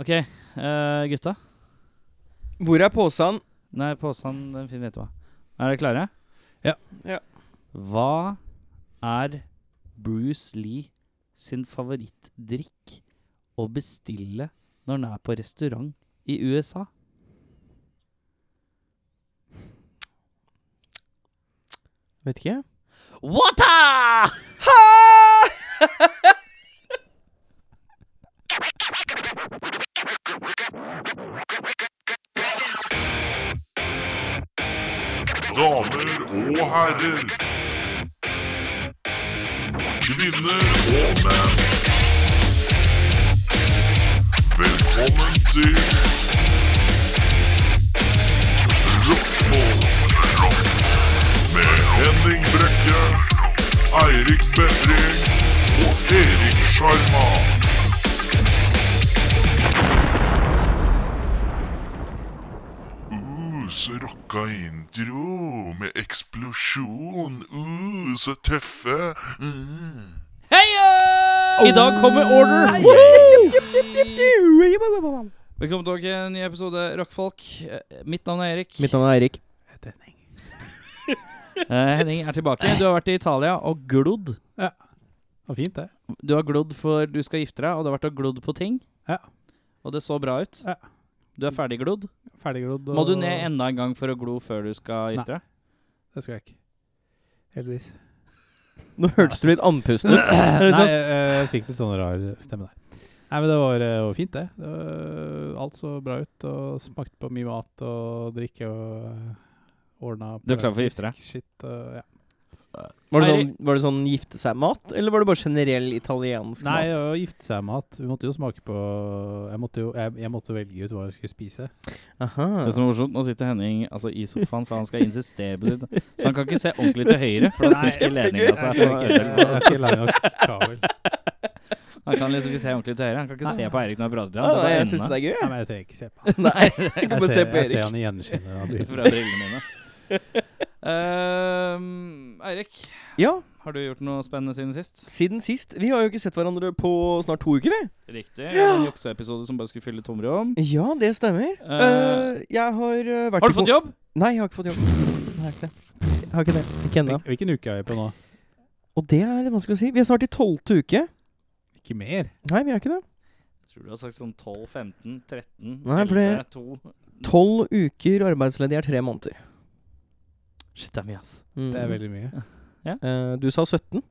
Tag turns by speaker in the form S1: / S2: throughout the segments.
S1: OK, eh, gutta.
S2: Hvor er påsan?
S1: Nei, påsan den fin- vet du hva. Er dere klare?
S3: Ja.
S2: Ja.
S1: Hva er Bruce Lee sin favorittdrikk å bestille når han er på restaurant i USA?
S2: Vet ikke.
S1: Water!
S4: Damer og herrer. Kvinner og menn. Velkommen til Rockfolk med Henning Brekke, Eirik Befring og Erik Sjarma. Uh, så rocka intro med eksplosjon. Uh, så tøffe. Mm.
S1: I dag kommer Order. Woohoo! Velkommen tilbake til en ny episode Rockfolk. Eh, Mitt navn er Erik.
S2: Mitt navn er Eirik.
S1: Eh, Henning er tilbake. Du har vært i Italia og glodd.
S3: Det var fint, det.
S1: Du har glodd for du skal gifte deg, og du har vært og glodd på ting.
S3: Ja.
S1: Og det så bra ut.
S3: Ja.
S1: Du er ferdig glodd.
S3: Ferdigglodd.
S1: Må du ned enda en gang for å glo før du skal gifte deg?
S3: Det skal jeg ikke. Heldigvis.
S2: Nå hørtes du litt andpusten ut. Er det
S3: Nei,
S2: sånn?
S3: jeg, jeg fikk litt sånn rar stemme der. Nei, men det var, eh, var fint, det. det var, eh, alt så bra ut, og smakte på mye mat og drikke og ordna
S1: Du er klar for å gifte deg?
S3: Shit, og, ja.
S2: Var det sånn, var det sånn gifte seg-mat, eller var det bare generell italiensk
S3: Nei,
S2: mat?
S3: å gifte seg med mat. Vi måtte jo smake på Jeg måtte jo jeg, jeg måtte velge ut hva jeg skulle spise.
S1: Det
S2: Aha.
S1: sånn som er morsomt, Nå sitter Henning altså, i sofaen, for han skal insistere på sitt Så han kan ikke se ordentlig til høyre, for da stikker ledninga
S3: Jeg
S1: seg.
S3: er ikke- jeg er ikke lei nok kabel.
S1: Han kan liksom ikke se ordentlig til høyre. Han kan ikke se på Eirik når han prater til
S2: Ah,
S1: ham.
S2: nei,
S1: Det er
S2: jeg syns
S1: bare
S2: det er gøy,
S3: Nei,
S2: jeg.
S3: men jeg trenger ikke se på han.
S2: Nei, jeg kan
S3: Jeg
S2: bare se
S3: ser,
S2: på
S3: jeg ser
S2: Erik.
S3: han i gjenskinnet. av
S1: enden
S3: brillene.
S1: fra brillene mine. Ehm, Eirik,
S2: Ja,
S1: har du gjort noe spennende siden sist?
S2: siden sist. Vi har jo ikke sett hverandre på snart to uker, vi.
S1: Riktig. En jukseepisode som bare skulle fylle tomrom.
S2: Ja, det stemmer.
S1: Eh,
S2: Eh, jeg har eh, vært
S1: Har du fått jobb?
S2: Nei, jeg har ikke fått jobb. Jeg har ikke det. Jeg har ikke det. Ikke ennå.
S3: Hvil- Hvilken uke er vi på nå?
S2: Og det er litt vanskelig å si. Vi er snart i tolvte uke.
S3: Ikke mer?
S2: Nei, vi er ikke det.
S1: Jeg tror du har sagt sånn 12, 15, 13,
S2: Nei, for
S1: 11,
S2: det-
S1: 2
S2: Tolv uker arbeidsledig er tre måneder.
S1: Shit, det er mye, ass.
S2: Mm.
S3: Det er veldig mye.
S2: Eh, du sa 17,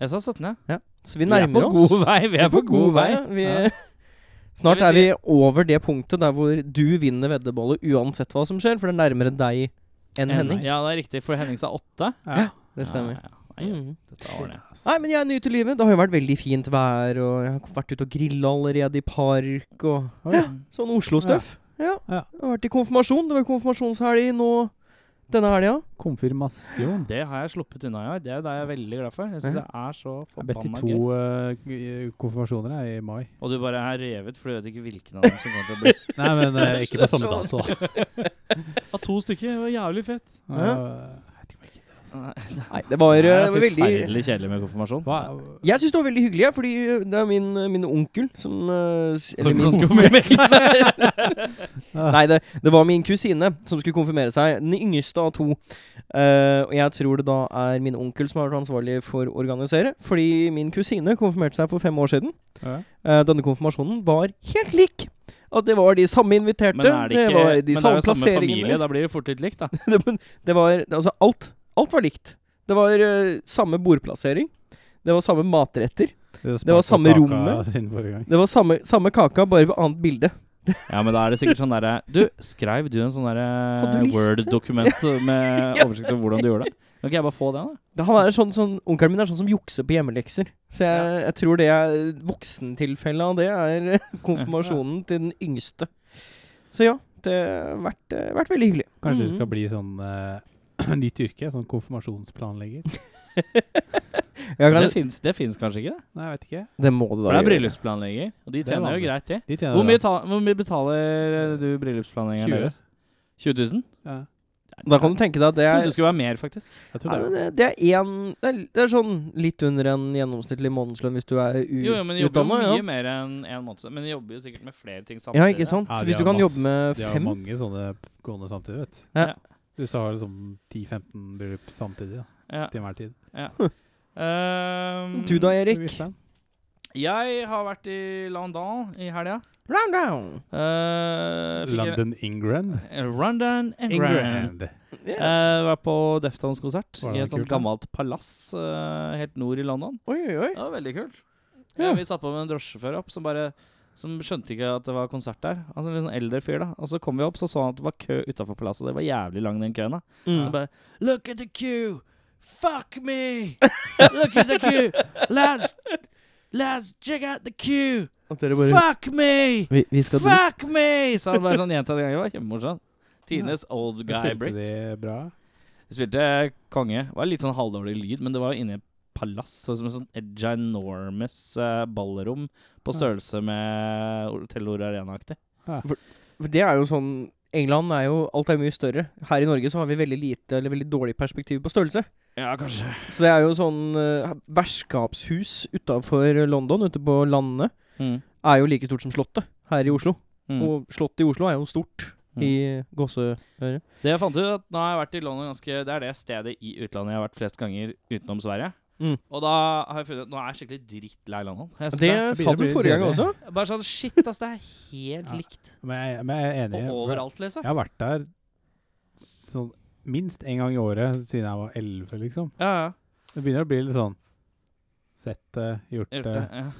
S1: Jeg sa 17, ja.
S2: så vi nærmer
S1: Vi er
S2: oss.
S1: på god vei. Vi er på god vei.
S2: ja. Vi,
S1: Ja.
S2: Snart
S1: Det
S2: er
S1: vil
S2: vi over det punktet der hvor du vinner veddemålet uansett hva som skjer, for det er nærmere deg enn Henning.
S1: Ja, det er riktig, for Henning sa 8.
S3: Ja.
S2: Det stemmer.
S1: Ja, ja, ja. Nei,
S2: Mm.
S1: Dette ordner jeg.
S2: Nei, men jeg er ny til livet. Det har jo vært veldig fint vær, og jeg har vært ute og grilla allerede i park, og ja, sånn Oslo-støff. Ja.
S3: Ja.
S2: Jeg har vært i konfirmasjon. Det var konfirmasjonshelg nå denne helga.
S3: Konfirmasjon.
S1: Det har jeg sluppet unna i år. Det er det jeg er veldig glad for. Jeg syns
S2: Ja.
S1: jeg er så
S3: Jeg bedt i
S1: forbanna gøy.
S3: to eh, g- konfirmasjoner jeg, i mai.
S1: Og du bare er revet, for du vet ikke hvilken av dem som kommer til å bli
S3: Nei, men eh, ikke på samme dato.
S1: Av to stykker. Det var jævlig fett.
S3: Eh,
S2: Nei, det var eh,
S1: det er
S2: veldig
S1: forferdelig kjedelig med konfirmasjon.
S3: Hva?
S2: Jeg syns det var veldig hyggelig, jeg, fordi eh, det er min, min onkel som eh, s- eller min-
S1: Som skal bli meldt. Ah.
S2: Nei, det, det var min kusine som skulle konfirmere seg. Den yngste av to. Eh, og jeg tror det da er min onkel som har vært ansvarlig for å organisere. Fordi min kusine konfirmerte seg for fem år siden.
S3: Ja.
S2: Eh, denne konfirmasjonen var helt lik! At det var de samme inviterte.
S1: Men er det ikke
S2: var
S1: Men
S2: de
S1: det er
S2: samme
S1: jo samme familie,
S2: plasseringene.
S1: da blir det fort litt likt, da.
S2: det, men det var Altså, alt. Alt var likt. Det var eh, samme bordplassering. Det var samme matretter.
S3: Det
S2: var
S3: smakte
S2: samme
S3: kaka
S2: rommet.
S3: siden forrige gang.
S2: Det var samme, samme kaka, bare på annet bilde.
S1: Ja, men da er det sikkert sånn derre Du, skrev du en sånn
S2: Hadde
S1: derre
S2: du liste?
S1: Word-dokument med oversikt over hvordan du gjorde det? Kan ikke jeg bare få det, da?
S2: Det- Han er sånn, sånn, Onkelen min er sånn som jukser på hjemmelekser. Så jeg, jeg tror det er voksentilfellet av det er eh, konfirmasjonen til den yngste. Så ja, det har vært, eh, vært veldig hyggelig.
S3: Kanskje du
S2: Mhm.
S3: skal bli sånn eh, nytt yrke? Sånn konfirmasjonsplanlegger?
S2: Jeg kan,
S1: Det fins, det finnes kanskje ikke, det?
S3: Nei, jeg vet ikke.
S2: det må
S1: For
S2: du da
S1: det er
S2: gjøre.
S1: bryllupsplanlegger, og de
S3: Det er
S1: tjener jo
S3: vanlig.
S1: greit, de.
S3: De tjener
S1: Hvor mye,
S3: da
S1: ta, hvor mye betaler du bryllupsplanleggeren
S3: 20.
S1: deres? 20 000?
S3: Ja.
S1: Det er
S2: Da kan du tenke deg at det
S1: Jeg
S2: er
S1: trodde det skulle være mer, faktisk.
S3: Jeg tror
S2: Nei,
S3: det.
S2: men det, det er en, det, er, det er sånn litt under en gjennomsnittlig månedslønn hvis du er
S1: Jo, jo, men de jobber jo
S2: utdanna.
S1: mye
S2: Mm. Ja.
S1: mer enn én måned. Men de jobber jo sikkert med flere ting samtidig.
S2: ja, ikke sant?
S3: Ja, de
S2: hvis du
S3: har
S2: kan jobbe
S3: masse-
S2: med
S3: De har
S2: fem
S3: mange sånne gående samtidig, vet du.
S2: Ja.
S1: Ja.
S3: Hvis du har liksom 10-15 bryllup samtidig da,
S1: Ja.
S3: til enhver tid.
S1: Ehm,
S2: Du da, Erik?
S3: Hvis Mm, det er.
S1: Jeg har vært i London i helga.
S2: Round down!
S1: Eh, fikk jeg-
S3: London Ingram.
S1: Eh, London and Grand.
S3: Ingram.
S2: Yes.
S1: Eh, var på Deftones-konsert
S3: Var det
S1: i et sånt
S3: kult, da?
S1: gammelt palass eh, helt nord i London.
S2: oi, oi, oi.
S1: Det var veldig kult.
S2: Ja.
S1: Eh, vi satt på med en drosjesjåfør opp som bare Som skjønte ikke at det var konsert der. Altså En litt sånn eldre fyr, da. Og så kom vi opp, så så han at det var kø utafor palasset. Det var jævlig lang, den køen. da Så
S2: Mm.
S1: bare Look at the queue! Fuck me! Look at the queue! Lads, lads, check out the queue!
S2: At dere bare
S1: Fuck me!
S2: vi, vi skal dit.
S1: Fuck me! Sa han bare sånn gjentatte ganger. Det var kjempemorsomt. Tidenes old guy
S3: Spilte
S1: break.
S3: de bra?
S1: De spilte eh, konge. Det var litt sånn halvdårlig lyd, men det var jo inne i et palass. Så som et sånn et ginormous eh, ballrom på størrelse med Hotel Nord Arena-aktig.
S2: For det er jo sånn England er jo Alt er mye større. Her i Norge så har vi veldig lite eller veldig dårlig perspektiv på størrelse.
S1: Ja, kanskje.
S2: Så det er jo sånn uh, Verskapshus utafor London, ute på landene,
S1: Mm.
S2: er jo like stort som Slottet her i Oslo.
S1: Mm.
S2: Og Slottet i Oslo er jo stort
S1: Mm.
S2: i gåseøre.
S1: Det jeg fant ut at nå har jeg vært i London ganske Det er det stedet i utlandet jeg har vært flest ganger utenom Sverige.
S2: Mm.
S1: Og da har jeg funnet ut Nå er jeg skikkelig drittlei London. Jeg synes
S2: Altså, Det
S3: det
S2: sa du
S3: blir
S2: forrige gang
S3: kjedelig.
S2: også.
S1: er- Bare sånn Shit, ass, det er helt
S3: Ja.
S1: likt.
S3: Men jeg, men jeg er enig.
S1: Og overalt, liksom.
S3: Jeg har vært der sånn, minst én gang i året siden jeg var 11, liksom.
S1: Ja, ja.
S3: Det begynner å bli litt sånn Sett det, gjort
S1: Gjort
S3: det.
S1: det. Ja.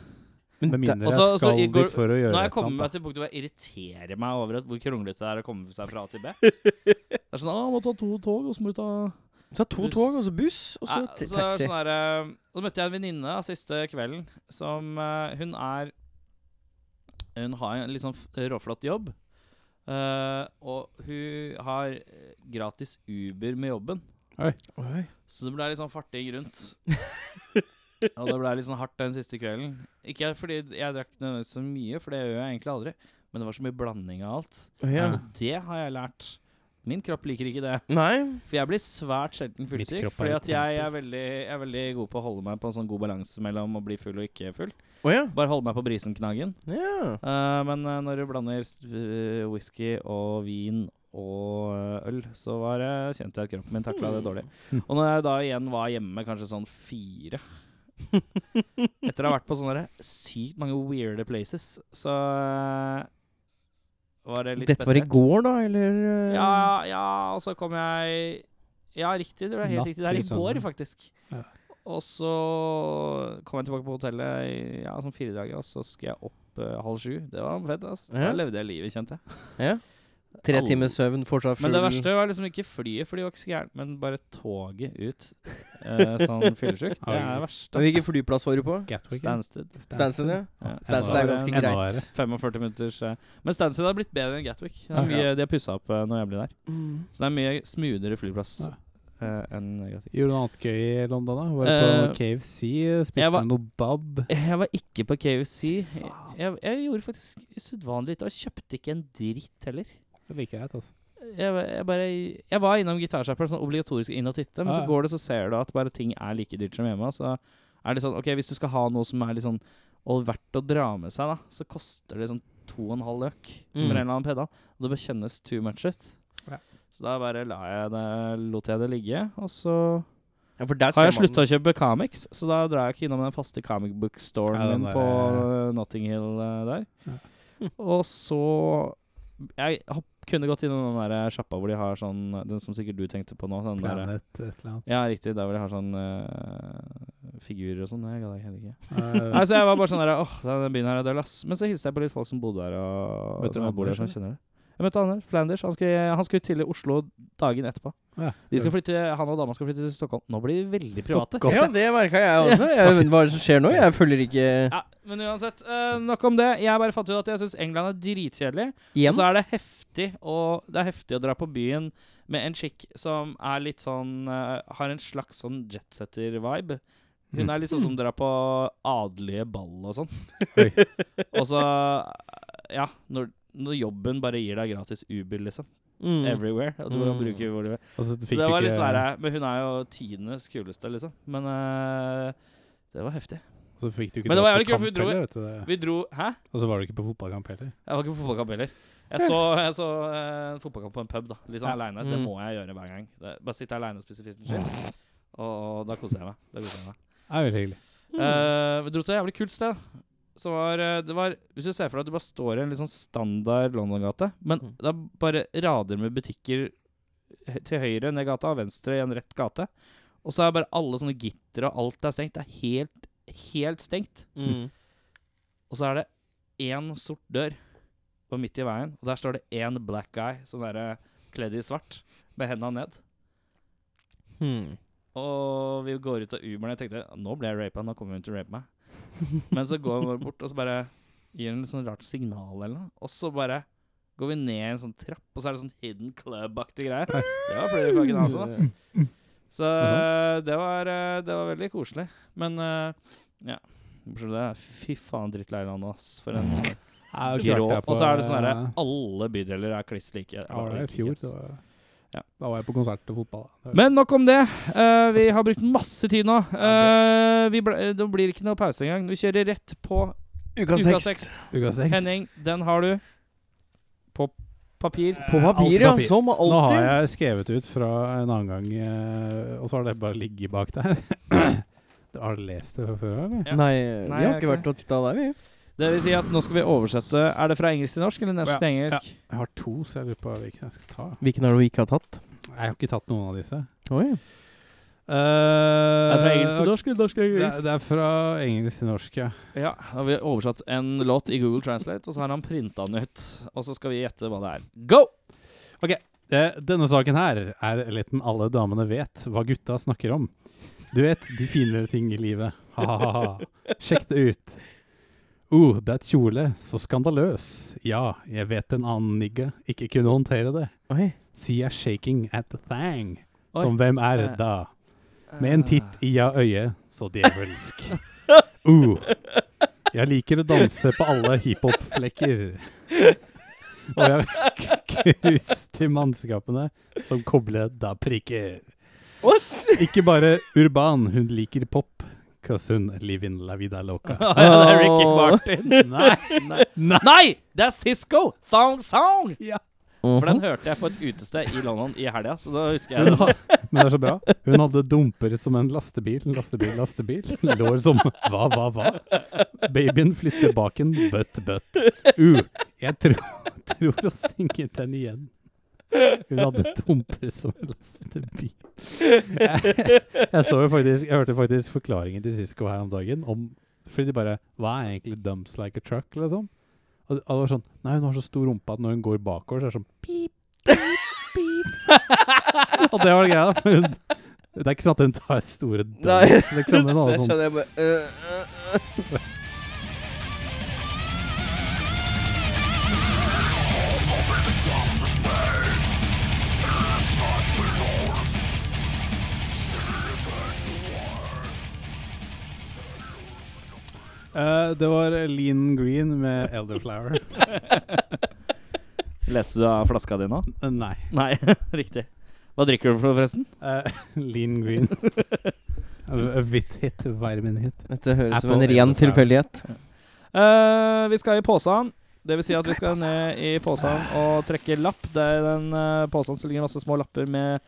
S3: Med mindre
S1: Også-
S3: jeg
S1: også
S3: skal
S1: i går-
S3: dit for å gjøre
S1: Nå har jeg
S3: et eller
S1: kommet meg
S3: annet, da.
S1: til punktet hvor jeg irriterer meg over at hvor kronglete det er å komme seg fra A til B. Det er sånn «Å, 'Må ta to tog, og så må du ta
S2: Så to
S1: Buss.
S2: tog, og så buss, og så
S1: Nei,
S2: t-
S1: så,
S2: taxi.
S1: sånn der, eh, og så møtte jeg en venninne da, siste kvelden som eh, Hun er Hun har en litt sånn f- råflott jobb. eh, og hun har eh, gratis Uber med jobben,
S2: Oi.
S1: så det ble litt sånn farting rundt. og det ble litt sånn hardt den siste kvelden. Ikke fordi jeg drakk nødvendigvis så mye, for det gjør jeg egentlig aldri. Men det var så mye blanding av alt.
S2: Å, ja.
S1: Og det har jeg lært. Min kropp liker ikke det.
S2: Nei.
S1: For jeg blir svært sjelden
S3: Mitt
S1: fullsyk.
S3: kropp er
S1: Fordi
S3: et
S1: at jeg
S3: tempel.
S1: er, veldig, jeg er veldig god på å holde meg på en sånn god balanse mellom å bli full og ikke full.
S2: Å ja.
S1: Bare holde meg på brisenknaggen.
S2: ja.
S1: Eh, men eh, når du blander s- øh, whisky og vin og eh, øl, så var det, kjente jeg at kroppen min takla det dårlig.
S3: Mm.
S1: Og når jeg da igjen var hjemme, kanskje sånn fire Etter å ha vært på sånne der sykt mange weirde places, så eh, var det litt
S2: Dette var i
S1: spesielt.
S2: går, da, eller? eh?
S1: Ja, ja, og så kom jeg Ja, riktig. Det var helt
S3: Natt
S1: riktig. Det er i
S2: liksom.
S3: til
S1: går,
S3: søndag.
S1: faktisk.
S3: Ja.
S1: Og så kom jeg tilbake på hotellet i ja, sånn fire dager, og så skulle jeg opp eh, halv sju. Det var fett. ass
S2: Ja.
S1: Da levde jeg livet, kjente jeg.
S2: Ja. Tre
S1: Alle-
S2: timers søvn, fortsatt full
S1: Men det verste var liksom ikke flyet, for de var ikke så gærent, men bare toget ut eh, sånn fyllesyk. Det er
S3: Ja.
S1: det verste. ass.
S2: Men Hvilken flyplass var du på?
S3: Gatwick, ja.
S1: Stansted.
S2: Stansted, ja.
S1: Ja.
S2: Stansted er
S1: Enda-
S2: ganske
S1: enda
S2: greit.
S3: verre.
S1: 45 minutters eh, Men Stansted har blitt bedre enn Gatwick. Det
S3: Ja.
S1: er mye, de har pussa opp eh, noe jævlig der.
S2: Mm.
S1: Så det er mye smoothere flyplass
S3: Ja.
S1: eh, enn Gatwick.
S3: Gjorde du noe annet gøy i London, da? Var du på
S1: Eh,
S3: KFC?
S1: jeg
S3: Spiste
S1: var-
S3: du noe bab?
S1: Jeg var ikke på KFC. Jeg, jeg gjorde faktisk usedvanlig lite, og kjøpte ikke en dritt heller.
S3: Det liker jeg, altså.
S1: Jeg, var- jeg, bare, jeg var innom gitarsjappa, sånn obligatorisk inn og titte, men
S3: Ja,
S1: så
S3: ja.
S1: går det, så ser du at bare ting er like dyrt som hjemme. og Så er det sånn Ok, hvis du skal ha noe som er litt sånn og verdt å dra med seg, da, så koster det sånn to og en halv løk
S2: Mm.
S1: for en eller annen pedal. Og det bare kjennes too much ut.
S3: Ja.
S1: Så da bare la jeg det, lot jeg det ligge, og så
S2: Ja, for der
S1: har jeg
S2: ser man-
S1: slutta å kjøpe comics, så da drar jeg ikke innom den faste comic book storen
S3: Ja, den
S1: min
S3: der,
S1: på
S3: eh,
S1: eh, Notting Hill eh, der.
S3: Ja.
S1: Og så Jeg hopp, kunne gått innom den der eh, sjappa hvor de har sånn Den som sikkert du tenkte på nå. Den der, eh,
S3: Planet et eller annet.
S1: ja, riktig. Der hvor de har sånn eh, figurer og sånn. Jeg gadd ikke heller ikke.
S3: Eh,
S1: Nei, så jeg var bare sånn der Åh, den byen her er døll, ass. Men så hilste jeg på litt folk som bodde der. Og,
S3: Møtte du
S1: som jeg bor der,
S3: Anders,
S1: som jeg kjenner det. Jeg møtte Anders Flanders. Han skulle, han skulle til Oslo dagen etterpå.
S3: Eh, ja.
S1: De skal flytte, Han og dama skal flytte til Stockholm. Nå blir vi veldig private.
S3: Stockholm.
S2: Ja, det merka jeg også. Jeg vet hva som skjer nå. Jeg følger ikke
S1: Ja, Men uansett, eh, nok om det. Jeg bare fant ut at jeg syns England er dritkjedelig. Og
S2: igjen.
S1: så er det heftig, og det er heftig å dra på byen med en chick som er litt sånn eh, Har en slags sånn jetsetter-vibe.
S3: Mm.
S1: Hun er litt sånn som drar på adelige ball og sånn.
S3: Oi.
S1: og så Ja, når, når jobben bare gir deg gratis Uber, liksom.
S2: Mm.
S1: everywhere. At du kan
S2: Mm.
S1: bruke hvor du vil.
S3: Altså,
S1: Så det var litt sånn her, Men hun er jo tiendes kuleste, liksom. Men eh, det var heftig.
S3: Så fikk du ikke
S1: Men det
S3: dra
S1: var
S3: på
S1: jævlig kult, for vi
S3: kamp
S1: dro-
S3: heller, vet du det.
S1: Vi dro Hæ?
S3: Og så var du ikke på fotballkamp heller.
S1: Jeg var ikke på fotballkamp heller. Jeg så, jeg så eh, en fotballkamp på en pub, da. Litt sånn
S3: Ja.
S1: alene. Det
S2: Mm.
S1: må jeg gjøre hver gang. Det, bare sitte aleine og spise fish and chips. Og, og da koser jeg meg. Da koser jeg meg.
S3: Det er veldig hyggelig.
S2: Mm.
S1: Eh, vi dro til et jævlig kult sted. Som var, eh, det var Hvis du ser for deg at du bare står i en litt sånn standard London-gate, men
S2: Mm.
S1: det er bare rader med butikker hø- til høyre ned gata og venstre i en rett gate. Og så er bare alle sånne gitter og alt er stengt. Det er helt, helt stengt.
S2: Mm.
S1: Og så er det én sort dør på midt i veien, og der står det én black guy sånn der, kledd i svart med henda ned.
S2: Hmm.
S1: Og vi går ut av Uberen, og jeg tenkte nå ble jeg rapa, nå kommer hun til å rape meg. Men så går hun bort og så bare gir hun litt sånn rart signal eller noe, og så bare går vi ned i en sånn trapp, og så er det sånn hidden club-aktige greier. Det var pretty fucking awesome, ass. Så det var, eh, det var veldig koselig. Men eh, ja Bortsett fra det, fy faen drittleiland, ass. For en
S3: Ja, klart
S1: grå.
S3: jeg på-
S1: Og så er det sånn herre Alle bydeler er kliss like.
S3: Ja, det var i
S1: Like,
S3: fjor.
S1: ikke
S3: Det
S1: sant?
S3: var,
S1: Ja.
S3: Da var jeg på konsert og fotball. da. Det var-
S1: Men nok om det. Eh, vi har brukt masse tid nå. Eh, vi ble, det blir ikke noe pause engang. Vi kjører rett på
S2: Ukas
S1: ukas tekst.
S2: tekst.
S3: Ukas tekst.
S1: Henning, den har du på papir.
S2: På
S3: Eh,
S2: papir,
S3: alltid
S2: ja.
S3: papir.
S2: Som
S3: Nå har
S2: alltid.
S3: jeg skrevet ut fra en annen gang, eh, og så har det bare ligget bak der. Du har du lest det fra før, eller?
S1: Ja. Nei,
S2: Nei, vi har
S1: jeg
S2: ikke
S1: har
S2: vært og titta der, vi.
S1: Det vil si at nå skal vi oversette. Er det fra engelsk til norsk eller norsk
S3: Ja,
S1: til engelsk?
S3: Jeg har to, så jeg lurer på hvilken jeg skal ta.
S2: Hvilken er det du ikke har tatt?
S3: Jeg har ikke tatt noen av disse.
S2: Oi.
S1: Er det fra engelsk til Eh, norsk
S3: norsk?
S1: eller norsk til
S3: Eh, Det,
S1: engelsk?
S3: er- det er fra engelsk til norsk, ja.
S1: Ja, da har vi oversatt en låt i Google Translate, og så har han printa den ut. Og så skal vi gjette hva det er. Go!
S3: Eh, denne saken her er letten alle damene vet hva gutta snakker om. Du vet, de finere ting i livet. Ha-ha-ha. Sjekk det ut. Oh, det er et kjole. Så skandaløs. Ja, jeg vet en annen nigga ikke kunne håndtere det.
S2: Oi.
S3: Sier shaking at the thang.
S1: Oi.
S3: Som hvem er
S1: Eh.
S3: da? Med en titt i ja øyet, så djevelsk. Uh. Jeg liker å danse på alle hiphop-flekker. Og jeg har krus til mannskapene som kobler da prikker. Ikke bare urban, hun liker pop. Cause hun live in la vida loca.
S1: Ja, det er Ricky
S2: Åh.
S1: Martin.
S3: Nei,
S1: Nei.
S3: nei.
S1: Det er Cisco! Thong Song!
S3: Ja.
S1: For den hørte jeg på et utested i London i helga, så da husker jeg
S3: Hun
S1: det.
S3: ha- men det er så bra. Hun hadde dumper som en lastebil, lastebil, lastebil. Lår som hva, hva, hva. Babyen flytter baken, bøtt, bøtt. Uh, jeg tror, tror å synge den igjen. Hun hadde dumper som en lastebil. Jeg, jeg så jo faktisk, jeg hørte faktisk forklaringen til Sisko her om dagen, om, fordi de bare, hva er egentlig dumps like a truck, eller sånn? Og det og det var sånn, nei, hun har så stor rumpa at når hun går bakover, så er det sånn, pip, og det var greia, for hun Det er ikke sånn at hun tar store
S2: Nei.
S3: døds, liksom. Hun hadde
S2: Det
S3: sånn
S2: skjønner jeg bare øh, øh, øh.
S3: Eh, Det var Lean Green med Elderflower.
S1: Leste du av flaska di nå?
S3: Eh, Nei.
S1: Nei, riktig. Hva drikker du for, forresten?
S3: Eh, Lean Green. A bit hit, vitamin hit.
S2: Dette høres som
S3: Apple
S2: en ren
S3: Apple.
S2: tilfeldighet.
S1: Eh, vi skal i posen. Det vil si
S2: Vi
S1: at vi
S2: skal
S1: skal
S2: i
S1: ned i posen og trekke lapp. Det er i den uh, posen som ligger masse små lapper med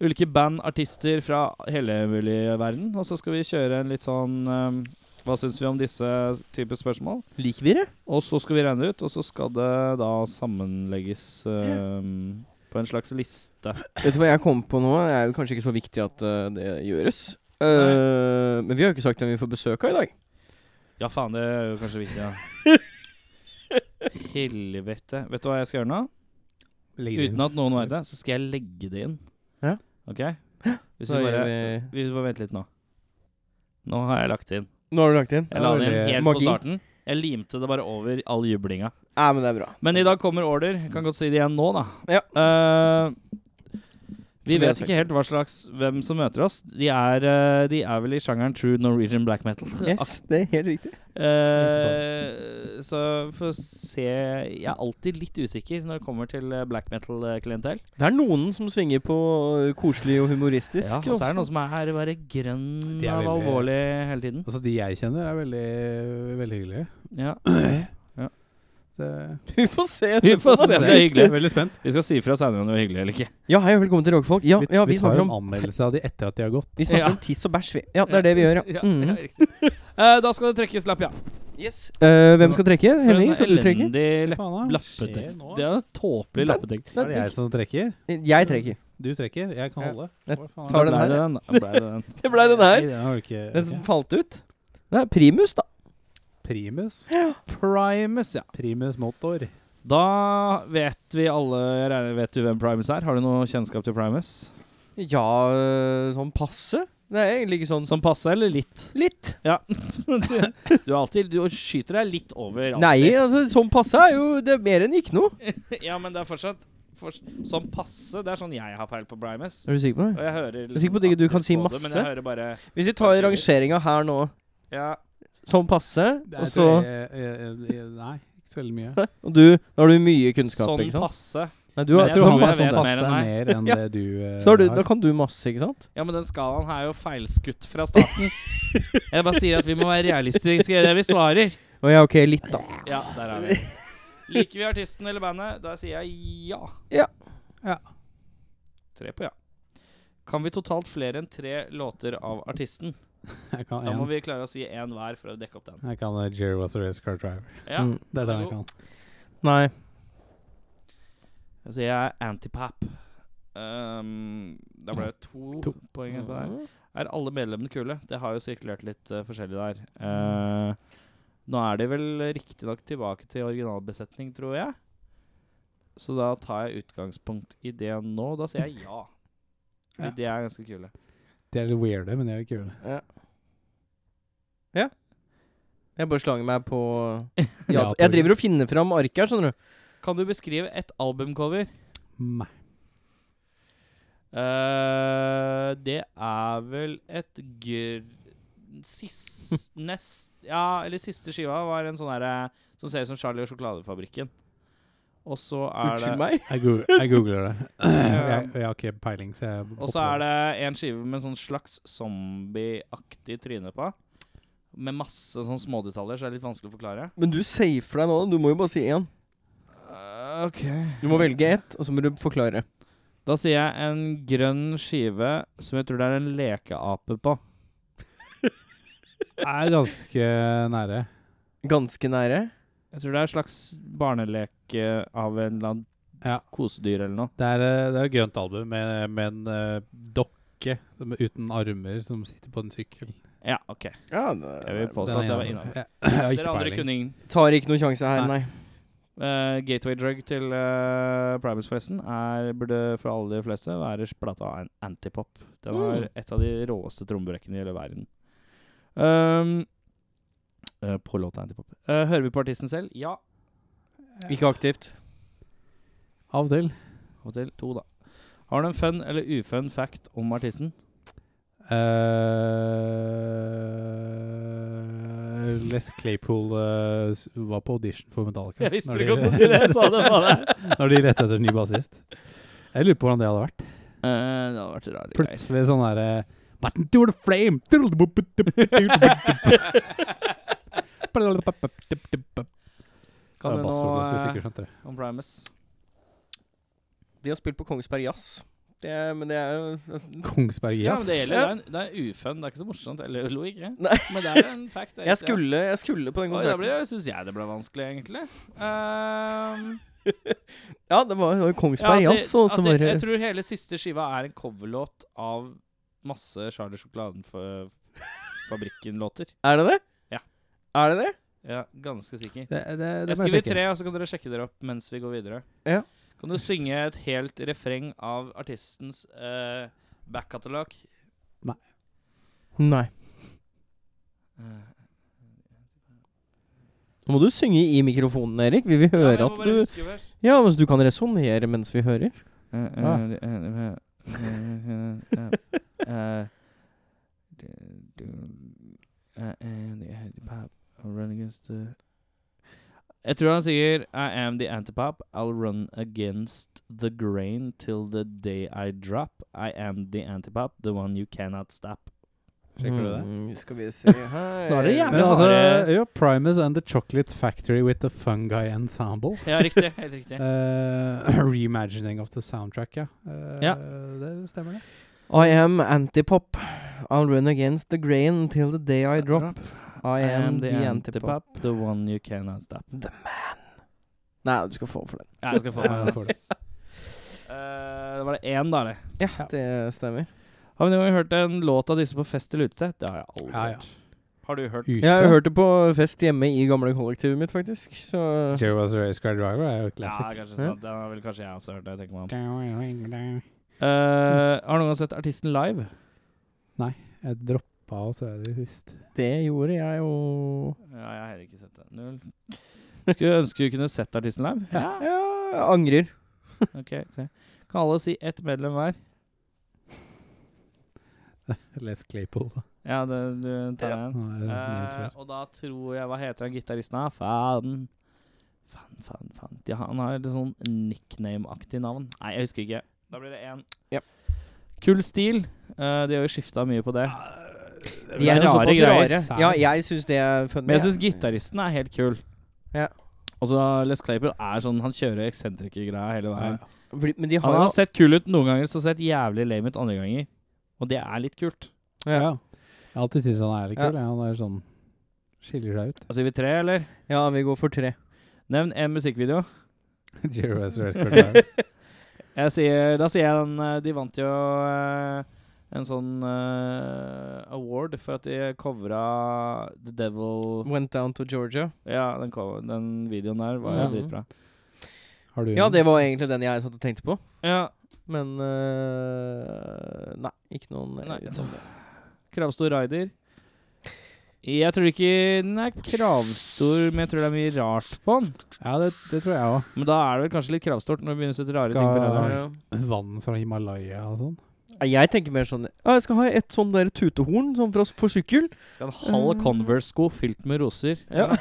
S1: ulike band, artister fra hele mulige verden. Og så skal vi kjøre en litt sånn eh, Hva syns vi om disse typer spørsmål?
S2: Liker vi det?
S1: Og så skal vi regne ut, og så skal det da sammenlegges øhm, på en slags liste.
S2: Vet du hva jeg kom på nå? Det er jo kanskje ikke så viktig at eh, det gjøres. Eh, men vi har jo ikke sagt hvem vi får besøk av i dag.
S1: Ja, faen, det er jo kanskje viktig, ja. Helvete. Vet du hva jeg skal gjøre nå?
S3: Legger det inn.
S1: Uten at noen vet det, så skal jeg legge det inn.
S2: Ja.
S1: OK? Hvis
S2: Da
S1: vi bare,
S2: gjør
S1: vi bare venter litt nå. Nå har jeg lagt det inn.
S2: Nå har du lagt det inn?
S1: Jeg la det inn
S3: Veldig
S1: helt
S2: magi.
S1: på starten. Jeg limte det bare over all jublinga.
S2: Ja, men det er bra.
S1: Men i dag kommer order. Jeg kan godt si det igjen nå, da.
S2: Ja.
S1: Eh, vi
S2: Så det er
S1: vet ikke helt hva slags hvem som møter oss. De er, eh, de er vel i sjangeren true Norwegian black metal.
S2: Yes, det er helt riktig.
S1: Eh, så får se Jeg er alltid litt usikker når det kommer til eh, black metal-klientell.
S2: Det er noen som svinger på øh, koselig og humoristisk.
S1: Ja, og så er det noen som er her bare grønn
S3: De er
S1: av
S3: veldig-
S1: alvorlig hele tiden.
S3: Altså, de jeg kjenner, er veldig, veldig hyggelige.
S1: Ja.
S3: Så
S2: Vi får se.
S1: Vi
S2: etterpå.
S1: får se om det er hyggelig.
S3: Veldig spent.
S1: Vi skal si ifra senere om det var hyggelig eller ikke.
S2: Ja, hei og velkommen til Råkfolk. Ja, ja, vi,
S3: tar
S2: snakker
S3: jo
S2: om
S3: en anmeldelse av de etter at de har gått.
S2: Vi snakker
S1: Ja.
S2: om tiss og bæsj. vi. Ja, det er det vi gjør, ja.
S1: ja,
S2: Mhm.
S1: riktig. Mm. Eh, da skal det trekkes lapp, ja.
S2: Yes. Øh, hvem skal trekke?
S1: For
S2: Henning,
S1: en
S2: skal du trekke?
S1: Elendig lapp
S3: Faen, da. Skjer
S1: lappetekst.
S3: nå?
S1: Det er en tåpelig lappetekst.
S3: Er det jeg som trekker?
S2: Jeg trekker.
S3: Du trekker, jeg kan
S2: Ja.
S3: holde.
S2: Jeg
S3: Hva faen?
S1: Da
S2: tar den
S1: ble
S2: her,
S1: det
S2: ja.
S1: den. Da ble det den.
S2: Det ble den
S3: Nei,
S2: her.
S3: den har du ikke.
S2: Den som
S3: ok.
S2: falt ut. Det er primus, da.
S3: Primus.
S1: Primus, ja.
S3: Primus motor.
S1: Da vet vi alle jeg regner- Vet du hvem Primus er? Har du noe kjennskap til Primus?
S2: Ja, øh, sånn passe. Det er egentlig ikke sånn
S1: Som passe, eller litt?
S2: Litt.
S1: Du, er alltid, du skyter deg litt over. alltid.
S2: Nei, altså, sånn passe er jo det er mer enn ikke noe.
S1: Ja, men det er fortsatt for, Som passe, det er sånn jeg har feil på Primus.
S2: Er du sikker på
S1: Og
S2: det?
S1: jeg hører liksom
S2: sikker på at ikke du
S1: aktivt
S2: kan si
S1: på Det,
S2: masse?
S1: men jeg hører bare
S2: Hvis vi tar rangeringa her nå,
S1: Ja,
S2: sånn passe, og
S3: Jeg
S2: så
S3: tror jeg- jeg- jeg- jeg- Eh, Nei, ikke så veldig mye.
S2: Og du, da har du mye kunnskap,
S1: sånn
S2: ikke sant?
S1: passe.
S2: Nei, du
S1: Men
S2: har,
S1: jeg
S2: du
S1: tror
S2: har
S1: jeg
S2: masse.
S1: vet mer
S3: Passe
S1: enn
S3: er sånn mer enn
S2: Ja.
S3: det du eh,
S2: Så har du, da
S3: har.
S2: kan du masse, ikke sant?
S1: Ja, men den skalaen her er jo feilskutt fra starten. Jeg bare sier at vi må være realistiske i det vi svarer.
S2: Å ja, ok, litt, da.
S1: Ja, der er vi. Liker vi artisten eller bandet? Da sier jeg ja.
S2: Ja.
S3: Ja.
S1: Tre på ja. Kan vi totalt flere enn tre låter av artisten?
S3: Jeg kan
S1: Da må
S3: en.
S1: vi klare å si én hver for å dekke opp den.
S3: Jeg kan eh, Jerry was a race car driver.
S1: Ja.
S2: Mm.
S3: Det er den
S1: Hallo.
S3: jeg kan.
S2: Nei.
S1: Da sier jeg antipap. Um, da ble det to,
S3: To.
S1: poeng på der. Er alle medlemmene kule? Det har jo sirkulert litt eh, forskjellig der. Eh, nå er de vel riktignok tilbake til originalbesetning, tror jeg. Så da tar jeg utgangspunkt i det nå. Da sier jeg ja. Fordi
S3: Ja.
S1: De er ganske kule.
S3: De er litt weirde, men de er litt kule.
S2: Ja. ja. Jeg bare slanger meg på
S3: Ja,
S2: ja,
S3: tror
S2: Jeg driver og finner fram arket her, skjønner du.
S1: Kan du beskrive et albumcover?
S3: Nei.
S1: Eh, det er vel et gr... Sist, nest, ja, eller siste skiva var en sånn derre som ser ut som Charlie og sjokoladefabrikken. Og så er det
S2: Unnskyld meg.
S3: Jeg, go jeg googler det. Jeg, jeg har ikke peiling, så jeg
S1: Og så er det en skive med en sånn slags zombieaktig tryne på. Med masse sånn smådetaljer, så det er litt vanskelig å forklare.
S2: Men du safer deg nå. Du må jo bare si én.
S1: ok
S2: Du må velge ett, og så må du forklare.
S1: Da sier jeg en grønn skive som jeg tror det er en lekeape på.
S3: er ganske nære.
S2: Ganske nære.
S1: Jeg tror det er en slags barneleke av en eller annen
S3: Ja.
S1: kosedyr eller noe.
S3: Det er, eh, det er et grønt album med, med en eh, dokke som- uten armer som sitter på en sykkel.
S1: Ja, OK.
S2: Ja,
S1: Jeg vil
S3: Den
S1: påstå at
S3: er
S1: jeg var innom.
S3: innenfor. Ja, Jeg har
S1: Dere
S3: ikke
S1: andre
S3: peiling.
S1: kunne ingen.
S2: Tar ikke noen sjanse her, nei.
S1: Eh, gateway drug til uh, Primus, forresten, er, burde for alle de fleste være plata av en antipop. Den har
S2: Mm.
S1: et av de råeste trommebrekkene i hele verden. Um, eh, på låta Antipop. Eh, hører vi på artisten selv? Ja.
S2: Ikke aktivt.
S3: Av og til.
S1: Og til to, da. Har du en fun eller ufun fact om artisten?
S3: Eh, Les Claypool eh, s- var på audition for Metallica. når de- Når de lette etter ny bassist. Jeg lurer på hvordan det hadde vært.
S1: Eh, det hadde vært rare greier.
S3: Plutselig sånn derre Button to the flame!
S1: Kan du
S3: Det
S1: nå
S3: er bassolo, hvis
S1: eh,
S3: ikke skjønte det.
S1: om Primus?
S2: De har spilt på Kongsberg Jazz. Det er, men det er jo
S3: Kongsberg
S1: Ja, men det
S3: Jazz.
S1: gjelder. Det er, en, det er ufun. Det er ikke så morsomt. Eller lo ikke.
S2: Nei.
S1: Men det er en fact. det er ikke
S2: Jeg
S1: det.
S2: skulle, jeg skulle på den
S1: Oi, da
S2: konserten.
S1: ble, syns jeg det ble vanskelig, egentlig. Ehm,
S2: Ja, det var det var Kongsberg
S1: ja, at det-
S2: Jazz, og
S1: at
S2: så
S1: det-
S2: var
S1: Jeg
S2: det
S1: tror hele siste skiva er en coverlåt av masse Charlie Sjokoladen-fabrikken-låter.
S2: Er det det?
S1: Ja.
S2: Er det det?
S1: Ja, ganske sikker.
S3: Det, det, det
S1: Jeg
S3: må
S1: skriver
S3: sjekke.
S1: tre, og så kan dere sjekke dere opp mens vi går videre.
S2: Ja.
S1: Kan du synge et helt refreng av artistens eh, backkatalog?
S2: Nei.
S1: Eh,
S2: Nå må du synge i mikrofonen, Erik. Vi vil høre
S1: ja, men jeg må
S2: at
S1: bare
S2: du
S1: huske først.
S2: Ja, altså, du kan resonnere mens vi hører.
S1: Eh, eh,
S3: Ah.
S1: eh, eh, eh, eh, eh, eh, eh, eh, eh, eh, eh, eh, eh, eh, eh, eh, eh, eh, run against the Jeg tror han sier I am the antipop. I'll run against the grain till the day I drop. I am the antipop, the one you cannot stop.
S5: Sjekker du det?
S2: Mm, skal vi se her
S1: Nå er det jævlig
S3: Men
S1: har
S3: altså,
S1: det-
S3: jo, Primus and the Chocolate Factory with the Fungi Ensemble.
S1: Ja, riktig. Helt riktig.
S3: Eh, reimagining of the soundtrack, ja. Eh,
S1: Ja.
S3: Det stemmer, det.
S2: I am antipop. I'll run against the grain till the day I drop. I am the antipop.
S1: the one you cannot stop.
S2: Nei, du skal få for den.
S1: Ja, jeg skal få
S3: Ja,
S1: meg
S3: du
S1: den.
S3: får det.
S1: Eh, Da var det én, da. det
S2: Ja, det stemmer.
S1: Har vi noen gang hørt en låt av disse på fest eller ute? Det har jeg aldri
S3: Ja, ja.
S1: hørt. Har du hørt
S3: Ute.
S2: Jeg har hørt det på fest hjemme i gamle kollektivet mitt, faktisk. Så
S3: Jerry was a race car driver er jo
S1: Ja,
S3: classic.
S1: kanskje
S2: Ja.
S1: sant. Den har vel kanskje jeg også hørt. Jeg tenker meg om. Eh, har noen gang sett artisten live?
S3: Jeg droppa å se det sist.
S2: det gjorde jeg jo.
S1: Ja, jeg har heller ikke sett det. Null. Skulle ønske du kunne sett artisten live.
S2: Ja, jeg angrer.
S1: Ok, tre. Kan alle si ett medlem hver?
S3: Les Claypool, da.
S1: Ja, det, du tar den.
S3: Nå er det nevnt
S1: Eh,
S3: her.
S1: og da tror jeg Hva heter han gitaristen? da? Faen. Faen, faen, faen. Ja, han har et litt sånn nickname-aktig navn. Nei, jeg husker ikke. Da blir det én.
S2: Ja.
S1: Kul stil. Eh, de har jo skifta mye på det.
S2: De
S1: rare
S2: er såpass
S1: greier.
S2: rare. Ja, jeg syns det er funny.
S1: Men jeg
S2: ja.
S1: syns gitaristen er helt kul.
S2: Ja.
S1: Og så Les Claypool er sånn Han kjører eksentrikergreia hele
S3: Ja,
S1: veien.
S3: ja.
S2: Fordi- Men de har
S1: Han
S2: jo
S1: har sett kul ut noen ganger, så sett jævlig lame ut andre ganger. Og det er litt kult.
S3: Ja. Jeg har alltid syntes han er litt
S2: Ja.
S3: kul. Ja. Han er sånn Skiller seg ut.
S1: Da sier Altså, vi tre, eller?
S2: Ja, vi går for tre.
S1: Nevn en musikkvideo.
S3: Jerry was a race car driver.
S1: Jeg sier, da sier jeg den eh, De vant jo eh, en sånn eh, award for at de covra The Devil
S2: Went down to Georgia.
S1: Ja, den, cover, den videoen der var jo
S3: Ja.
S1: dritbra.
S3: Har du
S2: Ja,
S3: en?
S2: det var egentlig den jeg satt og tenkte på.
S1: Ja,
S2: Men øh, Nei, ikke noen
S1: Nei,
S2: jeg vet
S1: så-
S2: om det.
S1: Kravstor rider. Jeg tror ikke den er kravstor, men jeg tror det er mye rart på den.
S3: ja det, det tror jeg òg.
S1: Men da er det vel kanskje litt kravstort når vi begynner å sette rare
S3: Skal-
S1: ting på radioen.
S3: Ja. Vann fra Himalaya og sånn.
S2: Nei, Jeg tenker mer sånn «Ja, Jeg skal ha et sånn der tutehorn sånn for, for sykkel.
S1: Skal en halv Converse-sko fylt med roser.
S2: Ja.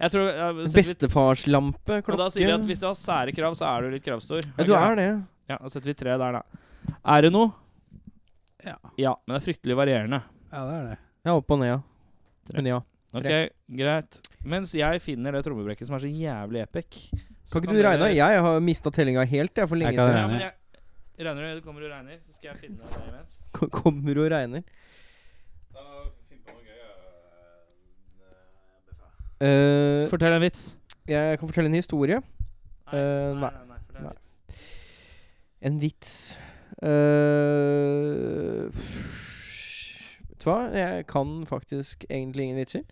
S1: Jeg tror, ja, men setter vi-
S2: Bestefarslampe, klokke
S1: Men da sier vi at hvis du har sære krav, så er du litt kravstor.
S2: ja, Du er det.
S1: Ja, Da setter vi tre der, da. Er det noe?
S3: Ja.
S1: Ja, men det er fryktelig varierende.
S3: ja, det er det.
S2: Ja, opp og ned, ja. Men ja.
S1: Ok, greit. Mens jeg finner det trommebrekket som er så jævlig epic. så
S2: Kan ikke du regne?
S1: dere-
S2: Jeg har mista tellinga helt, jeg, for
S3: Jeg
S2: lenge
S3: kan
S2: siden.
S1: Ja, men jeg, regner du? Du kommer og regner, så skal jeg finne det imens.
S2: Ko- Kommer og regner. Eh,
S1: Fortell en vits.
S2: jeg kan fortelle en historie. Eh, nei.
S1: fortell en
S2: Nei.
S1: vits.
S2: En vits. Eh, vet du hva? Jeg kan faktisk egentlig ingen vitser.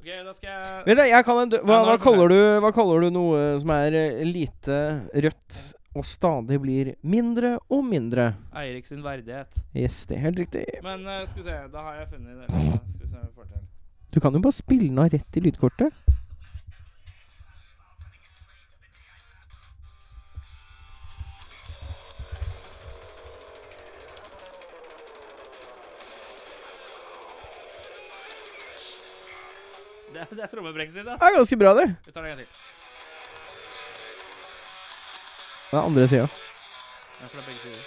S1: Ok, da skal jeg
S2: Vet du, jeg kan en dø hva,
S1: Ja, nå
S2: hva,
S1: er det
S2: kaller du, hva kaller du noe som er eh, lite rødt og stadig blir mindre og mindre?
S1: Eirik sin verdighet.
S2: Yes, det er helt riktig.
S1: Men eh, skal vi se, da har jeg funnet det. Skal vi se om jeg får til.
S2: Du kan jo bare spille den av rett i lydkortet.
S1: Det, det er trommebrekket sitt,
S2: Det
S1: ass.
S2: er ganske bra, det.
S1: Vi tar det en gang til.
S2: Det er andre sida.
S1: Ja, for det er begge sider.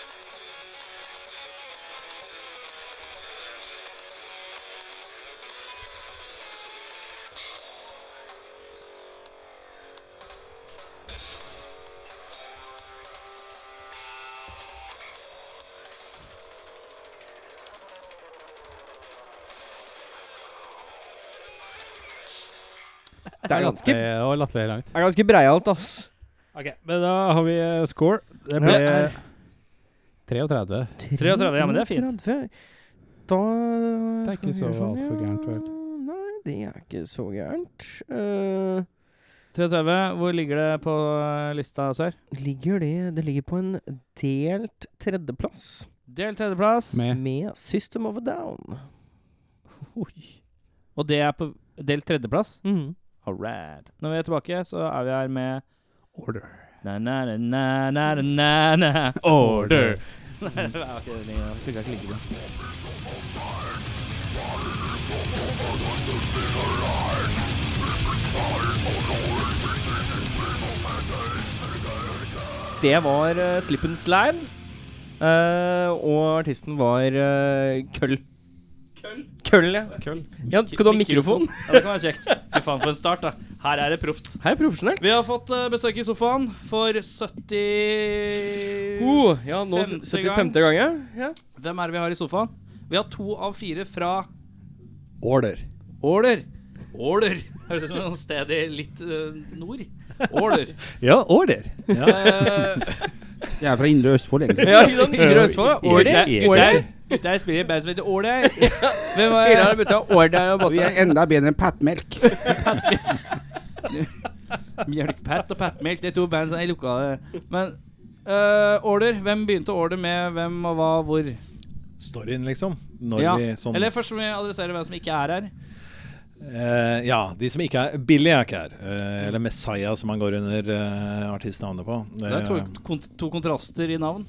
S2: Det er ganske,
S3: Det var latterlig langt.
S2: det er ganske breialt, ass.
S3: Ok, Men da har vi eh, score. Det ble
S1: er-
S3: 33.
S1: 33, ja, men det er fint.
S2: 33. Da
S3: Det er
S2: skal
S3: ikke
S2: vi
S3: så
S2: gjøre sånn,
S3: altfor
S2: ja.
S3: gærent, vel?
S2: Nei, det er ikke så gærent. Eh,
S1: 33, hvor ligger det på eh, lista, sør?
S2: ligger det Det ligger på en delt tredjeplass.
S1: Delt tredjeplass.
S3: Med
S2: med System of a Down.
S1: Oi. Og det er på delt tredjeplass?
S2: Mhm.
S1: Alright. Når vi er tilbake, så er vi her med
S3: order.
S1: na, na, na, na, na, na, na, Order! Nei, det var ikke det lenger. Det funka ikke like bra.
S2: Det var eh, Slip and Slide. Eh, og artisten var eh, Køll.
S1: Køll?
S2: Køll, ja.
S1: Køll.
S2: ja. Skal du ha mikrofon?
S1: Ja, det kan være kjekt. Fy faen, for en start, da. Her er det proft.
S2: Her er profesjonelt.
S1: Vi har fått eh, besøk i sofaen for 70
S2: Oh, ja, nå
S1: Femte
S2: 75. gang, ja. ja.
S1: Hvem er det vi har i sofaen? Vi har to av fire fra
S5: Order.
S1: Åler. Åler. Høres ut som et sted i litt eh, nord. Åler.
S5: Ja, order.
S1: Eh,
S6: Jeg er fra Indre Østfold, egentlig.
S2: ja ikke sant? Yngre Østfold. Årdi.
S1: gutter- gutter- Gutter spiller i et band som heter Åler. Hvem var
S2: Fire har bytta årdi og
S6: Vi
S2: batta.
S6: er enda bedre enn Patmelk.
S1: Mjølkpat og Patmelk? Det er to band som jeg lukka det. Men eh, Åler. Hvem begynte Åler med? Hvem og hva? Hvor?
S5: Storyen, liksom. Når
S1: Ja.
S5: vi sånn
S1: Eller først må vi adressere hvem som ikke er her.
S5: Eh, ja, de som ikke er Billy er ikke her. Eh, eller Messiah, som han går under eh, artistnavnet på. Eh,
S1: Det er to, kont to kontraster i navn.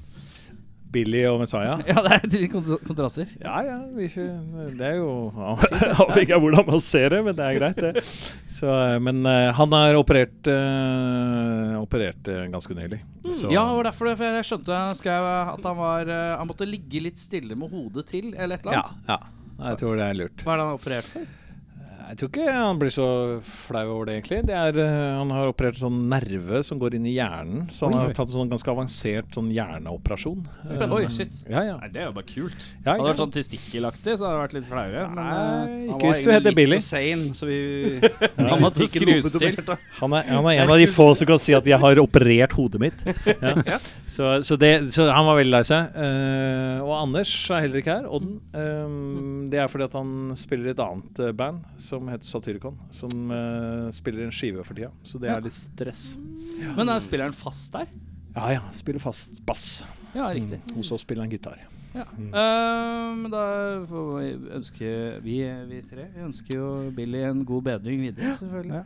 S5: Billy og Messiah.
S1: Ja, det er tre kont- kontraster.
S5: Ja ja, vi, ikke- det er jo Aner ikke hvordan man ser det, men det er greit, det. Så, eh, men eh, han er operert eh, Operert eh, ganske nylig. Så-
S1: Mm, Ja, det var derfor det, for jeg skjønte han skrev at han var eh, Han måtte ligge litt stille med hodet til, eller et eller
S5: ja,
S1: annet.
S5: ja. Jeg tror det er lurt.
S1: Hva er det han har operert for?
S5: Jeg tror ikke han blir så flau over det, egentlig. Det er, eh, han har operert sånn nerve som går inn i hjernen. Så han har tatt en sånn ganske avansert sånn hjerneoperasjon. Eh,
S1: Spennende. Oi, shit.
S5: Ja, ja.
S1: det er jo bare kult.
S5: ja
S1: Hadde
S5: ikke
S1: det vært
S5: sant?
S1: sånn testikkelaktig, så hadde det vært litt flauere.
S3: eh,
S1: Men
S5: Nei,
S6: Han var
S5: ikke hvis du
S6: egentlig
S5: heter
S6: litt
S5: Billy.
S6: for sein, så vi
S1: eh, han måtte
S6: fikk den
S1: skrus til.
S6: oppdatert, da.
S5: Han er, han er en av de få som kan si at 'jeg har operert hodet mitt'. Ja. Så, så, det, så han var veldig lei seg. Eh, og Anders er heller ikke her. Odden. Eh, det er fordi at han spiller i et annet eh, band som heter Satyricon. Som eh, spiller en skive for tida. Så det er litt stress.
S1: Men er spilleren fast der?
S5: Ja ja, spiller fast bass.
S1: Ja, riktig.
S5: Mm. Og så spiller han gitar.
S1: Ja. Ehm, da får vi ønske vi, vi tre Vi ønsker jo Billy en god bedring videre, selvfølgelig.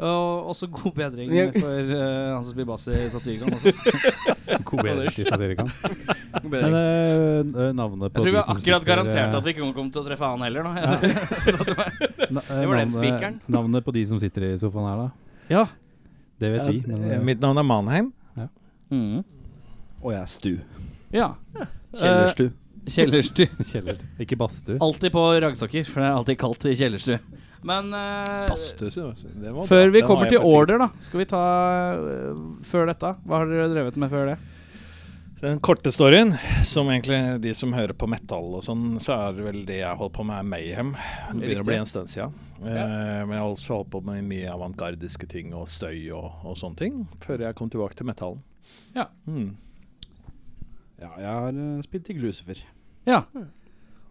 S1: Og også god bedring
S2: Ja.
S1: for eh, han som spiller bass i Satyricon. også.
S3: Koberer til Satirikan.
S1: God bedring.
S3: Men eh, navnet
S1: Jeg tror
S3: på
S1: vi
S3: de
S1: har
S3: som
S1: akkurat
S3: sitter,
S1: garantert
S3: eh,
S1: at vi ikke kommer til å treffe han heller nå. Jeg-
S3: na- eh,
S1: det var den
S3: navnet-
S1: spikeren.
S3: Navnet på de som sitter i sofaen her, da?
S1: Ja.
S3: Det vet vi. Men,
S5: Eh,
S3: eh,
S5: Mitt navn er Manheim.
S1: Mhm.
S6: Og jeg er Stu.
S1: Ja.
S6: Kjellerstu.
S1: Eh, Kjellerstu.
S3: Kjeller. Ikke badstue.
S1: Alltid på raggsokker, for det er alltid kaldt i kjellerstu. Men eh,
S5: Badstue, så- det var bra.
S1: før vi
S5: Den
S1: kommer
S5: har
S1: til
S5: jeg faktisk ikke.
S1: order, da, skal vi ta eh, før dette. Hva har dere drevet med før det?
S5: Den korte storyen, som egentlig de som hører på metal og sånn, så er det vel det jeg holdt på med, er Mayhem. Det begynner å bli en stund siden. Eh, men jeg har også holdt på med mye avantgardiske ting og støy og, og sånne ting, før jeg kom tilbake til metallen.
S1: Ja.
S5: Mm.
S6: Ja, jeg har eh, spilt i Glucifer.
S1: Ja.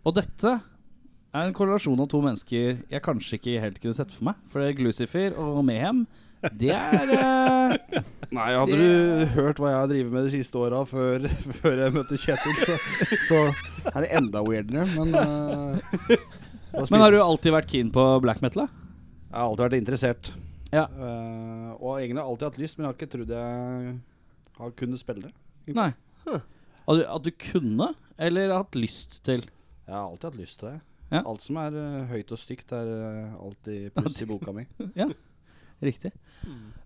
S1: Og dette er en korrelasjon av to mennesker jeg kanskje ikke helt kunne sett for meg. For det er Glucifer og Mehem. Det er eh,
S6: Nei, hadde du hørt hva jeg har drevet med de siste åra før, før jeg møtte Kjetil, så, så er det enda weirdere, men eh, da
S1: Men har du
S6: spilte-
S1: alltid vært keen på black metal? da?
S6: Jeg har alltid vært interessert.
S1: Ja.
S6: Eh, og egentlig har jeg alltid hatt lyst, men jeg har ikke trodd jeg har kunnet spille det.
S1: Nei. At du, at du kunne, eller hatt lyst til?
S6: Jeg har alltid hatt lyst til det.
S1: Ja.
S6: Alt som er eh, høyt og stygt, er eh, alltid pluss i boka mi.
S1: Riktig.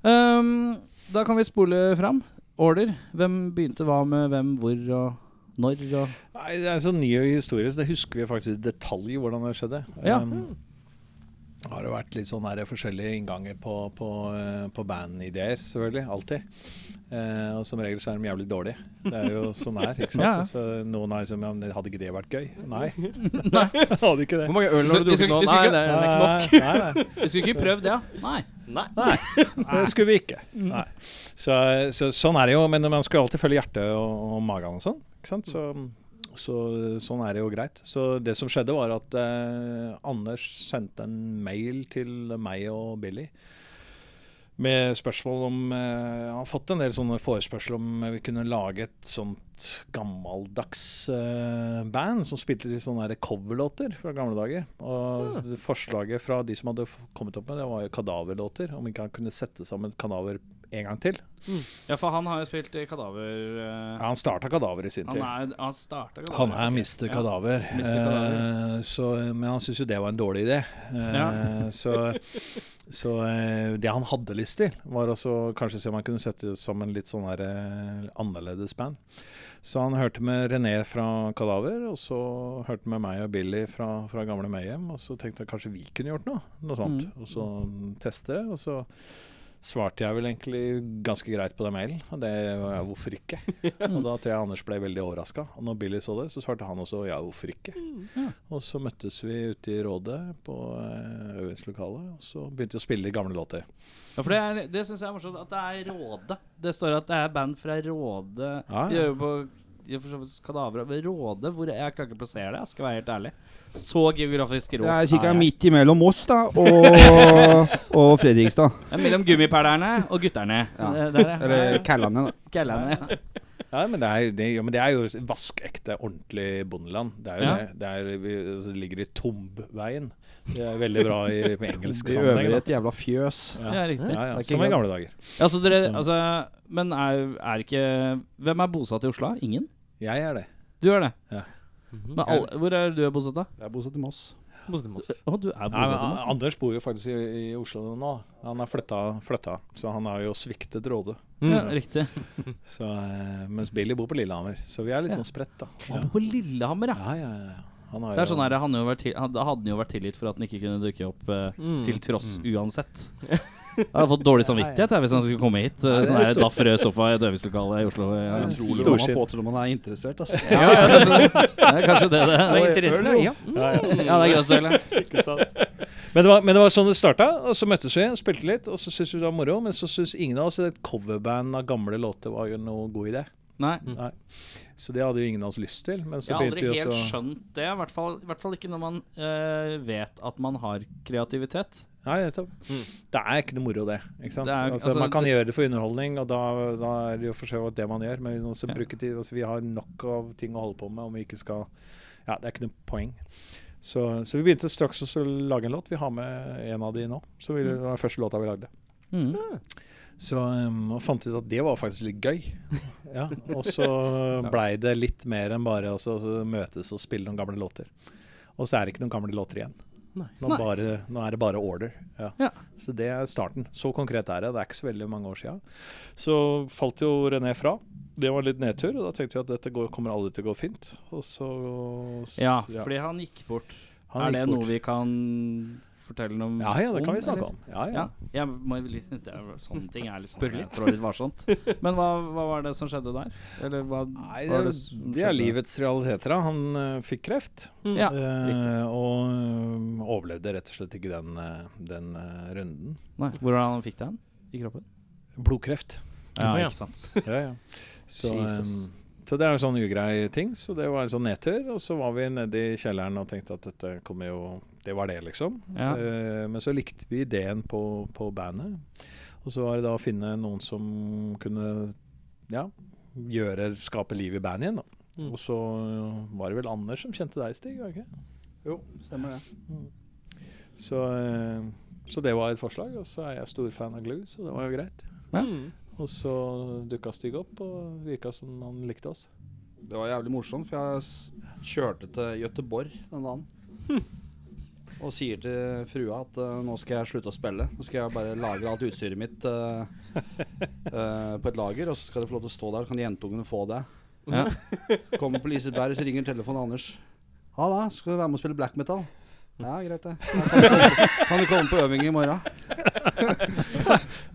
S1: Um, da kan vi spole fram. Order. Hvem begynte hva med hvem, hvor og når? Og
S5: Nei, det er en sånn ny historie, så det husker vi faktisk i detalj hvordan det skjedde.
S1: Ja.
S5: Um, har det vært litt sånn her forskjellige innganger på, på, eh, på bandideer, selvfølgelig. Alltid. Eh, og som regel så er de jævlig dårlige. Det er jo sånn her, ikke sant.
S1: Ja.
S5: Så noen har liksom ja, men Hadde ikke det vært gøy? Nei. hadde ikke det.
S2: Hvor mange øl
S1: Så-
S2: har du
S1: vi skal-
S2: drukket nå?
S1: vi skal
S2: Nei,
S1: ikke-
S2: det er ikke nok.
S5: Nei, nei, nei.
S1: Vi skulle ikke prøvd det, ja. Nei.
S5: Det Eh, skulle vi ikke. Nei. Så, så sånn er det jo. Men man skal alltid følge hjertet og, og magen og sånn. Ikke sant? Så, så sånn er det jo greit. Så det som skjedde, var at eh, Anders sendte en mail til meg og Billy. Med spørsmål om eh, Han har fått en del sånne forespørsler om eh, vi kunne lage et sånt gammeldags eh, band som spilte litt sånne her coverlåter fra gamle dager. Og
S1: Ah.
S5: forslaget fra de som hadde f- kommet opp med det, var jo kadaverlåter. Om ikke han kunne sette sammen et kadaver en gang til.
S1: Ja, for han har jo spilt i Kadaver eh,
S5: Ja, han starta kadaveret i sin tid.
S1: Han, er, han starta Kadaver.
S5: Han er Mr. Kadaver,
S1: Mr. Kadaver.
S5: eh, så, men han syntes jo det var en dårlig idé. Eh,
S1: Ja.
S5: så så eh, det han hadde lyst til, var også kanskje se om han kunne sette sammen litt sånn her eh, annerledes band. Så han hørte med René fra Kadaver, og så hørte han med meg og Billy fra, fra gamle Mayhem, og så tenkte jeg kanskje vi kunne gjort noe, noe sånt.
S1: Mm.
S5: Og så teste det, og så svarte jeg vel egentlig ganske greit på den mailen. Og det var ja, hvorfor ikke? Og da tror jeg Anders ble veldig overraska. Og når Billy så det, så svarte han også ja, hvorfor ikke?
S1: Mm. Ja.
S5: Og så møttes vi ute i Rådet på eh, øvingslokalet, og så begynte vi å spille gamle låter.
S1: Ja, for det, er- det syns jeg er morsomt. At det er Råde. Det står at det er band fra Råde.
S5: Ja, ja.
S1: De gjør jo på de gjør for så vidt Kadaver men Råde hvor Jeg klarer ikke å plassere det, jeg skal være helt ærlig. Så geografisk rå.
S7: Det er ca.
S1: jeg.
S7: midt imellom oss da, og, og Fredrikstad.
S1: Det er mellom gummipælerne og gutterne.
S7: Ja.
S1: Det, det er det.
S7: Eller Kællane, da.
S1: Gællene, ja.
S5: Ja, men det er, jo- det, ja, men det er jo vaskekte, ordentlig bondeland. Det er jo
S1: Ja.
S5: det. Det, er, vi, altså, det ligger i Tombveien. Det er veldig bra i på engelsk
S6: De øver i
S5: sammenheng.
S6: et jævla fjøs.
S5: da.
S1: ja,
S5: Ja.
S1: riktig.
S5: Ja, Sånn. ja,
S6: Det er ikke
S5: som i
S6: galt.
S5: gamle dager.
S1: Ja, så dere,
S5: Så-
S1: altså, men er, er ikke Hvem er bosatt i Oslo? Ingen?
S5: Jeg er det.
S1: Du er det?
S5: Ja.
S1: Men alle, hvor er du er bosatt, da?
S6: Jeg er bosatt i Moss.
S1: Å, du er altså.
S5: Nei, men,
S1: bosatt i Moss?
S5: Anders bor jo faktisk i, i Oslo nå. Han er flytta, flytta, så han har jo sviktet Råde.
S1: Ja, riktig.
S5: Så, eh, mens Billy bor på Lillehammer, så vi er litt sånn spredt, da. Ja,
S1: Han bor på Lillehammer, ja.
S5: ja, ja. ja. Han har
S1: Det er
S5: jo-
S1: sånn her, han jo vært til, han, Da hadde han jo vært tilgitt for at han ikke kunne dukke opp eh,
S2: Mm.
S1: til tross uansett. Jeg hadde fått dårlig samvittighet jeg, hvis han skulle komme hit. eh, Sånn her daff rød sofa i et øvingslokale i Oslo. Ja,
S6: Utrolig hva
S5: Storskip.
S6: man får til når man er interessert. ass.
S1: ja, ja, det, er, sånn- det er kanskje det det, det er interessen. Ja,
S2: Mm.
S5: Ja, ja.
S1: ja, det er greit å selge.
S5: Ikke sant? Men det, var, men det var sånn det starta, og så møttes vi og spilte litt. Og så syntes vi det var moro, men så syntes ingen av oss at et coverband av gamle låter var jo noe god idé.
S1: Nei.
S5: Mm. Så det hadde jo ingen av oss lyst til. Men så
S1: Jeg har aldri
S5: begynte vi
S1: helt
S5: også
S1: skjønt det. I hvert fall, i hvert fall ikke når man eh, vet at man har kreativitet.
S5: Nei, nettopp. Det er ikke noe moro, det. Ikke
S1: Mm.
S5: sant?
S1: Det er-
S5: altså,
S1: altså,
S5: man kan
S1: det-
S5: gjøre det for underholdning, og da, da er det jo for så vidt det man gjør. Men hvis man skal bruke tid, altså, vi har nok av ting å holde på med om vi ikke skal Ja, det er ikke noe poeng. Så, så vi begynte straks også å lage en låt. Vi har med en av de nå. Så vi, det var den første låta vi lagde.
S1: Mm.
S5: Så um, og fant ut at det var faktisk litt gøy. Ja, og så blei det litt mer enn bare å så- så møtes og spille noen gamle låter. Og så er det ikke noen gamle låter igjen. Nå,
S1: Nei.
S5: bare, nå er det bare order. Ja.
S1: Ja.
S5: Så det er starten. Så konkret er det. Det er ikke så veldig mange år sia. Så falt jo René fra. Det var litt nedtur, og da tenkte vi at dette går, kommer aldri til å gå fint. Og så
S1: Ja,
S5: ja,
S1: fordi han gikk bort.
S5: han
S1: er
S5: gikk
S1: det
S5: bort.
S1: noe vi kan fortelle noe om?
S5: Ja, ja, det kan vi snakke
S1: eller?
S5: om. Ja, ja.
S1: Ja, jeg må jo litt, det er, sånne ting er litt, sånn, jeg trår litt varsomt. Men hva, hva var det som skjedde der? Eller hva
S5: Nei,
S1: hva var
S5: det,
S1: som
S5: det er
S1: skjedde?
S5: livets realiteter. da. Han eh, fikk kreft.
S1: Ja,
S5: Eh,
S1: riktig.
S5: og eh, overlevde rett og slett ikke den, eh, den eh, runden.
S1: Nei, hvordan han fikk det hen? I kroppen?
S5: Blodkreft.
S1: Ja,
S2: ja.
S1: ikke sant.
S5: Ja, ja. Så,
S2: Jesus.
S5: eh, så det er en sånn ugrei ting. Så det var en sånn nedtur. Og så var vi nede i kjelleren og tenkte at dette kommer jo Det var det, liksom.
S1: Ja.
S5: Eh, men så likte vi ideen på, på bandet. Og så var det da å finne noen som kunne ja, gjøre, skape liv i bandet igjen. Da.
S2: Mm.
S5: Og så eh, var det vel Anders som kjente deg, Stig? var det ikke?
S6: Jo, stemmer det.
S5: Så, eh, så det var et forslag, og så er jeg stor fan av Glue, så det var jo greit.
S1: Mm.
S5: Og så dukka Stig opp, og virka som han likte oss.
S6: Det var jævlig morsomt, for jeg s- kjørte til Gøteborg den dagen. Og sier til frua at eh, nå skal jeg slutte å spille. Nå skal jeg bare lagre alt utstyret mitt eh, eh, på et lager, og så skal det få lov til å stå der, så kan jentungene få det.
S1: Ja.
S6: Kommer på Liseberg, så ringer telefonen Anders. Halla, skal du være med og spille black metal? Ja, greit det. Ja, Kan du komme, kan du komme på øving i morgen?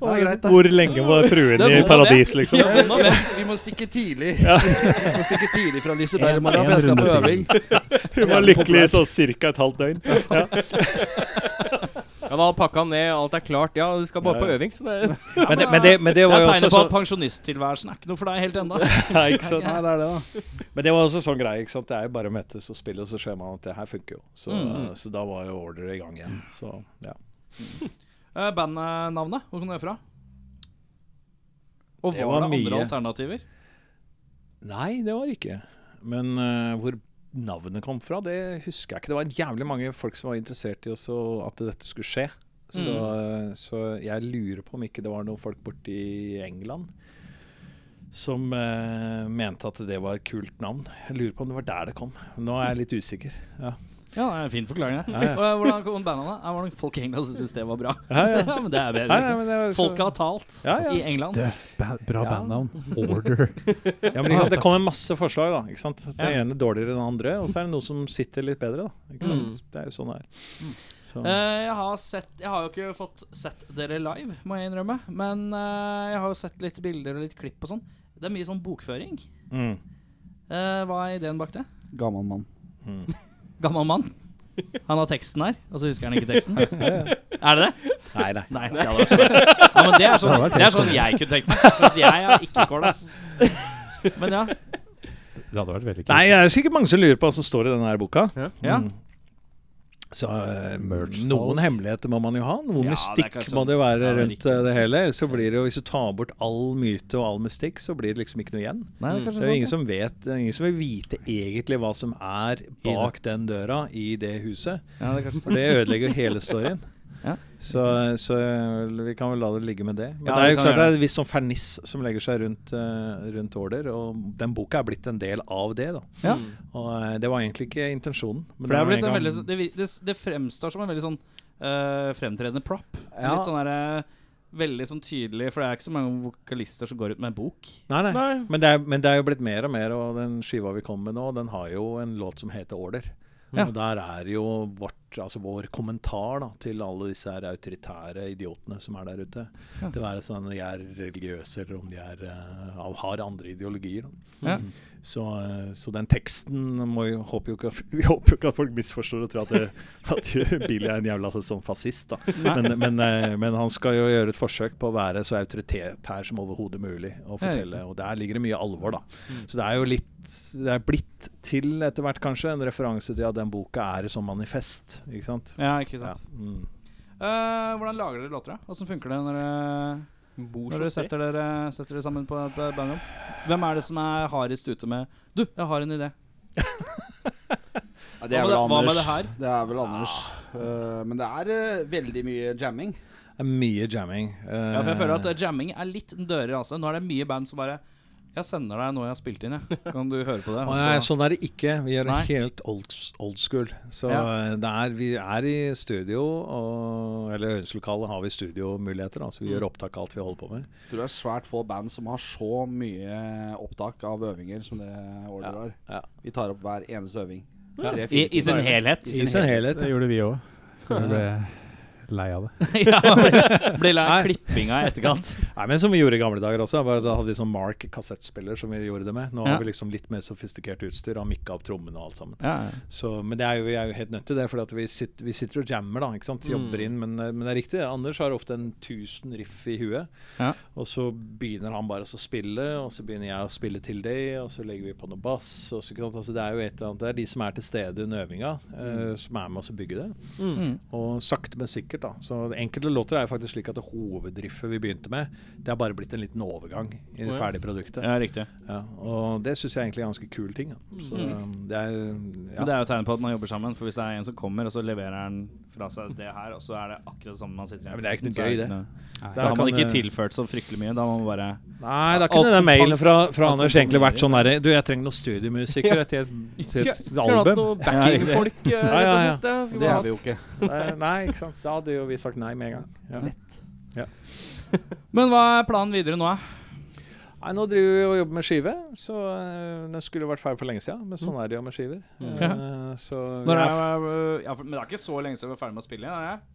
S6: Ja, greit det.
S3: Hvor lenge var fruen
S1: Det er i god idé. paradis,
S3: liksom?
S1: Ja,
S6: Eh, Vi
S1: nå
S6: må,
S1: vet-
S6: vi må stikke tidlig Vi må stikke tidlig fra Liseberg i morgen, for jeg skal på øving.
S3: Hun var lykkelig i sånn ca. et halvt døgn.
S2: Ja, da har pakka ned, alt er klart. Ja, du skal bare på øving, så det
S5: Men det, men det, men det
S1: Det
S5: var
S1: er
S5: jo også
S1: tegnet på at
S5: sånn,
S1: pensjonisttilværelsen er ikke noe for deg helt ennå.
S3: Ja, ikke sant?
S6: Nei, det er det, da.
S5: men det var også sånn greie. ikke sant? Det er jo bare å møtes og spille, og så ser man at det her funker jo. Så,
S1: Mm.
S5: så da var jo order i gang igjen. Så ja.
S1: Eh, Bandnavnet, hvor kom det fra? Og
S5: Det
S1: var,
S5: var
S1: det andre
S5: mye.
S1: alternativer?
S5: Nei, det var det ikke. Men eh, hvor navnet kom fra, det husker jeg ikke. Det var jævlig mange folk som var interessert i også at dette skulle skje. Så, eh, så jeg lurer på om ikke det var noen folk borte i England som eh, mente at det var et kult navn. Jeg lurer på om det var der det kom. Nå er jeg litt usikker. Ja.
S1: Ja, det er en fin forklaring. det.
S5: Ja, ja.
S1: Og, eh, Hvordan kom bandnavnet? Ja, Hvordan folk i England som syntes det var bra.
S5: Ja, ja.
S1: men det er bedre.
S5: Ja, ja, men det var så-
S1: Mm. Folk har talt
S5: Ja, ja.
S1: i England.
S3: Det er ba bra
S5: Ja.
S3: bandnavn. Order.
S5: Ja, men ikke sant? Det kommer masse forslag, da. Ikke sant? Det ene dårligere enn det andre, og så er det noe som sitter litt bedre, da. Ikke sant? Det er jo sånn det er. Så.
S1: Eh, jeg, har sett, jeg har jo ikke fått sett dere live, må jeg innrømme. Men eh, jeg har jo sett litt bilder og litt klipp og sånn. Det er mye sånn bokføring.
S5: Mm.
S1: Eh, hva er ideen bak det?
S6: Gammel mann.
S5: Mm.
S1: Gammel mann. Han har teksten her, og så husker han ikke teksten. Er det det?
S5: Nei, nei.
S1: Nei. Det, hadde vært så bra. ja, men det, er sånn, det er sånn jeg kunne tenkt meg. For at jeg er ikke kål, ass. Men ja.
S3: Det hadde vært veldig kult.
S5: Nei, det er sikkert mange som lurer på hva som står i denne her boka.
S1: ja.
S5: Mm. Så eh,
S3: Merch-salg.
S5: noen hemmeligheter må man jo ha.
S1: Ja,
S5: Noe
S1: det er
S5: mystikk
S1: kanskje-
S5: må det jo
S1: Ja,
S5: være
S1: det er
S5: rundt eh, det hele. Så blir det jo, Hvis du tar bort all myte og all mystikk, så blir det liksom ikke noe igjen.
S1: Nei, det er
S5: Det
S1: kanskje
S5: er jo
S1: sånn.
S5: ingen som vet, det er ingen som vil vite egentlig hva som er bak den døra i det huset.
S1: Ja, det er kanskje
S5: For det ødelegger jo hele storyen.
S1: Ja.
S5: Så, så vi kan vel la det ligge med det. Men
S1: Ja,
S5: det er
S1: vi
S5: jo
S1: kan
S5: klart det
S1: gjøre
S5: er et visst sånn ferniss som legger seg rundt, eh, rundt Order, og den boka er blitt en del av det. da.
S1: Ja.
S5: Og eh, det var egentlig ikke intensjonen. men
S1: For det,
S5: var
S1: er blitt
S5: en
S1: en
S5: gang-
S1: veldig, sånn- det, vir- det, s- det fremstår som en veldig sånn eh, fremtredende prop.
S5: Ja.
S1: Litt sånn der, eh, veldig sånn tydelig, for det er ikke så mange vokalister som går ut med en bok.
S5: Nei, nei.
S2: Nei.
S5: Men, det er, men det er jo blitt mer og mer, og den skiva vi kom med nå, den har jo en låt som heter 'Order'.
S1: Ja.
S5: Og der er jo vårt, altså vår kommentar da, til alle disse her autoritære idiotene som er der ute. Det være sånn de er religiøse, eller om de er, eh, av- har andre ideologier.
S1: Ja.
S5: Da. Så, eh, så den teksten må jo, håper jo ikke at, Vi håper jo ikke at folk misforstår og tror at, det, at Billy er en jævla sånn fascist. da. Men, men, eh, men han skal jo gjøre et forsøk på å være så autoritær som overhodet mulig. Og
S1: Ja,
S5: fortelle, og der ligger det mye alvor, da. Så det er jo litt Det er blitt til etter hvert kanskje en referanse til at den boka er et sånt manifest. Ikke sant?
S1: Ja, ikke
S5: Ja.
S1: sant.
S5: Mm.
S1: Eh, hvordan lager dere låter? da? Hvordan funker det når, dere- når dere, setter dere setter dere sammen på et eh, bandrom? Hvem er det som er hardest ute med 'Du, jeg har en idé'.
S6: Ja, det
S1: Hva
S6: er
S1: med
S6: vel
S1: det- hva med
S6: Anders.
S1: det her? Ah.
S6: Det er vel Anders. Eh, men det er eh, veldig mye jamming.
S5: Det er mye jamming.
S1: Ja, for jeg føler at
S5: det
S1: eh, jamming er litt dører, altså. Nå er det mye band som bare 'Jeg sender deg noe jeg har spilt inn, jeg. Kan du høre på det?' Og så-
S5: Sånn er det ikke. Vi gjør det
S1: Nei.
S5: helt old, old school. Så
S1: Ja.
S5: eh, det er, vi er i studio, og, eller øvingslokalet har vi studiomuligheter. Da,
S1: Mm.
S5: så vi gjør opptak av alt vi holder på med.
S6: Jeg tror det er svært få band som har så mye opptak av øvinger som det Order har.
S5: Ja.
S6: Vi tar opp hver eneste øving.
S5: Ja.
S6: Tre,
S1: I,
S6: fire
S1: I sin
S6: timer.
S1: helhet.
S5: I sin helhet.
S3: Det gjorde vi òg. Jeg ble lei av det.
S1: ja, blir- Blir lei
S5: Nei.
S1: av klippinga i etterkant.
S5: Nei, men Som vi gjorde i gamle dager også. Bare da hadde vi sånn Mark kassettspiller som vi gjorde det med. Nå
S1: Ja.
S5: har vi liksom litt mer sofistikert utstyr og mikka opp trommene og alt sammen.
S1: Ja, ja.
S5: Så, men det er jo, vi er jo helt nødt til det, for vi, sitt, vi sitter og jammer, da.
S1: Mm.
S5: ikke sant? Jobber inn, men, eh, men det er riktig. Anders har ofte en 1000 riff i huet.
S1: Ja.
S5: Og så begynner han bare å spille, og så begynner jeg å spille til det, og så legger vi på noe bass. Og så, ikke sant? Altså, det er jo et eller annet, det er de som er til stede under øvinga, eh, som er med oss å bygge det.
S1: Mm.
S5: Og sakte, men sikkert. da. Så Enkelte låter er jo faktisk slik at det hovedriffet vi begynte med, det har bare blitt en liten overgang i det ferdige produktet.
S1: ja riktig.
S5: Ja, og det syns jeg egentlig er ganske kul ting. Da. Så um, det er
S1: Mm. Men det
S5: ja.
S1: er jo tegn på at man jobber sammen. For hvis det er en som kommer, og så leverer han fra seg det her, og så er det akkurat det samme man sitter
S5: Ja, men det er ikke noe
S1: Så
S5: gøy, det.
S1: Da
S5: Der
S1: har man
S5: kan,
S1: ikke
S5: eh,
S1: tilført så fryktelig mye. Da har man bare
S5: Nei, da
S1: Alt
S5: kunne den
S1: kompakt-
S5: mailen fra, fra
S1: alt
S5: Anders egentlig vært
S1: komponert.
S5: sånn derre Du, jeg trenger noen studiomusikere til et, til et
S2: Skulle hatt
S5: album.
S2: noe backingfolk. eh,
S5: Ja, ja,
S2: rett
S5: ja.
S2: og slett, eh, skulle
S6: Det
S2: bare
S6: er vi jo
S2: hatt-
S6: ikke.
S5: Nei, Eh, Nei, ikke sant. Da hadde jo vi sagt nei med en gang. Ja.
S1: Men hva er planen videre nå, da?
S5: Nei, Nå driver vi og jobber med skive, så øh, den skulle vært ferdig for lenge siden. Men sånn er det jo med skiver. Eh, så vi
S1: Når
S5: er
S1: er, ja, for- men det er ikke så lenge siden vi er ferdig med å spille? Er det?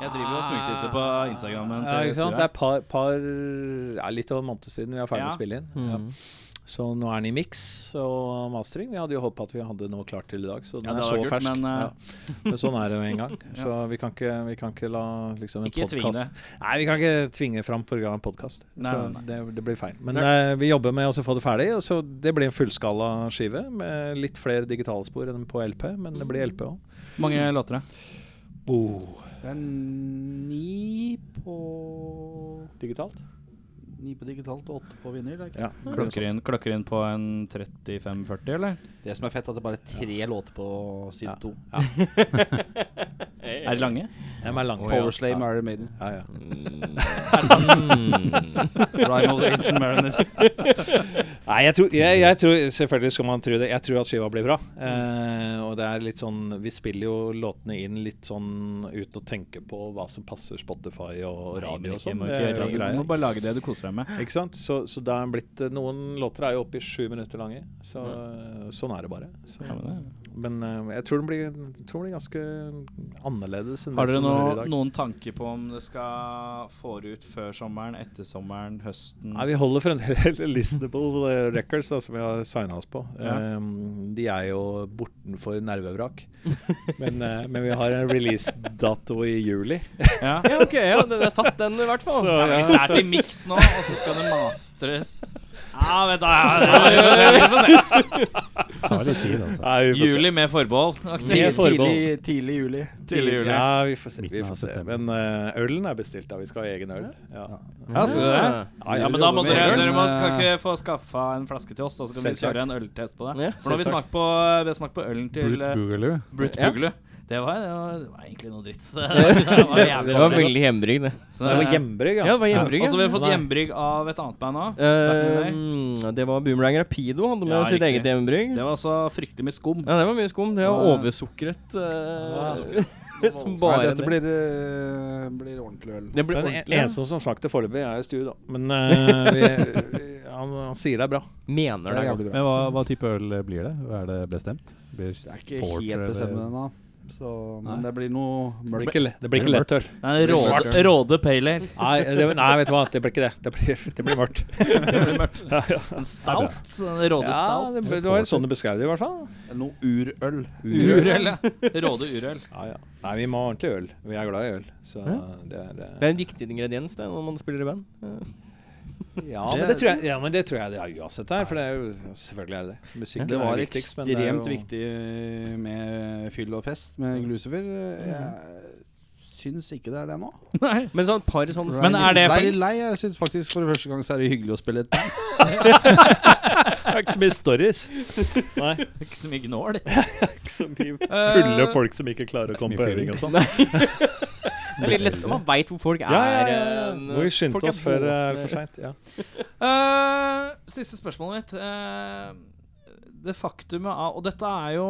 S1: Jeg driver og smugtitter på Instagrammen.
S5: Ja, ikke sant? Det er par, par ja, litt over en måned siden vi er ferdig med
S1: Ja.
S5: å spille
S2: Mm.
S5: inn. Ja. Så nå er den i miks og mastering. Vi hadde jo håpet at vi hadde noe klart til i dag, så den
S1: Ja, det
S5: er så
S1: hadde vært kult,
S5: fersk.
S1: men, eh,
S5: ja. men sånn er det jo en gang. Så vi kan ikke, vi kan ikke la liksom, en
S1: Ikke tvinge det.
S5: podcast- Nei, vi kan ikke tvinge fram pga. en podkast.
S1: Nei,
S5: Så
S1: nei, nei.
S5: det, det blir feil. Men eh, vi jobber med å så få det ferdig, og så det blir en fullskala skive med litt flere digitale spor enn på LP, men det blir LP òg.
S1: Mange låter, da.
S6: Det er ni på
S5: Digitalt?
S6: Ni på digitalt og åtte på vinyl. er det ikke?
S5: Ja.
S1: Klokker inn, klokker inn på en 35-40, eller?
S6: Det som er fett, er at det bare er tre låter på side to.
S1: Er de lange?
S5: De sånn. er lange.
S6: Powerslay, Mary Maiden.
S5: Ja, ja. Mm.
S6: Rhyme of the Ancient Mariners.
S5: Nei, jeg tror, jeg, jeg tror, selvfølgelig skal man tro det. Jeg tror at skiva blir bra. Eh, og det er litt sånn Vi spiller jo låtene inn litt sånn uten å tenke på hva som passer Spotify og radio og sånn.
S1: Må
S5: Det er
S1: ikke gjøre
S5: jo
S1: det. Du må
S5: greier.
S1: bare lage det du koser deg med.
S5: Ikke sant? Så, så det er blitt eh, Noen låter er jo oppe i sju minutter lange. Så, Sånn er det bare. Så,
S1: Ja, men det er-
S5: men eh, jeg tror den blir, jeg tror den blir ganske annerledes enn
S1: Har
S5: det
S1: dere
S5: som vi hører i
S1: noe,
S5: dag.
S1: noen tanke på om det skal forut før sommeren, etter sommeren, høsten?
S5: Nei, Vi holder fremdeles Listenable eh, Records, da, som vi har signa oss på.
S1: Ja.
S5: Ehm, de er jo bortenfor nervevrak. men, eh, men vi har en releasedato i juli.
S1: Ja.
S2: Ja, ok, ja, det, det satt den i hvert fall.
S5: Så-
S1: Hvis det er til miks nå, og så skal det mastres Ja, vet du ja, ja, vi får se, vi får se.
S3: Tar litt tid, altså.
S5: Nei, vi får se.
S1: Juli med forbehold.
S5: Med
S1: aktig.
S6: Tidlig,
S5: forbehold.
S6: tidlig, tidlig juli.
S1: Tidlig juli.
S5: Ja, vi får se.
S3: Midten
S5: Vi
S3: av
S5: får se.
S3: september.
S5: Men eh, ølen er bestilt, da. Vi skal ha egen øl. Ja.
S1: Ja, skal du det?
S5: Ja,
S1: Ja,
S5: vi
S1: men da må
S5: jobber med
S1: dere,
S5: egen øl.
S1: dere må, kan ikke få skaffa en flaske til oss, da, så kan vi
S5: Selvsagt.
S1: kjøre en øltest på det.
S2: Ja,
S1: For nå har vi smakt på, vi har smakt på ølen til
S3: Brute
S1: eh,
S3: Boogaloo.
S1: Brut
S2: Ja.
S1: Boogaloo. Det var, det, var, det var egentlig noe dritt. Det var, det var jævlig
S2: Det var
S1: dårlig.
S2: veldig hjemmebrygg, det.
S1: Så,
S5: Det var hjemmebrygg,
S2: Ja, det var hjemmebrygg.
S1: Og så har vi fått
S5: Nei.
S1: hjemmebrygg av et annet band òg.
S2: Eh, det var Boomerang Rapido, hadde med
S1: Ja,
S2: sitt
S1: riktig.
S2: eget hjemmebrygg.
S1: Det var også fryktelig mye skum.
S2: Ja, det var mye skum. Det var
S1: Ja.
S2: oversukret. eh,
S1: Oversukret.
S2: som
S6: Nei,
S2: bare
S6: dette blir, eh, blir ordentlig øl.
S2: Det blir
S5: Den en-
S2: ordentlig.
S5: eneste som smakte foreløpig, er Stu, da. Men eh, vi, han, han sier det er bra.
S2: Mener
S6: Det er
S2: det.
S6: jævlig bra.
S3: Men hva, hva type øl blir det? Er det bestemt? Blir
S6: Det er ikke
S3: porter
S6: helt
S3: eller-
S6: bestemt ennå, så- men
S3: Nei.
S6: det blir noe
S5: Det blir
S6: mørkt.
S5: ikke, le- det blir ikke lettøl.
S1: Nei, råde, råde pale ale.
S5: Nei, det, nei, vet du hva. Det blir ikke det. Det blir, det blir mørkt.
S1: Det blir mørkt. En stout. En råde
S5: Ja,
S1: stout.
S5: det, det var sånn du beskrev det, i hvert fall.
S6: Noe urøl.
S1: Urøl, ja. Råde urøl.
S5: Ja, ja. Nei, vi må ha ordentlig øl. Vi er glad i øl. Så det er
S2: Det
S5: eh,
S2: er en viktig ingrediens det når man spiller i band. Eh,
S5: ja, men det tror jeg, ja, men det tror jeg det er uansett her. For det er jo selvfølgelig er det det. Musikken
S6: Det var
S5: er viktigst, men det er
S6: ekstremt
S5: jo-
S6: viktig med fyll og fest med Glucifer. Jeg syns ikke det er det nå.
S1: Nei.
S2: Men sånn et par sånn
S1: Men er det
S6: Jeg
S1: for-
S6: litt lei. Jeg syns faktisk for første gang så er det hyggelig å spille et band.
S5: Det er ikke så mye stories. Nei,
S1: Ikke så mye gnål.
S5: ikke så mye fulle
S1: Eh,
S5: folk som ikke klarer å komme
S3: mye
S5: på øving og sånn.
S2: Det er litt lett om man veit hvor folk er.
S5: Ja, ja, ja, ja.
S2: eh,
S5: Må vi skynde
S2: folk er
S5: oss før det er
S2: våkne.
S5: for seint. Ja.
S1: Eh, siste spørsmålet mitt. Eh, det faktumet av Og dette er jo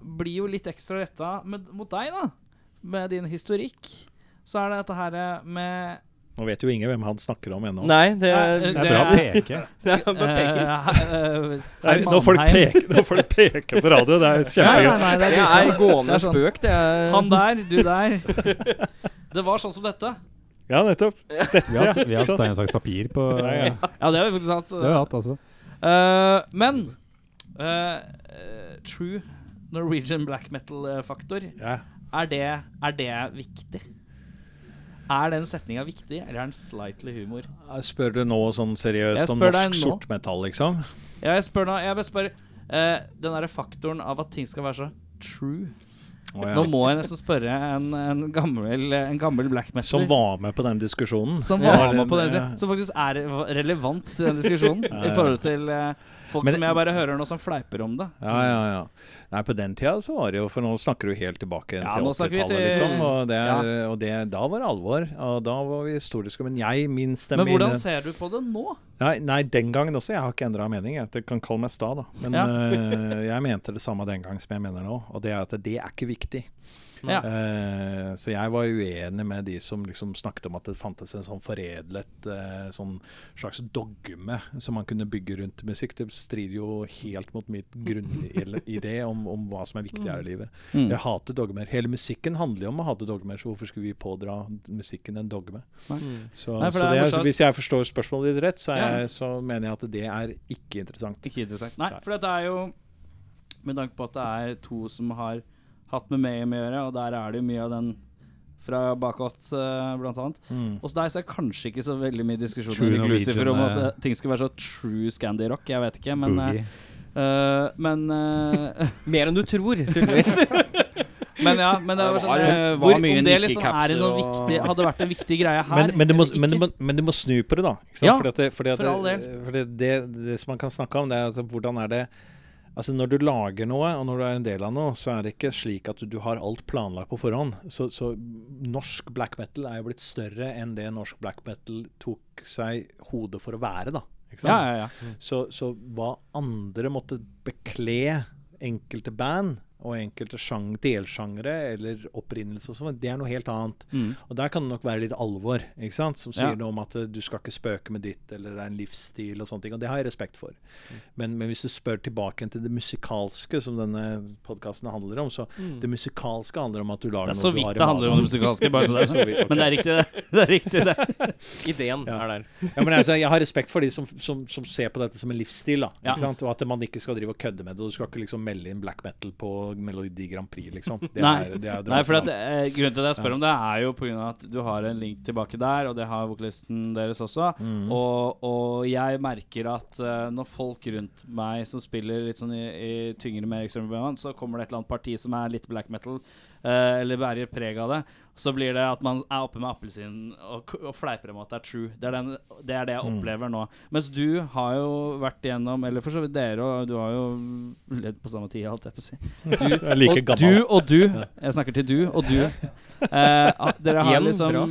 S1: blir jo litt ekstra retta med- mot deg, da. Med din historikk. Så er det dette her eh, med
S5: Nå vet jo ingen hvem han snakker om ennå.
S2: Nei, det,
S1: Nei,
S3: Det
S2: det,
S3: er bra å peke.
S2: er bare
S1: Eh,
S2: peking.
S5: Nei, Når folk peker, når folk peker på radio, det er
S1: Nei,
S5: kjempegøy.
S1: nei, nei, det
S2: Det
S1: er
S2: er gående
S1: Det er sånn.
S2: spøk, det er
S1: Han der, du der. Det var sånn som dette.
S5: Ja, nettopp.
S3: Vi har hatt, vi har hatt stein, saks, papir på
S5: Ja, ja.
S1: Ja, det har vi faktisk hatt.
S3: Det har vi hatt, altså.
S1: Eh, men eh, eh, True Norwegian black metal-faktor,
S5: Ja.
S1: er, det, er det viktig? Er den setninga viktig, eller er den slightly humor?
S5: Spør du nå sånn
S1: Jeg
S5: seriøst om
S1: spør deg
S5: norsk
S1: nå.
S5: sortmetall, liksom?
S1: Ja, jeg spør nå, jeg bare spør eh, Den derre faktoren av at ting skal være så true.
S5: Å, ja.
S1: Nå må jeg nesten spørre en, en, gammel, en gammel black metal
S5: Som var med på den diskusjonen.
S1: som
S5: Ja,
S1: var med
S5: den,
S1: på den
S5: ja.
S1: siden, som faktisk er re- relevant til den diskusjonen. I forhold til eh, folk
S5: Men-
S1: som jeg bare hører nå som fleiper om det.
S5: Ja, ja, ja. Nei, på den tida så var det jo For nå snakker du helt tilbake
S1: Ja,
S5: til
S1: nå snakker vi
S5: 80-tallet,
S1: til-
S5: liksom. Og, det er, og det, da var det alvor. Og da var vi historiske. Men jeg, min stemme
S1: Men hvordan ser du på det nå?
S5: nei, nei, den gangen også. Jeg har ikke endra mening. Jeg Det kan kalle meg sta, da. Men
S1: Ja.
S5: eh, jeg mente det samme den gang som jeg mener nå. Og det er at det er ikke viktig.
S1: Ja.
S5: Eh, så jeg var uenig med de som liksom snakket om at det fantes en sånn foredlet eh, sånn slags dogme som man kunne bygge rundt musikk. Det strider jo helt mot mitt grunnidé om, om hva som er viktig her i livet.
S1: Mm.
S5: Jeg hater dogmer. Hele musikken handler jo om å hate dogmer, så hvorfor skulle vi pådra musikken en dogme?
S2: Mm.
S5: Så,
S1: Nei, for det
S5: så
S1: er
S5: det er,
S1: morsomt.
S5: hvis jeg forstår spørsmålet ditt rett, så, er,
S1: Ja.
S5: jeg- så mener jeg at det er ikke interessant.
S1: Ikke interessant. Nei, for dette er jo Med tanke på at det er to som har hatt med Mayhem å gjøre, og der er det jo mye av den fra bakåt, eh, blant annet.
S5: Mm.
S1: Hos deg så er det kanskje ikke så veldig mye diskusjon
S3: True
S1: med Lucifer om at
S3: Norwegian, eh,
S1: eh, ting skal være så true Scandi-rock. Jeg vet ikke, men eh,
S3: Boogie.
S1: eh, Men eh,
S2: Mer enn du tror, tydeligvis.
S1: Men ja, men det
S6: Ja,
S1: var
S6: det
S1: sånn
S6: var,
S1: eh,
S6: eh, var
S1: hvor, Om
S6: mye
S1: det liksom er en
S6: nikkekapser
S1: sånn
S6: og-
S1: viktig Hadde vært en viktig greie her
S5: Men, men, du må,
S1: eller
S5: men, du
S1: ikke?
S5: må, men du må snu på det, da. Ikke sant?
S1: Ja,
S5: fordi at det, fordi at
S1: for all
S5: det, fordi det, det som man kan snakke om, det er altså hvordan er det Altså Når du lager noe, og når du er en del av noe, så er det ikke slik at du, du har alt planlagt på forhånd. Så, så norsk black metal er jo blitt større enn det norsk black metal tok seg hodet for å være, da. Ikke sant?
S1: Ja, ja, ja.
S5: Så, så hva andre måtte bekle enkelte band og enkelte sjang, delsjangre eller opprinnelse og sånn, det er noe helt annet.
S1: Mm.
S5: Og der kan det nok være litt alvor, ikke sant? som sier
S1: Ja.
S5: noe om at eh, du skal ikke spøke med ditt, eller det er en livsstil og sånne ting. Og det har jeg respekt for.
S1: Mm.
S5: Men, men hvis du spør tilbake igjen til det musikalske, som denne podkasten handler om, så det musikalske handler om at
S1: Mm.
S5: du
S1: Det
S5: lager
S1: er så
S5: noe du har
S1: vidt
S5: i
S1: det handler om det
S5: magen.
S1: musikalske. Bare så det.
S5: Så vidt, ok.
S1: Men det er riktig, det. det, er riktig, det.
S2: Ideen
S5: Ja.
S2: er der.
S5: Ja, men altså, jeg har respekt for de som, som, som ser på dette som en livsstil. da,
S1: Ja.
S5: ikke sant? Og at man ikke skal drive og kødde med det. og Du skal ikke liksom melde inn black metal på Melodi Grand Prix, liksom. Det
S1: Nei.
S5: er, det er
S1: Nei, for at,
S5: det,
S1: eh, Grunnen til at jeg spør om det, er jo pga. at du har en link tilbake der, og det har vokalisten deres også.
S5: Mm.
S1: Og, og jeg merker at eh, når folk rundt meg som spiller litt sånn i, i tyngre, mer ekstreme band, så kommer det et eller annet parti som er litt black metal, eh, eller bærer preg av det. Så blir det at man er oppe med appelsinen og, k- og fleiper om at det er true. Det er, den, det, er det jeg opplever nå. Mens du har jo vært igjennom, eller for så vidt dere, og du har jo ledd på samme tid, holdt jeg på å si.
S5: Du er like
S1: og
S5: gammel.
S1: du og du Jeg snakker til du og du. Eh, ah, dere har
S2: Igjen,
S1: liksom
S2: bra.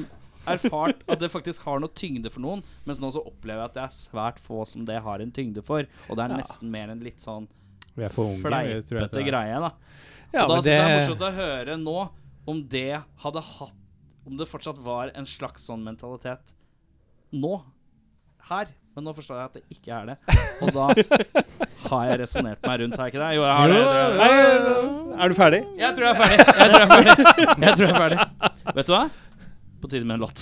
S1: erfart at det faktisk har noe tyngde for noen, mens nå så opplever jeg at det er svært få som det har en tyngde for. Og det er nesten mer en litt sånn
S3: Vi er for unge. vi tror jeg
S1: fleipete
S3: til det.
S1: greie, da.
S5: Ja,
S1: og da
S5: men
S1: synes jeg det er
S5: det-
S1: morsomt å høre nå om det hadde hatt Om det fortsatt var en slags sånn mentalitet nå. Her. Men nå forstår jeg at det ikke er det. Og da har jeg resonnert meg rundt, har jeg ikke det? Jo, jeg har det. det, det.
S5: Nei, er du ferdig?
S1: Jeg tror jeg er ferdig. Jeg tror jeg er ferdig. Jeg tror jeg er ferdig. Vet du hva? På tide med en låt.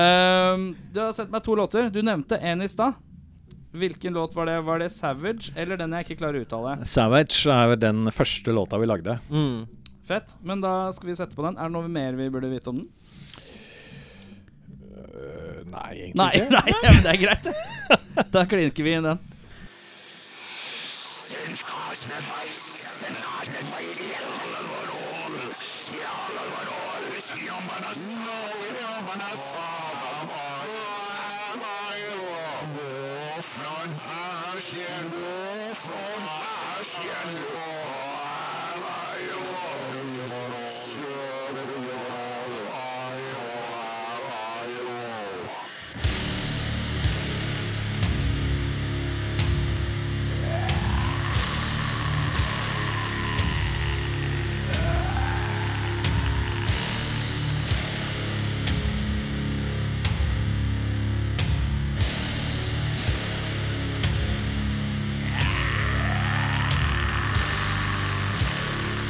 S1: Ehm, du har sendt meg to låter. Du nevnte en i stad. Hvilken låt var det? Var det 'Savage' eller den jeg ikke klarer å uttale?
S5: Savage er vel den første låta vi lagde.
S1: Fett. Men da skal vi sette på den. Er det noe mer vi burde vite om den?
S5: Øh, Nei, egentlig
S1: Nei, nei, ja, men det er greit. det. Da klinker vi inn den.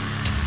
S8: Thank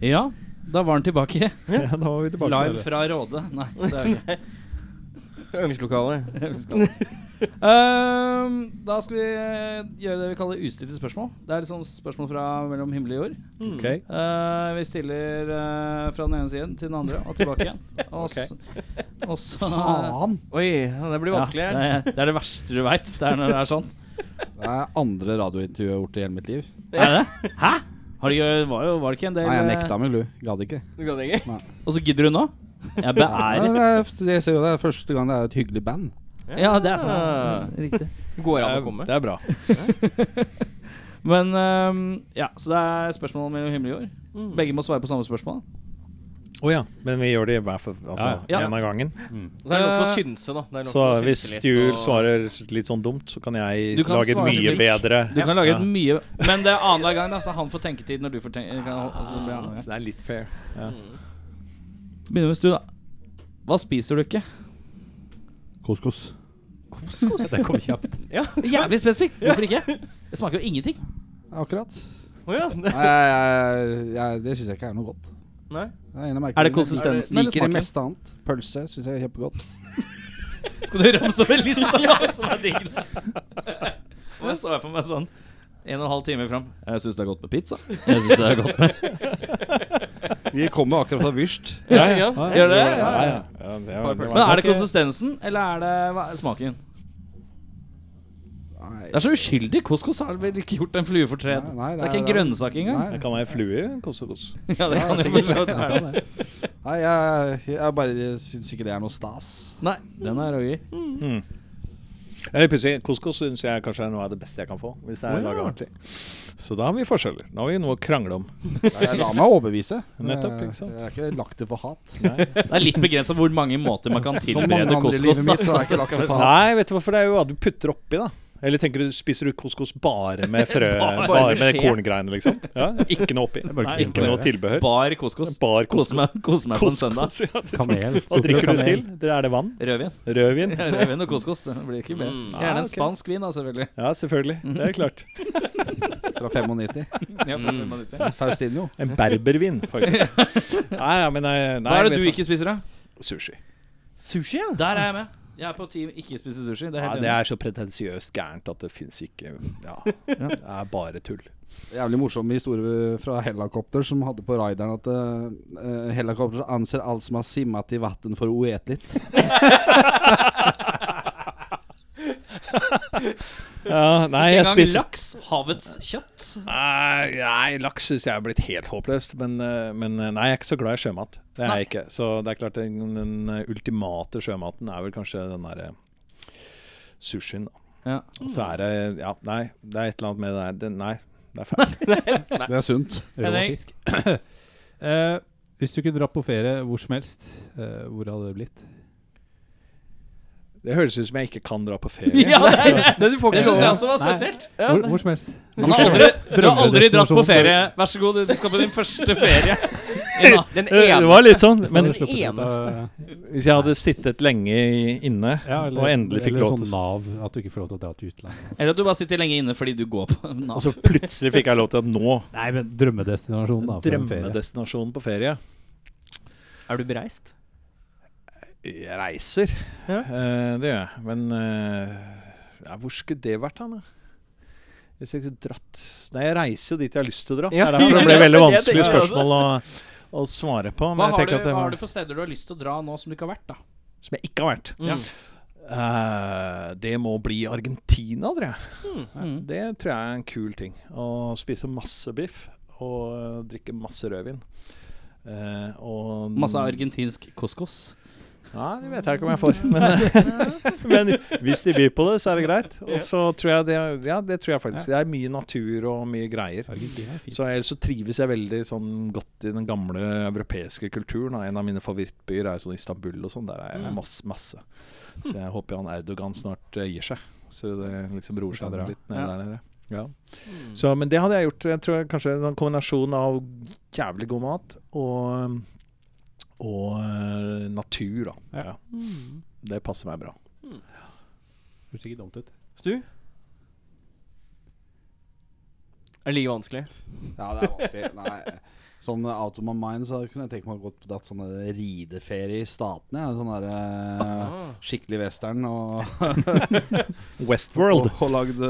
S1: Ja, da var han tilbake.
S5: Ja, da var vi tilbake
S1: Mm. Live fra Råde. Nei, det er det ikke.
S2: Øvingslokalet.
S1: Ehm, da skal vi eh, gjøre det vi kaller ustilte spørsmål. Det er liksom spørsmål fra mellom himmel og jord.
S5: Ok.
S1: Eh, vi stiller eh, fra den ene siden til den andre og tilbake igjen. Og s- og så
S6: Faen!
S2: Oi, ja, det blir
S1: Ja,
S2: vanskelig her.
S1: det, det er det verste du veit. Det er når det er sånn.
S6: Det er andre radiointervjuet jeg har gjort i hele mitt liv.
S1: Er det? det? Hæ? Har det, ikke- var, jo, var det ikke en del
S6: Nei, jeg
S1: eh,
S6: nekta med lu. Gadd ikke.
S2: Du kan det ikke.
S1: Og så gidder du nå? Jeg
S6: Nei,
S1: beæret.
S6: det er, jeg ser jo det er første gang det er et hyggelig band.
S1: Ja, det er sant. Riktig.
S2: Går
S5: Det
S2: an å
S5: er,
S1: Mm.
S2: komme.
S5: det er bra.
S1: Men ehm, ja, så det er spørsmål mellom himmel og jord. Begge må svare på samme spørsmål.
S5: Å ja. Men vi gjør det hver for, altså,
S1: Ja, ja.
S5: en av gangen.
S2: Og så er det lov til å synse, da. Det er lov
S5: Så
S2: til å
S5: hvis
S2: synse litt
S5: Jul
S2: og-
S5: svarer litt sånn dumt, så kan jeg
S1: Du kan
S5: lage et
S1: svare
S5: mye
S1: så mye.
S5: bedre
S1: Du kan lage
S5: ja.
S1: et mye Men det er annenhver gang, da, så han får tenketid når du får tenke kan, altså, blir han-
S5: Ja, Ah, så Det er litt fair. Ja.
S1: Mm. Begynner med Stu, da. Hva spiser du ikke?
S7: Couscous.
S3: Det kom kjapt.
S2: Ja,
S1: Jævlig spesifikt! Hvorfor ikke? Det smaker jo ingenting.
S6: Akkurat.
S2: Å ja.
S6: Nei, jeg, jeg, jeg, det syns jeg ikke er noe godt.
S2: Nei.
S6: Det er, en av merkene.
S1: Er det konsistensen eller
S6: Liker det
S1: smaken?
S6: meste annet. Pølse syns jeg er kjempegodt.
S1: Skal du ramse opp en liste av hva som er digg? da? Og jeg så jeg for meg sånn en og en halv time fram. Jeg syns det er godt med pizza. Jeg synes det er godt med
S6: Vi kommer akkurat fra Wyrst.
S2: Ja, ja.
S1: Gjør det?
S5: Ja, ja. Ja, det var, det
S1: Men
S5: var.
S1: er det konsistensen, eller er det hva, er smaken?
S6: Nei.
S1: Det er så uskyldig. Couscous har vel ikke gjort en flue fortred.
S6: Nei, nei,
S1: Det er ikke en
S6: det er-
S1: grønnsak engang.
S5: Det
S6: Nei,
S5: kan være flue, kos og kos.
S1: Ja, det kan jo for så vidt være det.
S6: nei jeg, jeg bare syns ikke det er noe stas.
S1: Nei, den er roger.
S5: Det er litt pussig. Couscous syns jeg kanskje er noe av det beste jeg kan få. Hvis det er laget ordentlig. Så da har vi forskjeller. Da har vi noe å krangle om.
S6: Jeg lar meg overbevise.
S5: Nettopp,
S6: Jeg-
S5: ikke sant?
S6: Jeg har ikke lagt det for hat.
S1: Det er litt begrensa hvor mange måter man kan
S6: Som mange
S1: tilberede
S6: andre i
S1: couscous.
S6: livet
S1: da.
S6: mitt, så har jeg ikke lagt det for hat.
S5: Nei, vet du hvorfor? Det er jo hva du putter oppi, da. Eller tenker du, spiser du couscous bare med frø
S1: Bare
S5: Bare,
S2: med
S5: med
S2: skje.
S5: korngreiene, liksom? Ja, Ikke noe oppi.
S1: Nei,
S5: Ikke noe tilbehør.
S1: Bar couscous.
S5: Bare
S1: Kose
S5: couscous.
S1: meg, kose meg på en søndag.
S5: Couscous, ja, det-
S3: Kanel.
S5: Hva drikker
S3: Sukker
S5: du
S3: og
S5: til?
S3: kanel.
S5: Det er det vann?
S1: Rødvin.
S5: Rødvin?
S1: Ja, Rødvin og couscous. Det blir ikke mer.
S2: Mm.
S1: Gjerne
S5: Ah,
S1: en
S5: ok.
S1: spansk vin, da, selvfølgelig.
S5: Ja, selvfølgelig.
S1: Mm.
S5: Det er klart.
S6: Fra 95.
S1: Ja, fra fem av nitti.
S6: Faustino.
S5: En berbervin, faktisk. Nei, ja, men nei, nei,
S1: Hva er det
S5: vet
S1: du ikke spiser, da?
S5: Sushi.
S2: Sushi, ja.
S1: Der er jeg med. Jeg er på team ikke spise sushi. Det er
S5: Ja,
S1: helt
S5: det
S1: enig.
S5: er så pretensiøst gærent at det fins ikke. Ja, det er bare tull.
S6: Jævlig morsom historie fra Helikopter, som hadde på raideren at uh, Helikopter anser alt som har simmet i vann, for uetelig.
S5: Ja,
S1: Ikke
S5: nei, jeg
S1: engang
S5: spiser
S1: laks. Havets kjøtt.
S5: Nei, nei laks syns jeg er blitt helt håpløst. Men, eh, men eh, nei, jeg er ikke så glad i sjømat. Det er
S1: Nei.
S5: jeg ikke. Så det er klart den, den eh, ultimate sjømaten er vel kanskje den derre sushien. da.
S1: Ja.
S5: Og så er det Ja, nei, det er et eller annet med det der det, Nei, det er feil.
S6: Det er sunt.
S1: Henning?
S3: Råfisk. Eh, hvis du kunne dra på ferie hvor som helst, eh, hvor hadde det blitt?
S5: Det høres ut som jeg ikke kan dra på ferie.
S1: Ja, det,
S2: Det du får
S1: det
S2: ikke
S1: syns jeg
S2: lov
S1: også var
S3: Nei.
S1: spesielt.
S3: Hvor, hvor som helst.
S1: Han har aldri, du har aldri dratt på
S3: Drømmedestinasjon.
S1: ferie. Vær så god, du skal på din første ferie. Ja.
S2: Den
S5: Eh, Det var
S2: eneste
S5: litt sånn, men
S2: Den eneste.
S5: hvis jeg hadde sittet lenge i- inne og endelig fikk lov til
S3: sånn Nav, at du ikke får lov til å dra til utlandet.
S1: Eller at du bare sitter lenge inne fordi du går på
S5: Og
S1: Nav.
S5: så plutselig fikk jeg lov til at nå
S3: Nei, men drømmedestinasjonen, Sånn da. for en ferie.
S5: Drømmedestinasjonen på ferie.
S2: Er du bereist?
S5: Jeg reiser,
S2: Ja.
S5: Eh, det gjør jeg. Men eh, ja, hvor skulle det vært, da? da? Hvis jeg skulle dratt Nei, jeg reiser jo dit jeg har lyst til å dra.
S2: Ja.
S5: Det er derfor det ble
S1: Ja, det
S5: veldig
S1: tenker
S5: vanskelig
S1: jeg
S5: spørsmål å, å svare på. Men
S1: Hva har,
S5: jeg
S1: du,
S5: tenker at det
S1: hva har
S5: var,
S1: du for steder du har lyst til å dra nå som du ikke har vært? da?
S5: Som jeg ikke har vært.
S1: Ja.
S5: Eh, det må bli Argentina, tror jeg.
S1: Mm.
S5: Det tror jeg er en kul ting. Å spise masse biff og eh, drikke masse rødvin. Eh, og
S1: Masse argentinsk couscous.
S5: Nei, det vet jeg ikke om jeg får. Men, men hvis de byr på det, så er det greit. Og så tror jeg det, ja, det tror jeg faktisk. Det er mye natur og mye greier.
S3: Argentina er fint.
S5: Så ellers så trives jeg veldig sånn godt i den gamle europeiske kulturen. og En av mine favorittbyer er jo sånn Istanbul og sånn. Der er
S1: Mm.
S5: jeg masse, masse. Så jeg håper han Erdogan snart eh, gir seg. Så det liksom roer
S3: Det
S5: seg
S3: kan dra.
S5: litt ned
S1: Ja.
S5: der nede. Ja.
S1: Mm.
S5: Så, men det hadde jeg gjort. Jeg tror kanskje en sånn kombinasjon av jævlig god mat og, og eh, natur, da.
S3: Ja.
S5: Ja. Det passer meg bra.
S3: Høres ikke dumt ut.
S2: Stu? Er det like vanskelig?
S6: Ja, det er vanskelig. Nei. Sånn eh, out of my mind så kunne jeg tenkt meg å gå på dratt sånn der rideferie i Statene. Ja. Sånn der eh, skikkelig western og, og,
S5: Westworld.
S6: og lagd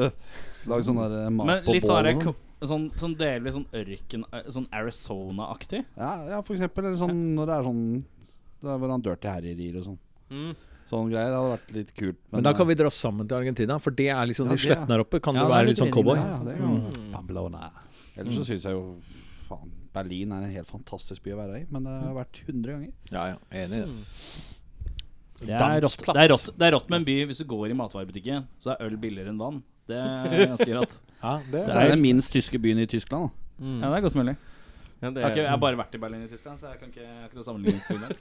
S6: lagd sånn der eh, mat
S1: Men
S6: på
S1: litt
S6: bål.
S1: sånn,
S6: og
S1: her,
S6: sånn.
S1: ko- sånn, sånn delvis sånn ørken Sånn Arizona-aktig.
S6: Ja, ja, for eksempel. Eller sånn når det er sånn Det er hvor han dirty harry rir og sånn. Sånn greier. Det hadde vært litt kult. eh,
S5: Men da kan vi dra sammen til Argentina, for det er liksom
S6: Ja,
S5: de
S6: det er-
S5: slettene her oppe. Kan
S1: Ja, det
S5: du
S1: er
S5: være
S1: litt
S5: litt sånn
S1: enig med
S5: cowboy?
S1: deg,
S6: ja, det kan
S5: Mm.
S3: Pamplona.
S6: Ellers så syns jeg jo faen Berlin er en helt fantastisk by å være i, men det har vært 100 ganger.
S5: Ja, ja. Enig i det.
S1: Det er, rått,
S5: Dansplass.
S1: det, er rått, det er rått med en by hvis du går i matvarebutikken, så er øl billigere enn vann. Det er ganske rått.
S5: Ja,
S6: Så
S5: det er,
S6: Altså, er det den minst tyske byen i Tyskland. Da.
S1: Ja, det er godt mulig.
S2: Ja, det
S1: Jeg har, ikke, jeg har bare vært i Berlin i Tyskland, så jeg kan ikke, jeg har ikke noe sammenligningsgrunnlag.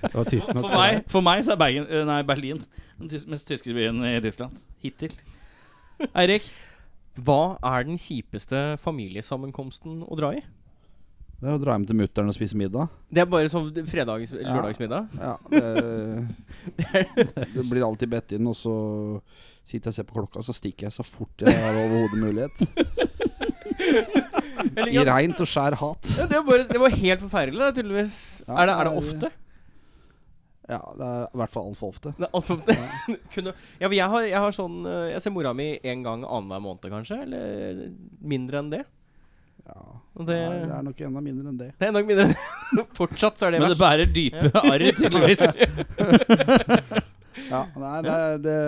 S3: Det var tyst nok.
S1: For meg, for meg så er Bergen, eh, nei, Berlin den tys mest tyske byen i Tyskland. Hittil. Eirik,
S2: Hva er den kjipeste familiesammenkomsten å dra i?
S6: Det er å dra hjem til mutter'n og spise middag.
S2: Det er bare sånn fredags lørdagsmiddag.
S6: Ja, det, det blir alltid bedt inn, og så sitter jeg og ser på klokka, og så stikker jeg så fort jeg har overhodet mulighet.
S2: Eller,
S6: I
S2: ja,
S6: reint og skjær hat.
S2: det, er bare, det var helt forferdelig, det, tydeligvis.
S6: Ja,
S2: er, det, er det
S6: det
S2: ofte?
S6: Ja, det er i hvert fall altfor ofte.
S2: Det er alt for ofte. Kunne, ja, for jeg har, jeg har sånn eh, Jeg ser mora mi en gang annenhver måned, kanskje. Eller mindre enn det.
S6: Ja,
S2: Og
S6: det
S2: det,
S6: er nok enda mindre enn det.
S2: det er nok mindre enn Fortsatt så er det
S1: men det
S2: verst.
S1: bærer dype arr, tydeligvis.
S6: Ja, nei, det, det,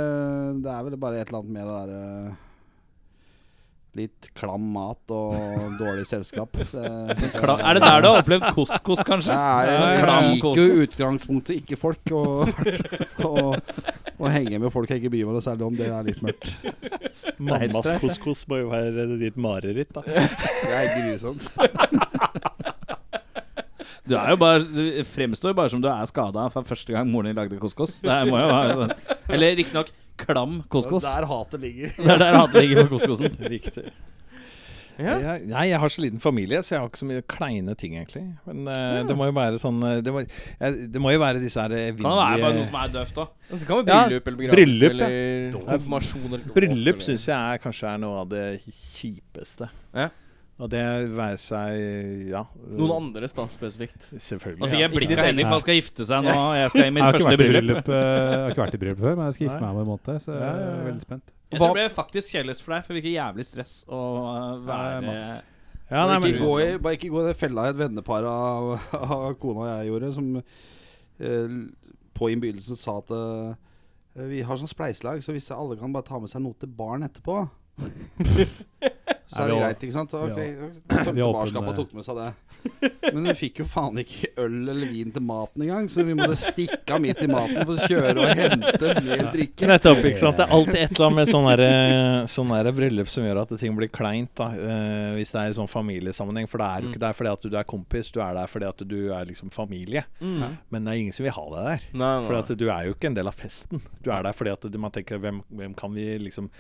S6: det er vel bare et eller annet med det derre Litt klam mat og dårlig selskap. Det, synes jeg-
S1: Kla- Er det der du har opplevd couscous, kanskje?
S6: Jeg,
S1: Ja,
S6: jeg,
S1: klam
S6: liker jo i
S1: couscous.
S6: utgangspunktet ikke folk, og, og, og henge med folk jeg ikke bryr meg noe særlig om, det er litt mørkt.
S5: Mammas couscous må jo være ditt mareritt, da.
S6: Det er grusomt.
S1: Du, er jo bare, du fremstår jo bare som du er skada fra første gang moren din lagde couscous. Det må jo være sånn. Eller riktignok klam couscous.
S6: Der hatet ligger.
S1: Det er der hatet ligger på couscousen.
S5: Riktig.
S2: Ja.
S5: Jeg, nei, jeg har så liten familie, så jeg har ikke så mye kleine ting, egentlig. Men eh, det må jo være sånn eh, Det må, jeg, det må jo være disse her eh,
S1: Kan det være bare noe
S5: evinnelige
S1: som er døvt òg?
S2: Men Så kan vi
S5: Ja,
S2: bryllup eller
S5: bryllup,
S2: begravelse
S5: ja.
S2: eller konfirmasjon eller dåp, eller-
S5: Bryllup syns jeg er, kanskje er noe av det kjipeste.
S2: Ja.
S5: Og det være seg Ja.
S2: Noen andres, da, spesifikt.
S5: Selvfølgelig.
S1: Nå fikk jeg
S2: Ja, ikke
S1: blikk
S2: ditt
S1: av Henning,
S2: eget.
S1: for han skal gifte seg nå. og Jeg skal i
S3: Jeg
S1: mitt
S3: har, ikke
S1: første
S3: vært i
S1: bryllup.
S3: bryllup, eh, jeg har ikke vært i bryllup før, men jeg skal gifte
S5: Nei.
S3: meg om en måned, så jeg
S5: Ja, ja,
S3: er
S5: ja.
S3: veldig spent.
S1: Jeg
S2: Hva-
S1: tror det ble faktisk kjedeligst for deg, for det virker jævlig stress å øh,
S3: Ja,
S1: være
S3: Mats.
S5: Ja, nei,
S6: bare,
S5: men,
S6: ikke gå i, bare ikke gå i den fella et vennepar av, av kona og jeg gjorde, som eh, på innbydelsen sa at eh, eh, Vi har sånn spleiselag, så hvis alle kan bare ta med seg noe til baren etterpå
S3: Nei,
S6: Så
S3: vi
S6: er det
S3: har-
S6: greit, ikke sant?
S3: vi
S6: Ok,
S3: vi
S6: Tømte
S3: har
S6: barskapet og
S3: åpne-
S6: tok med seg det. Men vi fikk jo faen ikke øl eller vin til maten engang, så vi måtte stikke av midt i maten for å kjøre og hente mer drikke.
S5: Nettopp, ikke sant? Det er alltid et eller annet med sånn derre- sånn derre bryllup som gjør at ting blir kleint, da, eh, hvis det er i sånn familiesammenheng. For det er jo
S2: Mm.
S5: ikke der fordi at du er kompis, du er der fordi at du er liksom familie.
S1: Mm.
S5: Men det er ingen som vil ha deg der.
S2: Nei,
S5: For at du er jo ikke en del av festen. Du er der fordi at du- man tenker hvem, hvem kan vi liksom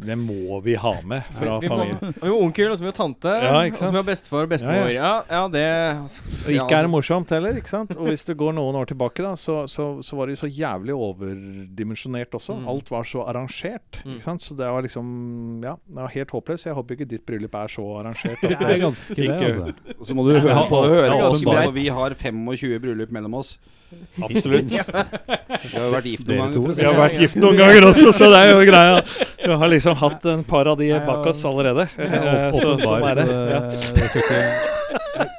S5: Hvem må vi ha med fra
S2: vi
S5: familien?
S2: må- vi har onkel, og så vi har tante,
S5: Ja, ikke
S2: og så vi har
S5: sant?
S2: bestemor og bestemor. Ja, ja. det altså.
S5: Og ikke
S1: altså-
S5: er det morsomt heller, ikke sant? Og hvis du går noen år tilbake, da, så, så, så var det jo så jævlig overdimensjonert også.
S2: Mm.
S5: Alt var så arrangert, ikke sant? Så det var liksom Ja, det var helt håpløst. Jeg håper ikke ditt bryllup er så arrangert.
S3: Det
S5: At
S3: er
S5: det,
S3: ganske det,
S5: Ikke-
S3: altså.
S6: Og så må du høre
S3: Ja,
S6: på høre
S3: ja,
S6: på oss, da,
S3: åpenbart.
S6: for vi har 25 bryllup mellom oss.
S5: absolutt.
S6: Vi har jo vært gift
S3: Dere
S6: noen
S3: to.
S6: ganger. for å si
S5: Vi har
S6: det.
S5: vært gift noen ganger også, så det er jo greia. Vi har liksom hatt en par av de
S3: Nei, ja.
S5: bak oss allerede. Eh,
S3: Åpenbar,
S5: Så, sånn er det. Ja.
S3: så eh, det skal ikke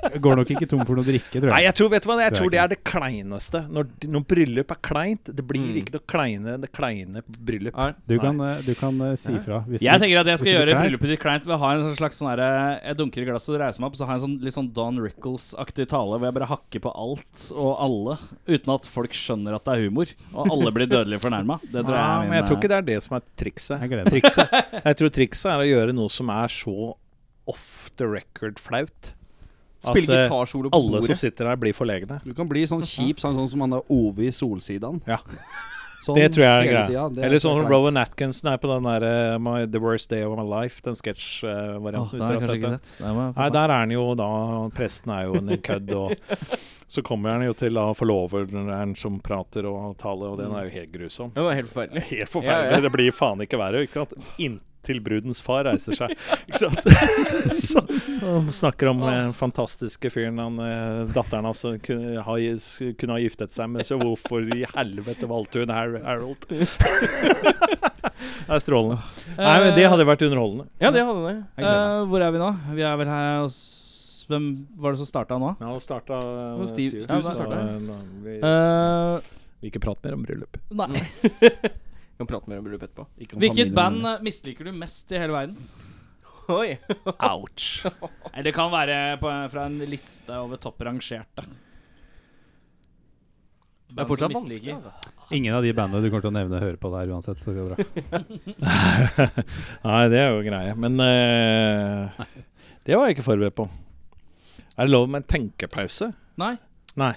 S3: Jeg går nok ikke tom for noe drikke, tror
S5: Nei,
S3: jeg.
S5: jeg tror, vet du hva,
S3: Tror
S5: jeg
S3: jeg
S5: tror det
S3: ikke.
S5: er det kleineste. Når, når bryllup er kleint, det blir
S2: Mm.
S5: ikke noe kleinere enn det kleine bryllup.
S3: Du kan, eh, du kan eh, si fra. Hvis
S1: Jeg
S3: du,
S1: tenker at jeg skal
S3: hvis du
S1: gjøre
S3: blir klein.
S1: bryllupet ditt kleint ved å ha en sånn slags sånn herre Jeg dunker i glasset og reiser meg opp, og så har jeg en sånn litt sånn Don Rickles-aktig tale hvor jeg bare hakker på alt og alle, uten at folk skjønner at det er humor. Og alle blir dødelig fornærma. Det tror jeg
S5: Ja,
S1: er
S5: men jeg tror
S1: min, eh,
S5: ikke det er det som er trikset.
S3: Jeg gleder meg.
S5: trikset. Jeg tror trikset er å gjøre noe som er så off the record flaut at
S2: Spille
S5: eh,
S2: gitarsolo på
S5: alle som
S2: bordet.
S5: sitter der, blir forlegne.
S6: Du kan bli sånn kjip, sånn, sånn som han der Ove i Solsidan.
S5: Ja.
S6: Sånn
S5: Det tror jeg er
S6: hele
S5: greia.
S6: tida, det er
S5: Eller sånn
S6: helt
S5: som Rowan Atkinson er på den der eh, my, The Worst Day of My Life, den eh,
S1: Åh,
S5: sketsjvarianten.
S1: det har jeg kanskje ikke
S5: den.
S1: sett. Det må jeg få
S5: Nei,
S1: med.
S5: der er han jo da Presten er jo en kødd, og så kommer han jo til da forloveren som prater og taler, og den er jo helt grusom.
S2: Ja, det var helt forferdelig.
S5: Helt forferdelig.
S2: Ja, ja.
S5: Det blir faen ikke verre. Ikke sant? Inntil brudens far reiser seg. Ikke sant? Så, og snakker om den fantastiske fyren han, eh, datteren hans som kunne, ha, kunne ha giftet seg med. Så hvorfor i helvete valgte hun Har Harold? det er strålende. Nei, men Det hadde vært underholdende.
S2: Ja, det hadde det.
S3: Jeg gleder meg.
S1: Eh, Hvor er vi nå? Vi er vel her hos Hvem var det som starta nå?
S5: Ja, og starta eh,
S1: Nå stiv-
S5: Stu-
S1: ja, da
S5: så,
S1: starta
S5: eh, da- vi,
S1: Eh,
S5: vi ikke prater mer om bryllup.
S1: nei.
S2: Vi kan prate mer om bryllup etterpå.
S6: greit. Ikke om
S1: Hvilket
S6: familien.
S1: band eh, misliker du mest i hele verden?
S2: Oi.
S5: Ouch!
S1: Nei, Det kan være på, fra en liste over topp rangerte.
S2: Det er fortsatt vanskelig. Altså.
S3: Ingen av de bandene du kommer til å nevne, hører på der uansett, så det går bra.
S5: Nei, det er jo greie. Men eh, det var jeg ikke forberedt på. Er det lov med en tenkepause?
S1: Nei.
S5: Nei.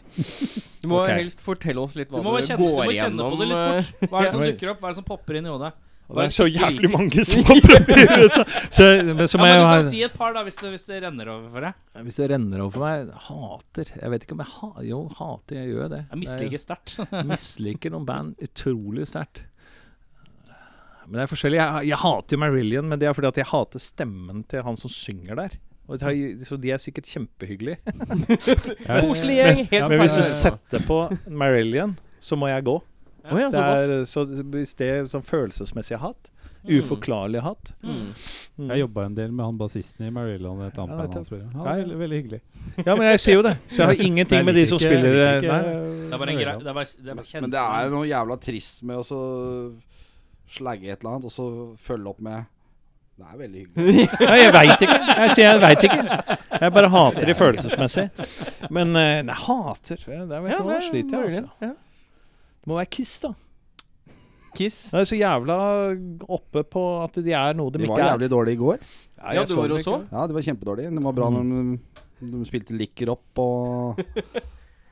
S2: Du må
S5: Ok.
S2: helst fortelle oss litt
S1: Du
S2: hva
S1: må, bare kjenne, du må kjenne på det
S2: eh,
S1: litt fort. Hva er det som
S5: Ja.
S1: dukker opp? Hva er det som popper inn i hodet?
S5: Og det er så jævlig mange som har prøvd i USA. Så, men
S1: Ja,
S5: som
S1: men
S5: jeg
S1: du
S5: jo
S1: kan
S5: har-
S1: si et par, da, hvis det, hvis det renner over for deg.
S5: Hvis det renner over for meg Hater. Jeg vet ikke om jeg ha, Jo, hater. Jeg gjør det.
S1: Jeg misliker sterkt.
S5: Jeg misliker noen band utrolig sterkt. Men det er forskjellig. Jeg, jeg hater jo Marillion, men det er fordi at jeg hater stemmen til han som synger der. Og det har- så de er sikkert kjempehyggelige.
S3: Eh,
S2: Koselig gjeng. Helt
S5: Men hvis du
S2: forferdelig.
S5: setter på Marillion, så må jeg gå.
S2: Å ja,
S5: Det
S2: såpass.
S5: er så, hvis det er sånn følelsesmessig hat. Uforklarlig hat.
S2: Mm.
S5: Mm.
S3: Jeg jobba en del med han bassisten i Marillion, et annet
S5: Ja,
S3: band
S5: vet
S3: han
S5: du.
S3: spiller. i. Han er
S5: Ja, ja.
S3: veldig, veldig hyggelig.
S5: Ja, men jeg sier jo det. Så jeg har ingenting med de som spiller eh, nei.
S1: Det er bare en grei, det er bare, det er bare
S6: Men det er
S1: kjenslen.
S6: noe jævla trist med å så slagge et eller annet, og så følge opp med Det er veldig hyggelig.
S5: nei jeg veit ikke. Jeg sier jeg veit ikke. Jeg bare hater de følelsesmessig. Men eh, nei, hater Ja, Der vet
S2: Ja,
S5: du hva,
S2: det
S5: da sliter jeg,
S2: Marilyn,
S5: altså.
S2: ja.
S5: Det må være Kiss, da.
S2: Kiss.
S5: Det er så jævla oppe på at de er noe de,
S6: De var
S5: ikke er.
S6: jævlig dårlige i går.
S5: Nei,
S2: Ja,
S5: jeg
S2: du
S5: så
S2: var
S5: dem
S2: og så?
S5: ikke.
S6: Ja, de var kjempedårlige. De var bra når de, de spilte Licker Up og,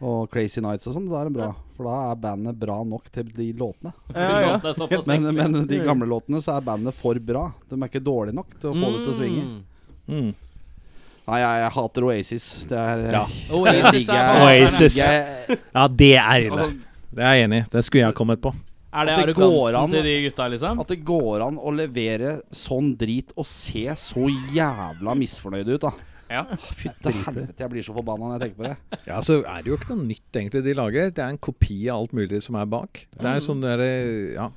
S6: og Crazy Nights og sånn. Da er de bra. For da er bandet bra nok til de låtene.
S2: Ja, ja.
S1: Det er såpass
S6: Men,
S1: enkelt.
S6: men de gamle låtene så er bandet for bra. De er ikke dårlige nok til å få det til å svinge.
S2: Mm.
S5: Mm.
S6: Nei, jeg, jeg hater Oasis. Det er
S5: Ja.
S1: Oasis er,
S5: Oasis.
S6: Jeg,
S5: ja, det er ille.
S6: altså,
S5: Det er jeg enig i. Det skulle jeg kommet på.
S1: er det
S6: At det går an,
S1: arrogansen
S6: da.
S1: til de gutta, liksom?
S6: at det går an å levere sånn drit og se så jævla misfornøyd ut, da.
S1: Ja.
S6: Fytte helvete, jeg blir så forbanna når jeg tenker på det.
S5: Ja, så er det jo ikke noe nytt egentlig de lager. Det er en kopi av alt mulig som er bak. Det er sånn derre Ja.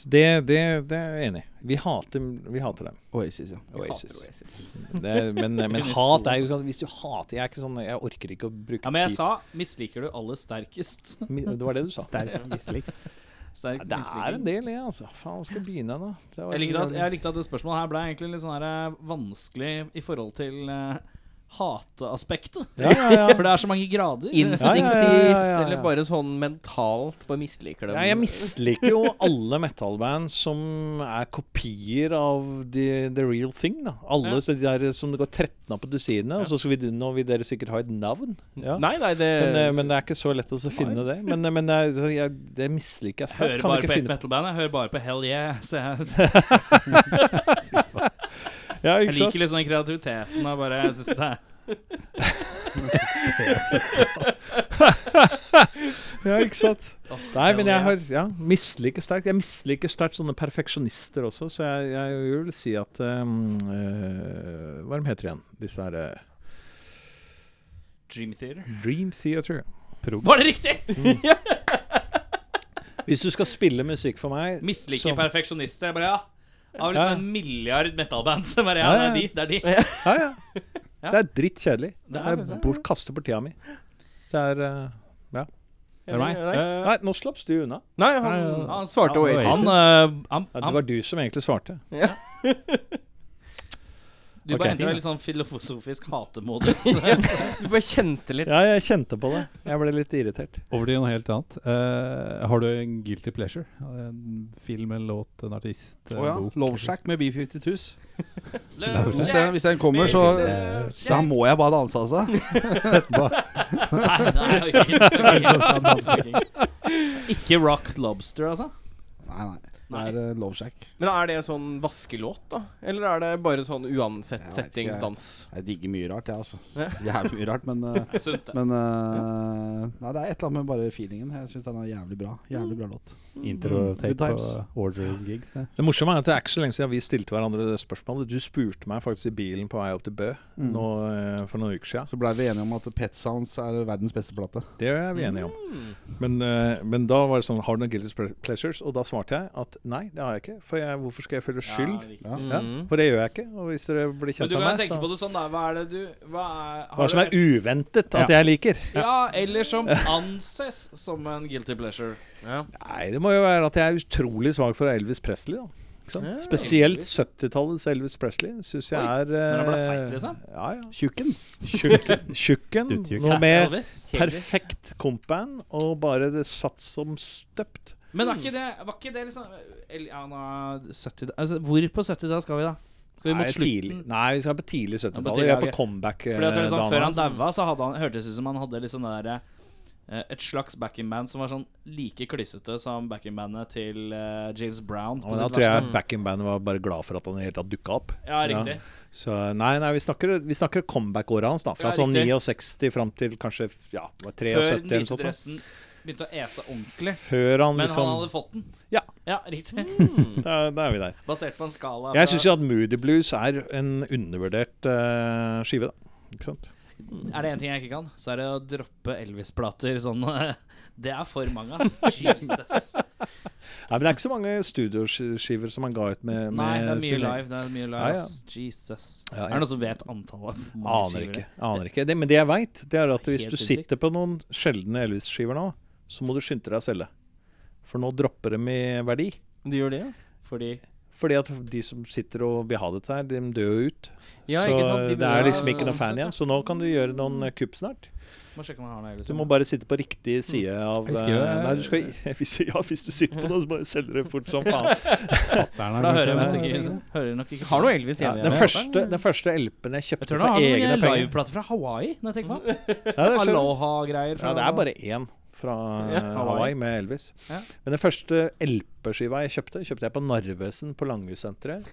S5: Så det, det, det er jeg enig i. Vi hater, vi hater dem.
S6: Oasis, ja.
S5: Oasis.
S2: Hater Oasis.
S5: Det, er- men, men hat er jo sånn Hvis du hater Jeg er ikke sånn Jeg orker ikke å bruke
S1: ja, men jeg sa 'misliker du aller sterkest'?
S5: Mi- Det var det du sa.
S3: Sterkt mislikt.
S1: Sterk
S5: Ja, det er en
S1: misliking.
S5: del, det, altså. Faen, hva skal jeg begynne nå? Det var
S1: Jeg likte, at,
S5: litt-
S1: jeg likte at det spørsmålet her ble egentlig litt sånn her eh, vanskelig i forhold til eh, hateaspektet.
S5: Ja, ja, ja.
S1: For det er så mange grader.
S2: Instinktivt,
S5: ja, ja, ja, ja.
S2: eller bare sånn mentalt bare misliker dem.
S5: Ja, jeg misliker jo alle metalband som er kopier av the, the real thing. da Alle
S1: Ja.
S5: så de der som det går 13 av på dusinet, og så skal vi, nå vil dere sikkert ha et navn. Ja.
S2: Nei, nei, det
S5: Men, eh, men det er ikke så lett å så finne det. Men, eh, men jeg, så jeg, det misliker jeg
S1: Hører
S5: sterkt. Kan
S1: bare
S5: ikke
S1: på ett
S5: finne
S1: metalband. Jeg hører bare på Hell Yeah. Så jeg,
S5: ja,
S1: jeg
S5: ikke sant?
S1: liker litt sånn kreativiteten og bare jeg synes det er
S5: Ja, ikke sant?
S1: Åh,
S5: Nei, men
S1: hell
S5: jeg har,
S1: yes.
S5: ja, misliker sterkt. Jeg misliker sterkt sånne perfeksjonister også, så jeg, jeg vil si at um, eh, Hva er de heter igjen? Disse her eh,
S1: Dream Theater.
S5: Dream Theater.
S1: Var det riktig?!
S5: Hvis du skal spille musikk for meg
S1: Misliker
S5: som-
S1: perfeksjonister. Jeg bare, ja. Av
S5: Sånn. Ja, ja.
S1: liksom en milliard metalband. Så bare, ja,
S5: Ja,
S1: det er
S5: ja,
S1: de.
S5: ja.
S1: Det er de.
S5: Ja, ja. Det er drittkjedelig.
S1: Det
S5: Det
S1: er
S5: er
S1: det.
S5: bort, kaste bort tida mi. Det er eh,
S1: Det er meg.
S3: Eh,
S5: Nei, nå slapp du unna.
S2: Nei, han,
S1: Eh,
S2: han svarte Oasis.
S1: Han, eh, han,
S5: Ja, det
S1: han,
S5: var du som egentlig svarte.
S1: du
S5: ok.
S1: bare endte i litt sånn filosofisk hatemodus.
S2: Du bare kjente litt
S5: Ja, jeg kjente på det. Jeg ble litt irritert.
S3: Over til noe helt annet. Eh, har du en guilty pleasure? En film, en låt, en artist,
S6: Å
S3: en
S6: ja.
S3: bok?
S6: Lovesack med B52s.
S1: Love
S6: Hvis
S1: Jack.
S6: den, hvis den kommer,
S3: Eh,
S6: så Da må jeg bare danse, altså.
S1: Nei, nei,
S5: sånn
S1: ok. Ikke Rock Lobster, altså?
S6: Nei, nei. Det
S1: Nei.
S6: er eh, Lovesack.
S2: Men er det sånn vaskelåt, da? Eller er det bare sånn uansett
S6: Jeg vet ikke, jeg-
S2: settingsdans?
S6: Jeg digger mye rart, jeg, altså.
S2: Ja.
S6: Jævlig mye rart, men eh,
S1: Sunt, det.
S6: Men eh, Nei, det er et eller annet med bare feelingen. Jeg syns den er jævlig bra. Jævlig bra låt. Good
S3: Intro-tape
S6: times.
S3: og ordering-gigs? det.
S5: Det morsomme er at det er ikke så lenge siden vi stilte hverandre det spørsmålet. Du spurte meg faktisk i bilen på vei opp til Bø
S6: Mm.
S5: nå, eh, for noen uker siden.
S6: Så blei vi enige om at Pet Sounds er verdens beste plate.
S5: Det er vi enige om.
S1: Hmm.
S5: Men, eh, men da var det sånn Har du noen guilty ple- pleasures? Og da svarte jeg at nei, det har jeg ikke. For jeg, hvorfor skal jeg føle skyld?
S6: Ja.
S5: Ja, for det gjør jeg ikke. Og hvis dere
S1: Mm. Hmm.
S5: blir
S1: Men
S5: kjent
S1: du
S5: med
S1: kan
S5: meg,
S1: tenke på
S5: så
S1: det sånn, da. Hva er det du Hva er, har
S5: Hva som er
S1: du-
S5: uventet at jeg liker?
S1: Ja, eller som anses som en guilty pleasure.
S2: Ja.
S5: Nei, det må jo være at jeg er utrolig svak for Elvis Presley, da. Ikke sant?
S2: Ja.
S5: Spesielt 70-tallets Elvis Presley syns jeg er
S1: han ble
S5: eh,
S1: feit, liksom?
S5: Ja, ja.
S6: Tjukken.
S5: Tjukken. Tjukken
S3: Stuttjukk.
S5: noe med
S1: Elvis.
S5: Eh, perfekt kompband, og bare det satt som støpt.
S1: Men er ikke det, var ikke det liksom eller, ja, nå er det 70, altså, Hvor på 70-tallet skal vi, da? Skal vi
S5: Nei,
S1: mot
S5: tidlig.
S1: slutten?
S5: Nei, vi skal på tidlig
S1: Ja,
S5: 70-tallet.
S1: på tidlig,
S5: Vi er på
S1: ok.
S5: eh,
S1: Fordi at det er liksom, Før han
S5: comeback-dana.
S1: daua, så hadde han, hørtes det ut som han hadde liksom det der, eh, et slags backing-band som var sånn like klissete som backing-bandet til eh, James Brown. på
S5: Men da
S1: sitt
S5: tror jeg
S1: verste.
S5: backing-bandet var bare glad for at han i det hele tatt dukka opp.
S1: Ja, riktig.
S5: Så nei, nei, vi snakker, vi snakker comeback-året hans, da.
S1: Ja,
S5: Fra sånn
S1: riktig.
S5: 69 fram til kanskje ja, det var
S1: Før den
S5: 73 eller noe
S1: hvite
S5: sånt. da.
S1: dressen begynte å ese ordentlig.
S5: Før han
S1: Men
S5: liksom
S1: han hadde fått den.
S5: Ja.
S1: ja riktig.
S5: da, da er vi der.
S1: Basert på en skala.
S5: Jeg
S1: fra-
S5: syns jo at Moody Blues er en undervurdert eh, skive, da. Ikke sant?
S1: Er det én ting jeg ikke kan, så er det å droppe Elvis-plater sånn eh, Det er for mange, ass. Jesus.
S5: Nei, men det er ikke så mange studioskiver som han ga ut med, med
S1: Nei, det er mye
S5: sin-
S1: live. Det er mye live
S5: Ja, ja.
S1: ass. Jesus.
S5: Ja,
S1: Er det noen som vet antallet? Hvor mange
S5: Aner
S1: skiver
S5: ikke.
S1: det er?
S5: aner ikke det, Men det jeg veit, det er at
S1: Det er
S5: hvis
S1: helt
S5: du sitter på noen sjeldne Elvis-skiver nå, så må du skynde deg å selge. For nå dropper de i verdi.
S2: Du gjør det, ja?
S1: Fordi
S5: Fordi at de som sitter og vil ha dette her, de dør jo ut.
S2: Ja,
S5: så
S2: ikke sant? De
S5: det
S2: dør
S5: er
S2: jo
S5: liksom ikke
S1: sånn
S5: noe fan
S1: sett, ja.
S5: igjen. Så nå kan du gjøre noen eh, kupp snart.
S1: Må sjekke om jeg har noe Elvis.
S5: Du må bare sitte på riktig
S1: Mm.
S5: side av
S3: Jeg husker
S5: eh,
S3: jo-
S5: Nei, du skal hvis, Ja, hvis du sitter på noe, så bare selger du fort som faen.
S1: For da hører jeg
S5: kanskje-
S1: musikk i- Hører nok ikke
S2: Har noe Elvis
S5: Ja,
S2: hjemme.
S5: den, første, den første LP-en jeg
S1: Jeg
S5: kjøpte
S1: tror han
S5: for
S1: har
S5: egne
S1: noen
S5: penger
S1: liveplater fra Hawaii. Når jeg tenker på det.
S5: ja, det, er så-
S1: Aloha-greier.
S5: ja,
S1: fra-
S5: det er bare én fra eh,
S1: Ja, Hawaii.
S5: Hawaii med Elvis.
S1: Ja.
S5: Men den første LP-skiva jeg kjøpte, kjøpte jeg på Narvesen på Langhussenteret.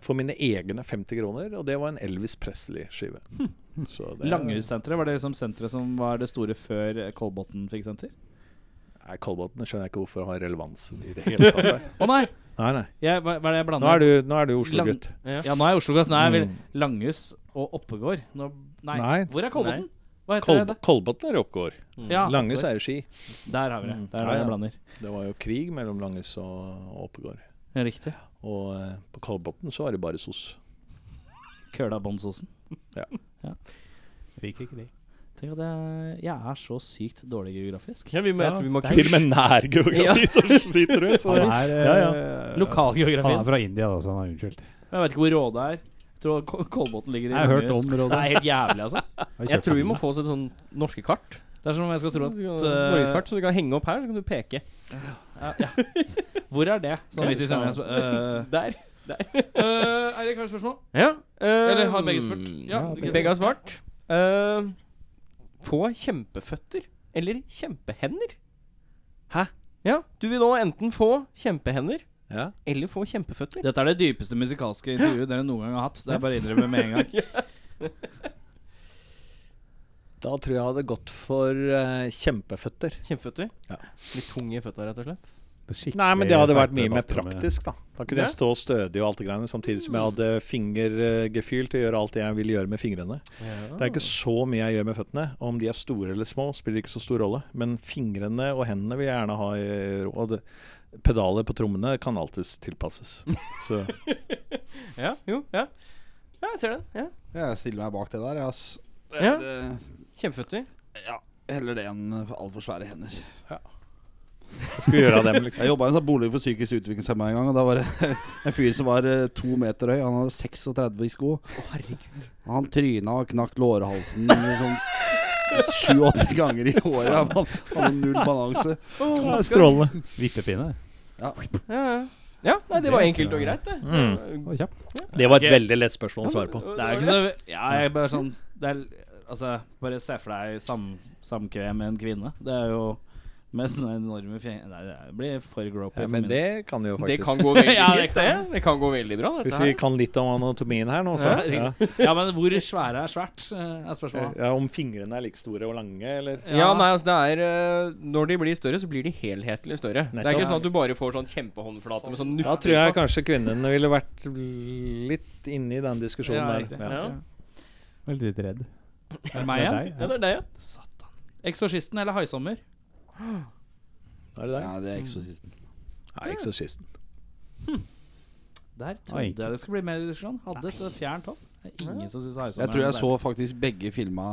S5: For mine egne 50 kroner, og det var en Elvis Presley-skive.
S1: Hm.
S5: Så det-
S1: Langhussenteret, var det liksom senteret som var det store før eh, Kolbotn fikk senter?
S5: Nei, Kolbotn skjønner jeg ikke hvorfor har relevans i det hele tatt. der.
S1: Å nei!
S5: Nei, nei.
S1: Jeg, hva, hva er det jeg
S5: Nå
S1: blander?
S5: er du, nå er du Oslo-gutt.
S1: Ja, nå er jeg Oslo-gutt. Nå er jeg vel Langhus og Oppegård. Nå, nei.
S5: Nei.
S1: Hvor er Kolbotn?
S2: Nei.
S1: Hva heter
S5: Kolb
S1: det?
S5: Kolbotn er i Oppgård.
S1: Ja,
S5: Langhus er i Ski.
S1: Der har vi det. Der er
S5: Ja,
S1: det
S5: ja.
S1: jeg blander.
S5: Det var jo krig mellom Langhus og og Oppegård.
S1: Ja, Riktig.
S5: Og eh, på Kolbotn så var det bare sos.
S1: Køla båndsosen.
S3: Liker ikke de.
S1: Tenk at jeg, jeg er så sykt dårlig geografisk.
S2: Ja, vi må, jeg tror vi må
S3: Ja,
S5: Til og med nær geografi så sliter du. Så
S3: Han
S5: det,
S3: er,
S5: Ja, ja.
S3: eh,
S1: Lokalgeografien.
S3: Han er fra India, da, så han er unnskyldt.
S1: Jeg vet ikke hvor Råde er. Jeg tror Kol- Kolbotn ligger i
S3: Jeg har hørt
S1: Langhus.
S3: om Råde.
S1: Det er helt jævlig, altså.
S2: Jeg tror vi må få oss et sånn norske kart.
S1: Det er som om jeg skal tro at eh,
S2: Norgeskart som du kan henge opp her, så kan du peke.
S1: ja, ja. Hvor er det? Sånn midt i sendingen. jeg spør- øh,
S2: Der.
S1: øh,
S2: Eh,
S1: er det klare spørsmål?
S2: Ja. ehm,
S1: Eller har begge spurt? Ja,
S2: Ja,
S1: begge-
S2: begge har svart. Eh, få kjempeføtter eller kjempehender?
S5: Hæ?
S2: Ja, du vil nå enten få kjempehender
S5: ja.
S2: eller få kjempeføtter.
S1: Dette er det dypeste musikalske intervjuet dere noen gang har hatt. Det er bare å innrømme med en gang.
S5: Da tror jeg jeg hadde gått for eh, kjempeføtter.
S2: Kjempeføtter?
S5: Ja.
S2: Litt tung i føtta, rett og slett.
S5: Nei, men det hadde vært mye mer praktisk, da. Mm. Da kunne jeg stå stødig og alt det greiene, samtidig som jeg hadde fingergefühl til å gjøre alt det jeg ville gjøre med fingrene. Det er ikke så mye jeg gjør med føttene. Om de er store eller små, spiller ikke så stor rolle. Men fingrene og hendene vil jeg gjerne ha i ro. Og det, pedaler på trommene kan alltids tilpasses. Så
S2: Ja, jo, ja. Ja, jeg ser den. Ja.
S6: Jeg stiller meg bak det der, jeg, ass.
S2: Ja.
S6: Det-
S2: Kjempeføtter.
S6: Heller det enn altfor svære hender.
S5: jeg skulle gjøre av dem, liksom.
S6: Jeg jobba i en sånn bolig for psykisk utviklingshemma en gang. Og Da var det en fyr som var eh, to meter høy. Han hadde 36 i sko. Og han tryna og knakk lårhalsen liksom sju-åtte ganger i året. Han hadde- hadde null balanse.
S3: Ja, Strålende. Vippepinne.
S2: Ja, ja. ja, nei, det var enkelt og greit, det.
S5: Mm.
S3: Å, kjapp.
S5: Det var
S1: Ok.
S5: et veldig lett spørsmål å svare på.
S1: Det er jo ikke så Ja, jeg er bare sånn det er, Altså, bare se for deg sam, samkvem med en kvinne. Det er jo med sånne enorme fjenger Nei, det blir for gropy.
S5: Ja, men det kan jo
S2: Det
S5: faktisk
S2: kan gå veldig
S1: Ja, det
S2: fint, det. Det kan gå veldig bra,
S5: Hvis
S2: dette
S5: vi
S2: her.
S5: kan litt om anatomien her nå, så. Ja,
S1: Ja. ja, men hvor svære er svært, eh, er spørsmålet.
S5: ja, om fingrene er like store og lange, eller
S2: Ja, nei, altså det er eh, Når de blir større, så blir de helhetlig større. Det er
S5: Nettopp.
S2: ikke sånn at du bare får sånn kjempehåndflate med sånn
S5: Da tror jeg kanskje kvinnene ville vært litt inne i
S1: Ja,
S5: den diskusjonen
S1: riktig.
S5: der. Ja.
S1: Ja.
S3: Veldig litt redd.
S1: Er det meg igjen?
S2: Ja, det er det, ja.
S1: Satan. Eksorsisten eller Haisommer?
S5: Er det deg?
S6: Ja, det er eksorsisten.
S5: Nei, eksorsisten.
S1: Der
S3: Oi.
S1: trodde jeg det skulle bli mer diskusjon. Hadde et fjernt hånd. Det er Ingen som syns Haisommer
S6: Jeg tror
S1: er
S6: jeg
S1: noe
S6: så faktisk begge filma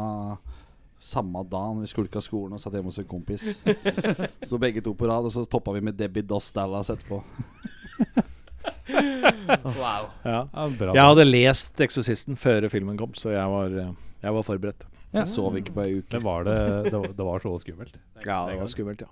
S6: samme dagen vi skulka skolen og satt hjemme hos en kompis. Så begge to på rad, og så toppa vi med Debbie Doss Dallas etterpå.
S2: Wow.
S5: Ja.
S3: Ja, bra.
S5: Jeg hadde lest 'Eksorsisten' før filmen kom, så jeg var, eh, jeg var forberedt.
S6: Sov ikke på ei uke.
S3: Det var, det, det, var- det var så skummelt.
S5: Ja, det var skummelt, ja.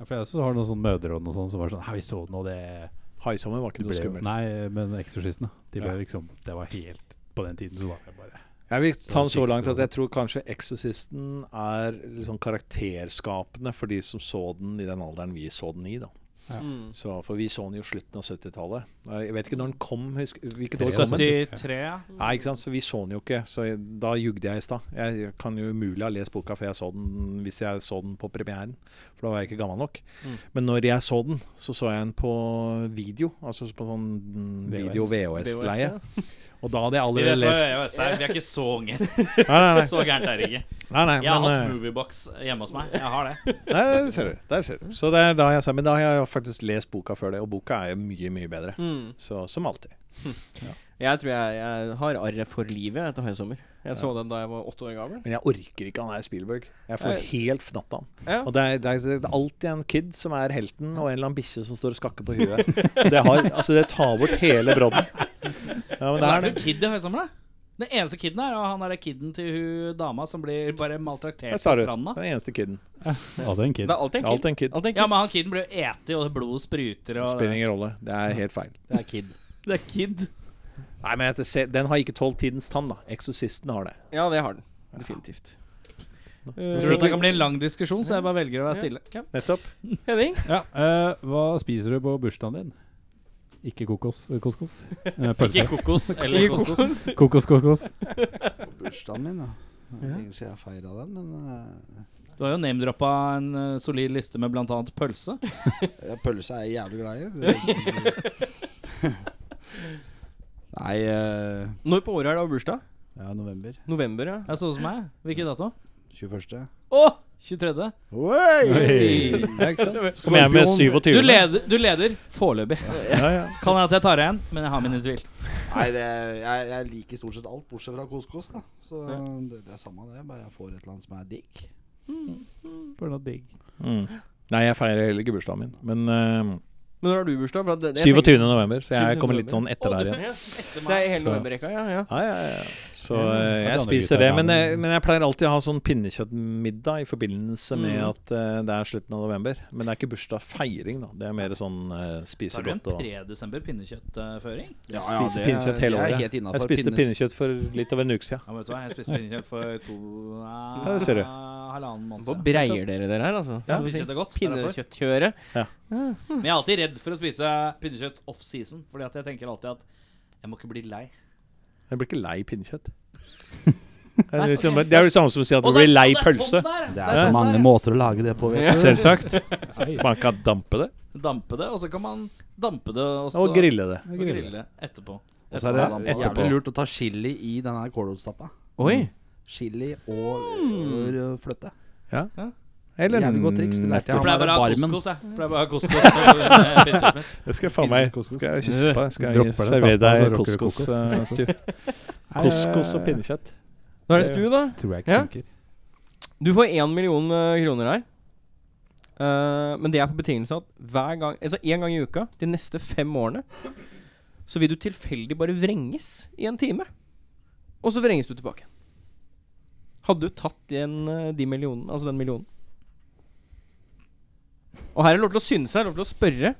S3: Ja, for jeg også har noen sånne mødre og noe sånt som var sånn Hei, vi så den, og det,
S5: 'Haisommer' var
S3: det
S5: ikke så
S3: ble jo
S5: skummelt.
S3: Nei, men Eksorsisten, da. De ble
S5: Ja.
S3: liksom Det var helt På den tiden så var det bare
S5: Jeg vil ta den så
S3: skikkelig
S5: langt at jeg tror kanskje 'Eksorsisten' er litt sånn karakterskapende for de som så den i den alderen vi så den i, da.
S2: Mm.
S5: Så, for vi så den jo slutten av 70-tallet. Jeg vet ikke når den kom. Husk, hvilket år kom den?
S1: 73
S5: Nei, ikke sant? så vi så den jo ikke, så jeg- da jugde jeg i stad. Jeg kan jo umulig ha lest boka før jeg så den hvis jeg så den på premieren, for da var jeg ikke gammel nok.
S2: Mm.
S5: Men når jeg så den, så så jeg den på video, altså på sånn mm,
S3: VHS.
S5: video-VHS-leie.
S2: VHS,
S5: Og da hadde jeg
S1: Vi
S5: allerede
S1: vet hva
S5: lest
S1: VHS er. Vi er ikke så unge.
S5: Nei, nei, nei.
S1: Så gærent er det ikke.
S5: nei, nei
S1: Jeg har hatt
S5: men,
S1: moviebox hjemme hos meg. Jeg har det.
S5: eh, nei der ser du. Der ser du. Så det er da jeg sa Men da har jeg jo faktisk lest boka før det, og boka er jo mye, mye bedre.
S2: Mm.
S5: Så som alltid.
S2: Jeg tror jeg, jeg har arret for livet etter Høysommer. Jeg så den da jeg var åtte år gammel.
S5: Men jeg orker ikke han er Spielberg. Jeg får
S2: Nei.
S5: helt fnatt av han.
S2: Ja.
S5: Og det er, det, er, det er alltid en kid som er helten, og en eller annen bikkje som står og skakker på huet. Det, har, altså, det tar bort hele brodden. Ja, men det
S1: Da
S5: er
S1: er du
S5: det.
S1: kid i Haisommer, da. Den eneste kiden her, og han er kiden til hun dama som blir bare maltraktert
S5: Der
S1: på
S5: sa du.
S1: stranda.
S5: Den eneste kiden.
S3: Hadde en
S2: Det
S3: kid.
S2: er alltid en kid.
S5: Alltid en kid.
S2: Alltid en kid.
S1: Ja, men han kiden blir jo ete, og blod spruter og
S5: Spiller ingen rolle. Det er helt feil.
S6: Det er kid.
S1: Det er kid.
S5: Nei, men jeg ser- Den har ikke tålt tidens tann, da. Eksorsisten har det.
S2: Ja, det har den. Definitivt.
S3: Eh,
S1: Jeg tror at det kan bli en lang diskusjon, så jeg bare velger å være stille.
S5: Nettopp.
S2: Henning?
S3: Ja, eh, hva spiser du på bursdagen din? Ikke kokos, eh, couscous. Eh, pølse.
S1: Ikke kokos eller
S2: Ikke kokos.
S1: kokos.
S3: Kokos, kokos.
S6: Bursdagen min, ja. Egentlig skal jeg feire den, men eh,
S1: Du har jo name-droppa en eh, solid liste med blant annet pølse.
S6: eh, pølse er jeg jævlig glad i. Det- Nei eh,
S2: Når på året er det av bursdag?
S6: Ja, november.
S2: November, ja.
S1: Det er sånn som meg. Hvilken dato?
S6: 21.
S1: Å! 23.
S3: Oi!
S5: Ja, ikke sant? Så kom jeg med 27.
S1: Du leder, du leder foreløpig.
S5: Ja, ja.
S1: Kan hende at jeg tar igjen, men jeg har mine tvil.
S6: Nei, det, jeg, jeg liker stort sett alt, bortsett fra koskos. da Så det, det er samme det, bare jeg får et eller annet som er digg.
S5: Mm. Nei, jeg feirer heller ikke bursdagen min. Men eh,
S2: Men når har du bursdag? For at det- det- jeg tenker-
S5: 27. november, så jeg
S2: 27.
S5: kommer litt sånn etter der igjen.
S2: Det er i hele
S5: Så-
S2: novemberrekka, ja. ja.
S5: Ja, ja, ja. Så
S3: Ja,
S5: eh,
S3: det er
S5: jeg
S3: andre gutter,
S5: spiser det.
S3: ja,
S5: Men,
S3: men-
S5: eh, men jeg pleier alltid å ha sånn pinnekjøttmiddag i forbindelse med
S2: Mm.
S5: at eh, det er slutten av november. Men det er ikke bursdagsfeiring, da. Det er mer såsånn eh, spise
S1: Tar du en
S5: godt og
S1: 3. desember pinnekjøttføring?
S5: Spise pinnekjøtt hele året.
S6: Jeg, er helt innenfor
S5: Jeg spiste
S6: pinnes-
S5: pinnekjøtt for litt over en uke siden.
S1: Ja, vet du hva, jeg spiste pinnekjøtt for to eh,
S5: Ja, det ser du.
S1: halvannen måned
S2: Hvor breier dere dere her, altså?
S5: Ja.
S2: Skal vi si.
S1: Pinnekjøtt er godt. det er derfor.
S2: Pinnekjøttkjøret.
S1: Men jeg er alltid redd for å spise pinnekjøtt off season, Fordi at jeg tenker alltid at jeg må ikke bli lei.
S5: Jeg blir ikke lei pinnekjøtt. Det er liksom- det er jo det samme som å si at du blir lei pølse.
S6: Det
S1: Det
S6: er
S1: er
S6: så
S1: sånn
S6: mange
S1: der.
S6: måter å lage det på. Vet du.
S5: Selvsagt. Man kan dampe det
S1: Dampe det, og så kan man dampe det og så
S5: og grille det.
S1: og grille det etterpå.
S6: Og så er det
S1: Etterpå.
S5: etterpå.
S6: jævlig lurt å ta chili i den her kålrotstappa.
S2: Oi.
S6: Chili og rød fløte.
S5: Eller
S6: Jævlig godt triks, det lærte jeg.
S1: Jeg pleier bare å ha
S6: Varmen.
S1: couscous, jeg. Pleier bare å ha couscous med pinnekjøttet mitt.
S5: Det skal jeg faen meg
S3: Pinnekjøttkoskos.
S5: Skal jeg kysse på. Jeg skal
S3: Dropper det,
S5: servere
S3: stapper, så
S5: deg
S3: rocker du
S5: couscous.
S3: kokos.
S5: eh, Stu. Couscous og pinnekjøtt.
S2: Da er det Stu, da.
S3: Eh, Tror jeg
S2: Ja.
S3: ikke funker.
S2: Du får én million eh, kroner her. Eh, men det er på betingelse at hver gang Altså én gang i uka de neste fem årene så vil du tilfeldig bare vrenges i en time. Og så vrenges du tilbake. Hadde du tatt igjen eh, de millionene, altså den millionen? Og her er det lov til å synse, her er det lov til å spørre.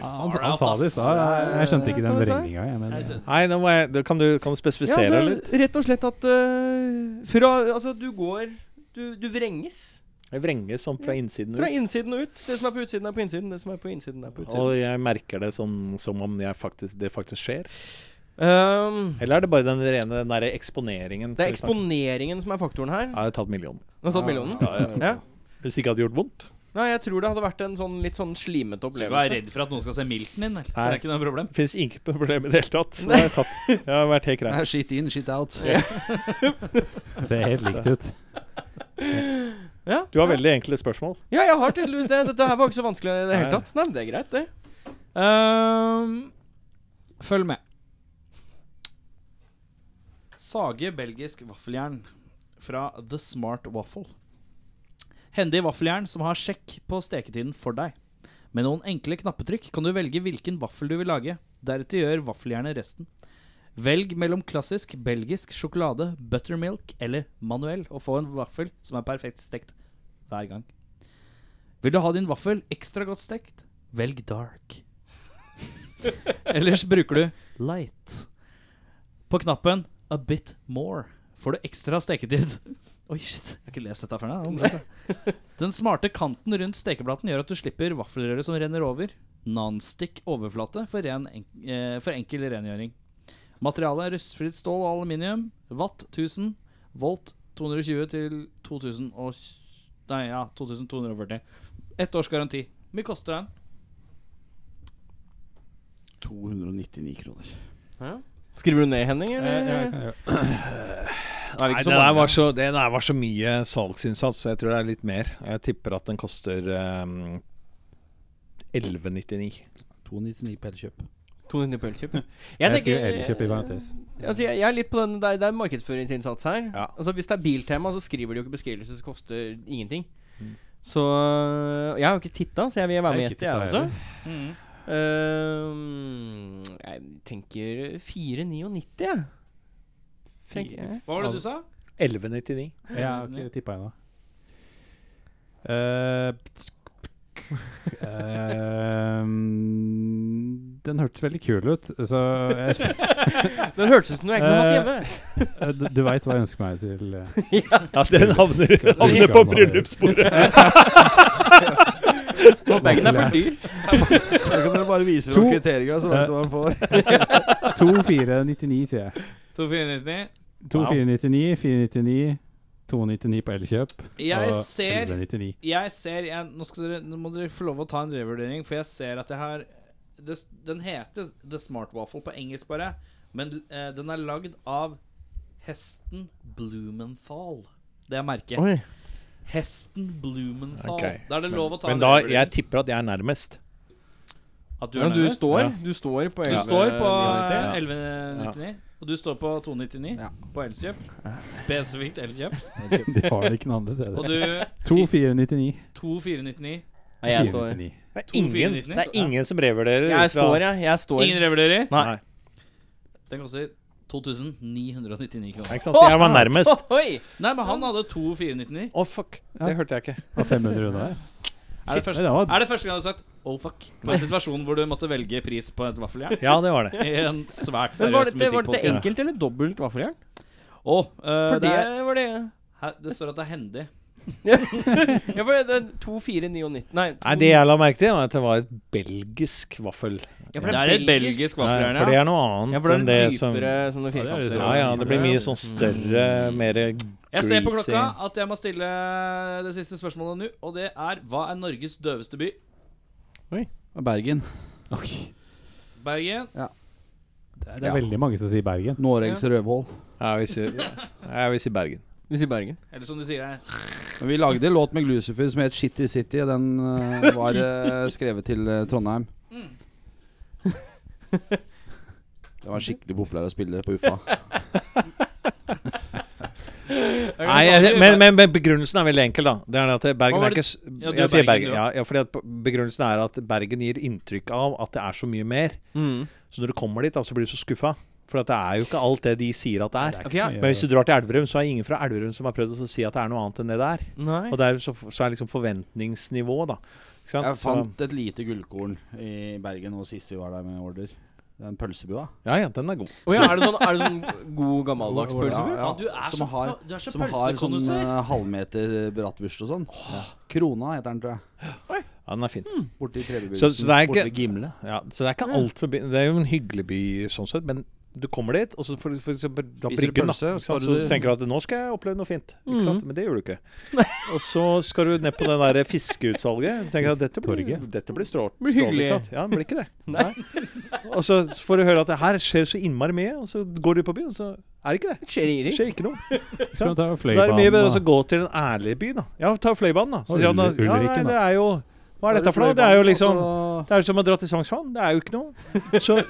S3: Ja, han, han sa det i stad. Jeg, jeg skjønte ikke
S2: Ja, jeg
S3: den
S2: sa det i
S3: vrenginga. Jeg, men,
S5: Nei, nå må jeg, da kan, du, kan du
S2: Ja,
S5: spesifisere litt?
S2: altså, rett og slett at eh, fra Altså, du går Du, du vrenges
S5: Jeg vrenger sånn fra innsiden
S2: fra
S5: ut.
S2: innsiden og ut. Det som er på utsiden, er på innsiden. Det som er på innsiden, er på utsiden.
S5: Og jeg merker det som, som om jeg faktisk, det faktisk skjer.
S2: Ehm,
S5: Eller er det bare den rene den derre eksponeringen?
S2: det er
S5: som vi snakker om?
S2: eksponeringen som er faktoren her.
S5: Ja, jeg har tatt millionen.
S2: Du har tatt millionen? Ja.
S5: Hvis det ikke hadde gjort vondt.
S2: Nei, jeg tror det hadde vært en sånn litt sånn slimete
S1: Du skal ikke være
S2: opplevelse.
S1: redd for at noen skal se milten din, eller? Det
S5: Nei.
S1: er ikke noe problem.
S5: Det fins ikke problem i det hele tatt. Så jeg har tatt. Jeg har vært helt grei.
S6: Nei, Shit in, shit out.
S3: det ser helt likt ut.
S2: Ja.
S5: Du har veldig enkle spørsmål.
S2: ja, jeg har tydeligvis det. Dette her var ikke så vanskelig i det hele
S5: Nei.
S2: tatt. Nei, men det er greit, det.
S1: Ehm, følg med. Sage belgisk vaffeljern fra The Smart Waffle. Hendig vaffeljern som har sjekk på steketiden for deg. Med noen enkle knappetrykk kan du velge hvilken vaffel du vil lage. Deretter gjør vaffeljernet resten. Velg mellom klassisk belgisk sjokolade, buttermilk eller manuell, og få en vaffel som er perfekt stekt hver gang. Vil du ha din vaffel ekstra godt stekt? Velg dark. Ellers bruker du light. På knappen a bit more får du ekstra steketid. Oi, shit. Jeg har ikke lest dette før. nå. Det var morsomt, da. Den smarte kanten rundt stekeplaten gjør at du slipper vaffelrøret som renner over. Nonstick overflate for, ren en eh, for enkel rengjøring. Materialet er rustfritt stål og aluminium. Watt 1000. Volt 220 til 2000 og Nei, ja, 2240. Ett års garanti. Hvor mye koster den?
S6: 299 kroner.
S2: Skriver du ned, Henning? Eller? Nei,
S5: Nei,
S2: ikke
S5: det
S2: så
S5: der
S2: mange.
S5: var så, det der var så mye salgsinnsats, så jeg tror det er litt mer. Jeg tipper at den koster ehm, 11,99.
S6: 299 på Elkjøp.
S2: 200 på ølkjøp.
S3: Jeg skulle elkjøpe i parentes.
S2: Altså, jeg, jeg er litt på den Det er, det er markedsføringsinnsats her.
S5: Ja.
S2: Altså, Hvis det er biltema, så skriver de jo ikke beskrivelse som koster ingenting. Så øh, Jeg har jo ikke titta, så jeg vil være
S3: Jeg
S2: med altså.
S3: har
S2: og gjette, jeg
S3: ikke tittet
S2: også.
S3: heller.
S2: Mm, Ehm, jeg tenker 4,99, jeg. Tenker jeg.
S1: Hva var det du sa?
S5: 11,99.
S3: Jeg har ikke tippa ennå. Eh, eh, den hørtes veldig kul ut, så jeg, s-
S2: Den hørtes ut som noe jeg ikke hadde hatt hjemme.
S3: eh, du, du veit hva jeg ønsker meg til eh,
S5: Ja, den havner, havner på bryllupsbordet.
S2: Og Bagen er for dyr.
S6: Så kan dere bare vise
S3: To.
S6: kvitteringa, så vet du hva den får.
S3: 2499, sier jeg.
S1: 2499.
S3: 2499, 499, 299 på Elkjøp.
S1: Jeg
S3: og
S1: ser
S3: 1199.
S1: Jeg ser jeg, nå, skal dere, nå må dere få lov å ta en revurdering, for jeg ser at jeg har det, s- Den heter The Smart Waffle på engelsk, bare. Men eh, den er lagd av Hesten Blumenthal. Det er merket.
S2: Oi.
S1: Hesten Blumenthal.
S5: Ok.
S1: Da er det lov å ta
S5: Men
S1: en
S5: da,
S1: rødvurdering.
S5: jeg tipper at jeg er nærmest.
S1: At du
S2: Du,
S1: er
S2: ja, du,
S1: nærmest.
S2: står,
S5: Ja.
S2: du står på
S1: Du
S2: 11
S1: står på
S5: Ja.
S1: 11,99, og du står på 2,99
S6: Ja.
S1: på Elkjøp. Spesifikt Elkjøp.
S3: De har det ikke noen andre steder.
S1: Og du
S3: 2499.
S1: 2,499.
S2: Nei, jeg står.
S3: 499.
S5: Det er
S1: To, fire,
S5: ingen,
S1: nittini.
S5: det er ingen som revurderer.
S2: Jeg
S5: ut fra-
S2: står, ja. Jeg står.
S1: Ingen revurdering.
S2: Nei.
S5: Nei.
S1: Den koster 2999 kroner.
S5: Ikke sant? Så jeg var nærmest.
S2: Oi!
S1: Nei, men han hadde 2,499.
S5: Å, fuck. Det hørte jeg ikke.
S3: Det var 500 unna der.
S1: Er det
S3: Shit,
S1: første,
S3: det var-
S1: er det første gang du har sagt 'oh fuck' på en situasjon hvor du måtte velge pris på et vaffeljern?
S5: Ja, det var det.
S1: I en svært
S2: Men
S1: seriøs
S2: var dette, var dette
S1: musikkpodkast.
S2: enkelt eller dobbelt vaffeljern?
S1: Å, eh,
S2: For
S1: det,
S2: det
S1: er-
S2: var det
S1: her- det står at det er hendig.
S2: Ja, for det er 2499 Nei,
S5: Nei, det jeg la merke til, var at det var et belgisk vaffel.
S2: ja, for
S1: Det er et belgisk
S5: Nei,
S1: vaffeljern,
S5: for det
S1: ja.
S5: er noe annet
S2: Ja, for det
S5: enn det
S2: er
S5: som
S2: dypere Mm. sånne
S3: det er
S2: firkanter.
S3: litt
S5: Ja, ja, det blir mye sånn større, mer
S1: Jeg ser på
S5: greasy.
S1: klokka at jeg må stille eh, det siste spørsmålet nå, og det er hva er Norges døveste by?
S6: Bergen.
S1: Bergen.
S3: Det er veldig mange som sier Bergen.
S6: Noregs Røvhål.
S5: Ja, Jeg vil si, jeg vil si Bergen.
S2: Vi sier Bergen.
S1: Eller som de sier her
S6: Men Vi lagde en låt med Glucifer som het Shitty City. Den eh, var eh, skrevet til eh, Trondheim. Den var skikkelig populær å spille på Uffa.
S5: Nei,
S1: sånn
S5: jeg, men, men men begrunnelsen er veldig enkel, da. Det er det at det- Bergen
S1: Hva var
S5: er
S1: det-
S5: ikke s-
S1: Ja, du er
S5: Jeg sier
S1: Bergen,
S5: Bergen.
S1: du,
S5: Ja, ja, fordi at p- begrunnelsen er at Bergen gir inntrykk av at det er så mye mer.
S2: Mm.
S5: Så når du kommer dit, da, så blir du så skuffa. For at det er jo ikke alt det de sier at det er.
S2: Ok, ja.
S3: så mye.
S5: Men hvis du drar til Elverum, så er ingen fra Elverum som har prøvd å si at det er noe annet enn det det er.
S2: Nei.
S5: Og der så, så er liksom forventningsnivået, da. Ikke sant?
S6: Jeg
S5: Så,
S6: fant et lite gullkorn i Bergen nå sist vi var der med order. Den pølsebua.
S5: ja, ja, den er god.
S2: Å ja, er det sånn, er det sånn god gammeldags
S6: Ja,
S2: pølse?
S6: ja.
S1: Faen, du er
S6: Som
S1: så,
S6: har-
S1: du er så
S6: Som har sånn
S1: pølsekondisør.
S6: eh, halvmeter eh, bratwurst og sånn. Krona heter den, tror jeg.
S5: Ja, den er fin.
S6: Borti Trevebussen.
S5: Så- så det er
S6: borte
S5: ikke-
S6: ved Gimle.
S5: Ja, så det er ikke alt forbi Det er jo en hyggelig by sånn sett, men du kommer dit, og så får du for eksempel da
S6: Spiser du
S5: Bryggen, da.
S6: pølse,
S5: Ikke sant?
S6: skal
S5: Så
S6: du-
S5: tenker du at nå skal jeg oppleve noe fint, ikke sant? men det gjør du ikke. Og så skal du ned på det der fiskeutsalget, så tenker jeg at dette blir,
S3: Torget.
S5: dette blir strål.
S2: Blir
S5: strål,
S2: hyggelig.
S5: ikke sant? Ja, det blir ikke det. Nei. Og så får du høre at det her skjer så innmari mye, og så går du på byen, og så er det ikke det.
S2: Skjer
S5: Det
S2: ingenting.
S5: skjer ikke noe.
S3: Så kan du ta
S5: Da er det mye bedre å
S3: Fløibanen.
S5: gå til en ærlig by, da. Ja, ta Fløibanen, da. Så
S3: Og
S5: sier han da
S3: Ulri-
S5: ja, nei,
S3: Ulriken, da.
S5: det er jo Hva er dette for noe? Det er jo liksom det er jo som å dra til Sognsvann. Det er jo ikke noe. Så,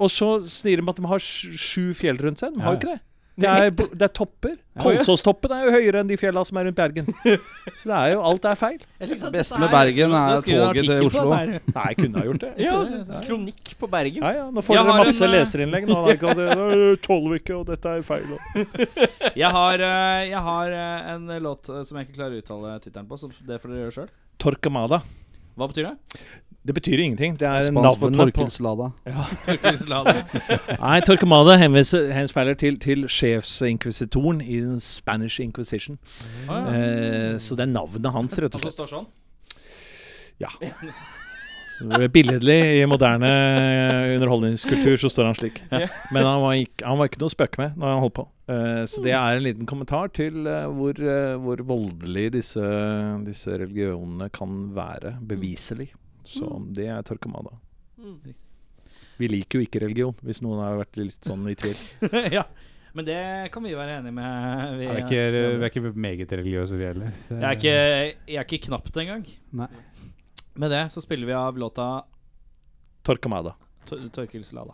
S5: og så sier de at de har sj- sju fjell rundt seg. De har jo ikke det. Det er, bo- det er topper. Kolsåstoppen er jo høyere enn de fjella som er rundt Bergen. Så det er jo alt er feil.
S6: Det beste med Bergen er toget til Oslo.
S5: Nei, jeg kunne ha gjort det.
S2: Ja, kronikk på Bergen.
S5: Ja, ja. Nå
S1: Jeg
S5: får dere
S1: har
S5: masse
S1: en, eh,
S5: leserinnlegg. Nå, da, ikke sant? Det er Tolvike, og dette er feil. Og.
S1: Jeg har, eh, jeg har eh, en låt eh, som jeg ikke klarer å uttale tittelen på, så det får dere gjøre sjøl.
S5: Torquemada.
S1: Hva betyr det?
S5: Det betyr ingenting. Det er
S6: Spansk for
S5: navnet på
S6: Torkelslada.
S1: Torkelslade.
S5: Nei, Torquemada henviser- henspeiler til, til sjefsinkvisitoren i den Spanish Inquisition.
S1: Ah, ja.
S5: Eh, så det er navnet hans, rett og
S1: Altså
S5: slett.
S1: står sånn.
S5: Det er Billedlig i moderne eh, underholdningskultur så står han slik. Men han var, ikke, han var ikke noe å spøke med når han holdt på. Eh, så det er en liten kommentar til eh, hvor, eh, hvor voldelig disse, disse religionene kan være, beviselig. Så det er Torquemada.
S1: Mm.
S5: Vi liker jo ikke religion, hvis noen har vært litt sånn i tvil.
S1: ja. Men det kan vi være enige med. Vi, eh,
S3: Ja, Vi er ikke, vi er ikke meget religiøse, vi heller. Så-
S1: jeg er ikke, jeg er ikke knapt engang.
S3: Nei.
S1: Med det så spiller vi av låta
S5: Torquemada.
S1: Tor- Torkelslada.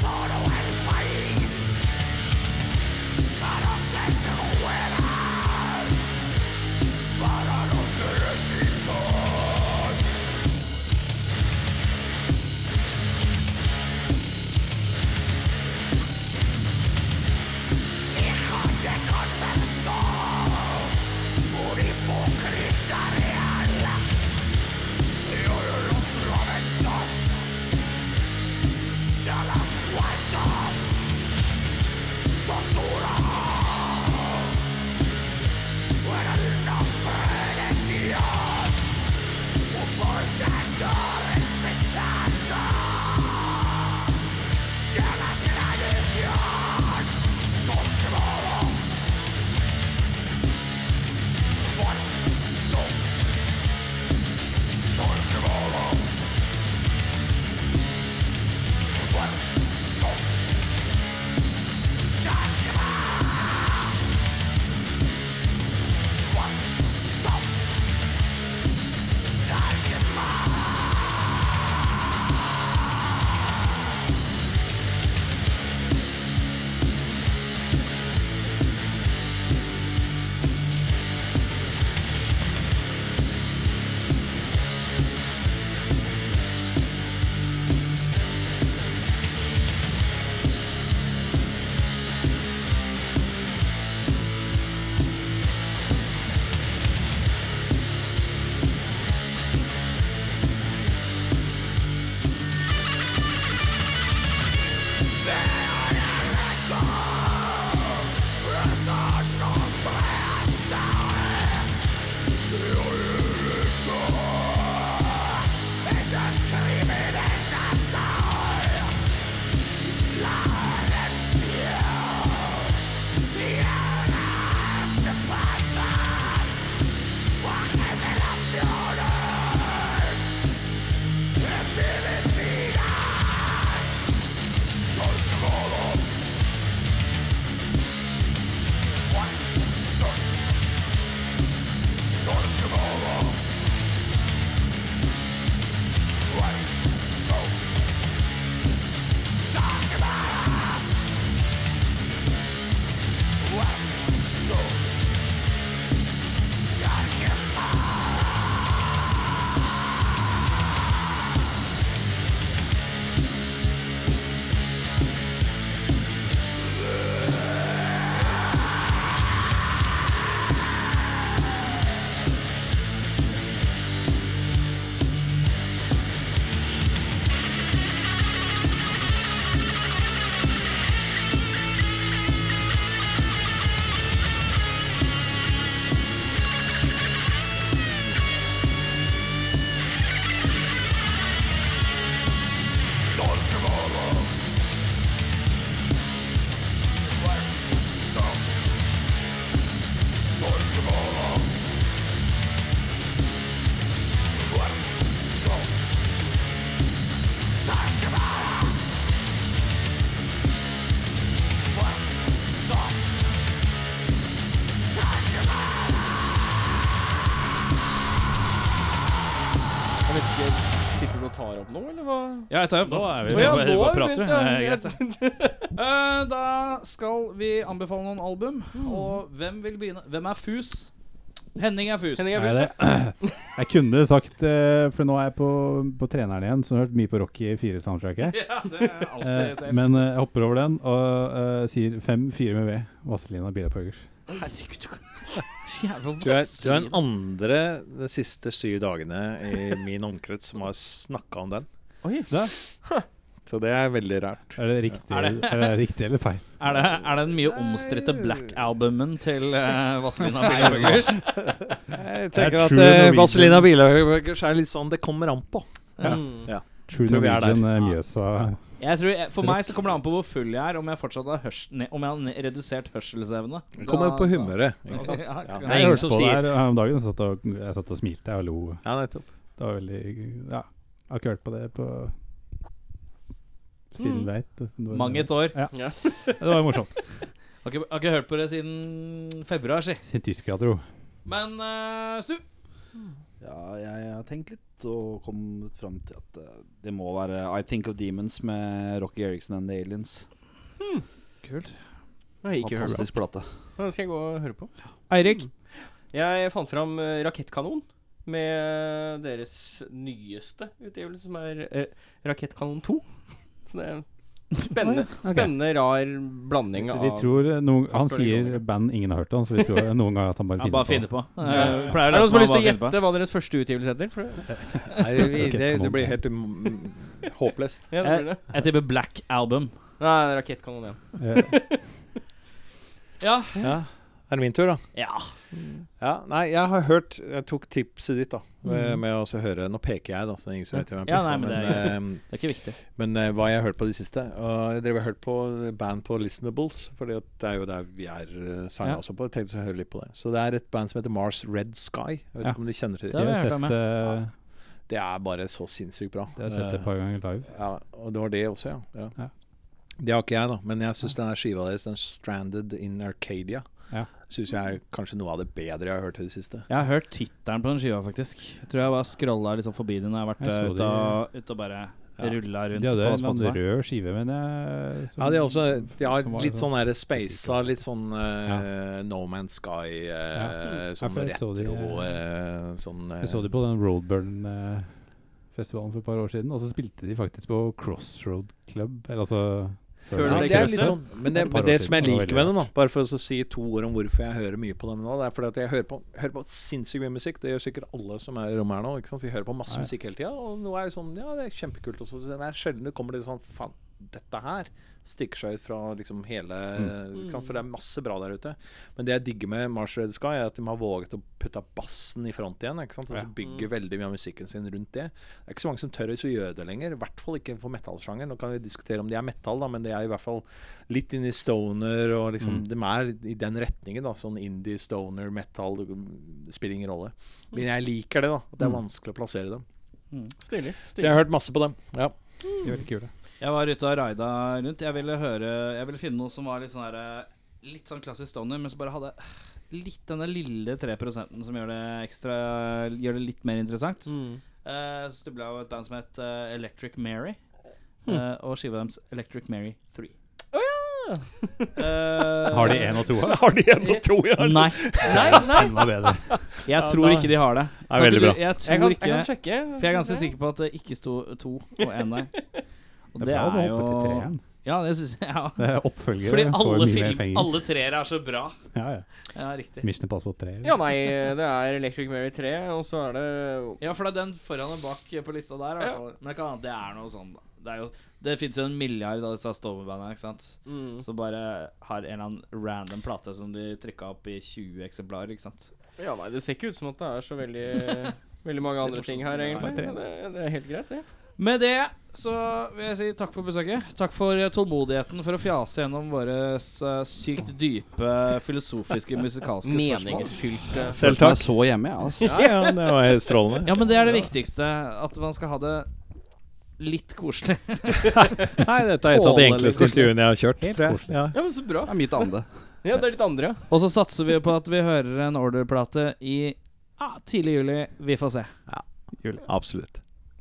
S8: Solo and fire
S2: Jeg vet ikke, Sitter du og tar opp nå, eller hva?
S1: Ja, jeg tar opp nå. Er vi, bare, bare prater. Eh, greit. Eh, da skal vi anbefale noen album. Og hvem vil begynne? Hvem er fus? Henning er fus.
S2: Henning er
S3: Nei, det, jeg kunne sagt eh, For nå er jeg på, på treneren igjen, som har hørt mye på Rocky 4-soundtracket.
S1: Ja, det er alltid
S3: Eh,
S1: safe.
S3: men eh, jeg hopper over den og eh, sier 5-4 med V. Vazelina Bilapøgers.
S1: Herregud, du kan Jævla
S5: Du er, du er den andre de siste syv dagene i min omkrets som har snakka om den.
S2: Oi.
S3: Da.
S5: Så det er veldig rart.
S3: Er det riktig,
S1: Er
S3: er
S1: det-
S3: det? Er det riktig eller feil?
S1: Er det, er det den mye omstridte Black-albumen til uh, Vazelina Bilburgers?
S5: Jeg
S3: Det er
S5: tenker at
S3: true
S5: eh,
S3: Norwegian.
S5: Vazelina Bilhøgers er litt sånn Det kommer an på.
S1: Ja.
S3: True
S5: Tror vi er der.
S3: Norwegian eh, Mjøsa.
S1: Jeg tror, jeg- for meg så kommer det an på hvor full jeg er, om jeg fortsatt har, hørs, ne, om jeg har ne- redusert hørselsevne.
S5: Det kommer jo på humøret. Ikke sant?
S1: Ja,
S5: Ja,
S1: ja.
S5: det er ingen som
S3: på
S5: sier
S3: der her om dagen. Jeg satt og, jeg satt og smilte jeg og lo.
S5: Ja, nettopp.
S3: Det var veldig Ja, jeg har ikke hørt på det på
S1: Mm.
S3: siden veit. Det var-
S1: Mang et år.
S3: Det var morsomt.
S1: Har ikke, har ikke hørt på det siden februar, si.
S3: Siden tyskere dro.
S1: Men eh, Stu,
S6: Ja, jeg har tenkt litt og kom fram til at eh, det må være I Think of Demons med Rocky Eriksen and The Aliens.
S2: Jeg har ikke hørt det.
S6: Fantastisk plate.
S2: Den skal jeg gå og høre på. Eirik? Jeg fant fram eh, Rakettkanon med deres nyeste utgivelse, som er eh, Rakettkanon 2. Så det er en spennende, spennende rar blanding av
S3: Vi tror eh, noen, Han
S2: Akkurat
S3: sier
S2: likevel.
S3: band ingen har hørt om, så vi tror noen ganger at han bare
S1: han bare finner
S3: finner på.
S1: på. Eh,
S2: Ja.
S1: pleier
S2: Er det noen som har lyst til
S1: han bare
S2: å
S1: finner på.
S2: gjette hva deres første utgivelse heter? For det,
S5: Nei, vi,
S3: Ok,
S5: det,
S3: come
S5: det
S3: on.
S5: blir helt um, håpløst.
S2: ja, det blir det.
S1: Jeg tipper Black Album.
S2: Nei, Rakettkanon 1.
S3: Eh,
S1: Ja,
S5: Ja. Er det min tur, da?
S1: Ja.
S5: Ja, Nei, jeg har hørt Jeg tok tipset ditt, da. Med, med å også høre Nå peker jeg, da, så det er ingen som vet hvem jeg
S1: Ja,
S5: peker
S1: nei,
S5: på.
S1: men det er
S5: men,
S1: Det er ikke viktig.
S5: eh, men eh, hva jeg har hørt på de siste Og jeg drev og hørte på band på Listenables, for det er jo der vi er eh, signet
S1: Ja.
S5: også på. Jeg tenkte så å høre litt på det. Så det er et band som heter Mars Red Sky. Jeg vet
S3: Ja.
S5: ikke om du kjenner til
S1: Det
S3: Vi
S5: det?
S1: har
S3: har
S1: jeg hørt om,
S3: sett, eh,
S5: Det er bare så sinnssykt bra.
S3: det har jeg sett et
S5: Eh,
S3: par ganger live.
S5: Ja, og det var det også, ja. ja.
S3: Ja.
S5: Det har ikke jeg, da. Men jeg syns denne skiva deres, den 'Stranded in Arcadia',
S3: Ja.
S5: syns jeg er kanskje noe av det bedre jeg har hørt i det siste.
S1: Jeg har hørt tittelen på den skiva, faktisk. Jeg tror jeg bare scrolla liksom forbi den når jeg har vært
S3: Jeg så
S1: eh, ute
S3: de-
S1: og, ut og bare rulla rundt på
S3: De hadde en eller annen
S1: Spotify.
S3: rød skive, men jeg som-
S5: Ja, de har også de har
S3: som var
S5: litt
S3: sånn-
S5: sånn der spaisa, litt sånn eh, No Man's Sky, eh,
S3: Ja.
S5: sånn
S3: Ja, for jeg så
S5: retro
S3: de-
S5: eh, sånn eh,
S3: Jeg så de på den Roadburn-festivalen for et par år siden, og så spilte de faktisk på Crossroad Club. Eller altså
S1: Føler
S5: ja,
S1: du
S5: det
S1: deg
S5: er
S1: krøsset?
S5: litt sånn, men det,
S3: Et par
S5: men det
S3: år
S5: som
S3: siden, det
S5: jeg
S3: var
S5: liker
S3: veldig
S5: med dem, da bare for å så si to ord om hvorfor jeg hører mye på dem nå, det er fordi at jeg hører på, hører på sinnssykt mye musikk. Det gjør sikkert alle som er i rommet her nå. Ikke sant? Vi hører på masse
S3: Ja.
S5: musikk hele tida, og nå er det sånn Ja, det er kjempekult. Og så det er sjelden det kommer litt sånn Faen, dette her stikker seg ut fra liksom hele
S3: Mm.
S5: ikke sant? For det er masse bra der ute. Men det jeg digger med Mars Red Sky, er at de har våget å putte bassen i front igjen. Ikke sant? Og
S3: Ja.
S5: så bygger veldig mye av musikken sin rundt det. Det er ikke så mange som tør å gjøre det lenger. I hvert fall ikke for metallsjangeren. Nå kan vi diskutere om de er metall, da, men det er i hvert fall litt inn i stoner og
S3: Mm.
S5: liksom De er i den retningen, da. Sånn indie, stoner, metal. Det spiller ingen rolle. Men jeg liker det, da. At det
S3: Mm.
S5: er vanskelig å plassere dem.
S1: Stilig.
S5: Så jeg har hørt masse på dem. Ja.
S3: De er veldig kule.
S1: Jeg var ute og raida rundt. Jeg ville høre Jeg ville finne noe som var litt sånn her eh, Litt sånn klassisk stoner, men som bare hadde litt denne lille 3 som gjør det ekstra Gjør det litt mer interessant.
S2: Mm.
S1: Eh, Så det ble jo et band som het eh, Electric Mary. eh, og skiva deres Electric Mary 3. Eh,
S3: Har de én og to? ja?
S5: Har de en og to, ja?
S1: Nei.
S3: Enda bedre.
S1: Jeg tror ikke de har det. Kan ikke
S3: veldig
S1: du-
S3: bra.
S1: Jeg
S2: Jeg,
S1: tror
S2: kan, jeg
S1: ikke
S2: kan sjekke.
S1: For jeg er ganske sikker på at det ikke sto to og én der. Og det
S3: bra å
S1: er
S3: hoppe til
S1: jo
S3: treeren.
S1: Ja, det syns jeg. Ja.
S3: Det er Eh, oppfølger.
S1: Fordi
S3: får
S1: alle,
S3: mye mer
S1: film,
S3: penger.
S1: alle treere er så bra.
S3: Ja, ja.
S1: Ja, riktig.
S3: Mission Impossible 3.
S2: Ja, nei, det er Electric Mary 3, og så er det
S1: Ja, for det er den foran og bak på lista der. i hvert fall. Men det kan hende det er noe sånn, da. Det, er jo, det fins jo en milliard av disse stoverbandene, ikke sant.
S2: mm,
S1: Som bare har en eller annen random plate som de trykka opp i 20 eksemplarer, ikke sant.
S2: Ja, nei, det ser ikke ut som at det er så veldig Veldig mange andre ting her, egentlig. Så sånn det, det er helt greit, det.
S1: Med det så vil jeg si takk for besøket. Takk for eh, tålmodigheten for å fjase gjennom våre eh, sykt dype filosofiske musikalske spørsmål.
S2: Meningsfylte
S5: Selv
S6: Jeg er
S5: takk.
S6: så hjemme, jeg, altså.
S5: Ja, ja, det var helt strålende.
S1: Ja, men det er det viktigste. At man skal ha det litt koselig.
S5: Nei, dette er et av de
S2: Tålelig
S5: enkleste intervjuene jeg har kjørt.
S3: Helt
S5: tror jeg.
S3: koselig.
S5: Ja.
S2: Ja, men så bra.
S6: Det er mitt ande.
S2: Ja, det er litt andre, ja.
S1: Og så satser vi på at vi hører en orderplate i ah, tidlig juli. Vi får se.
S5: Absolutt.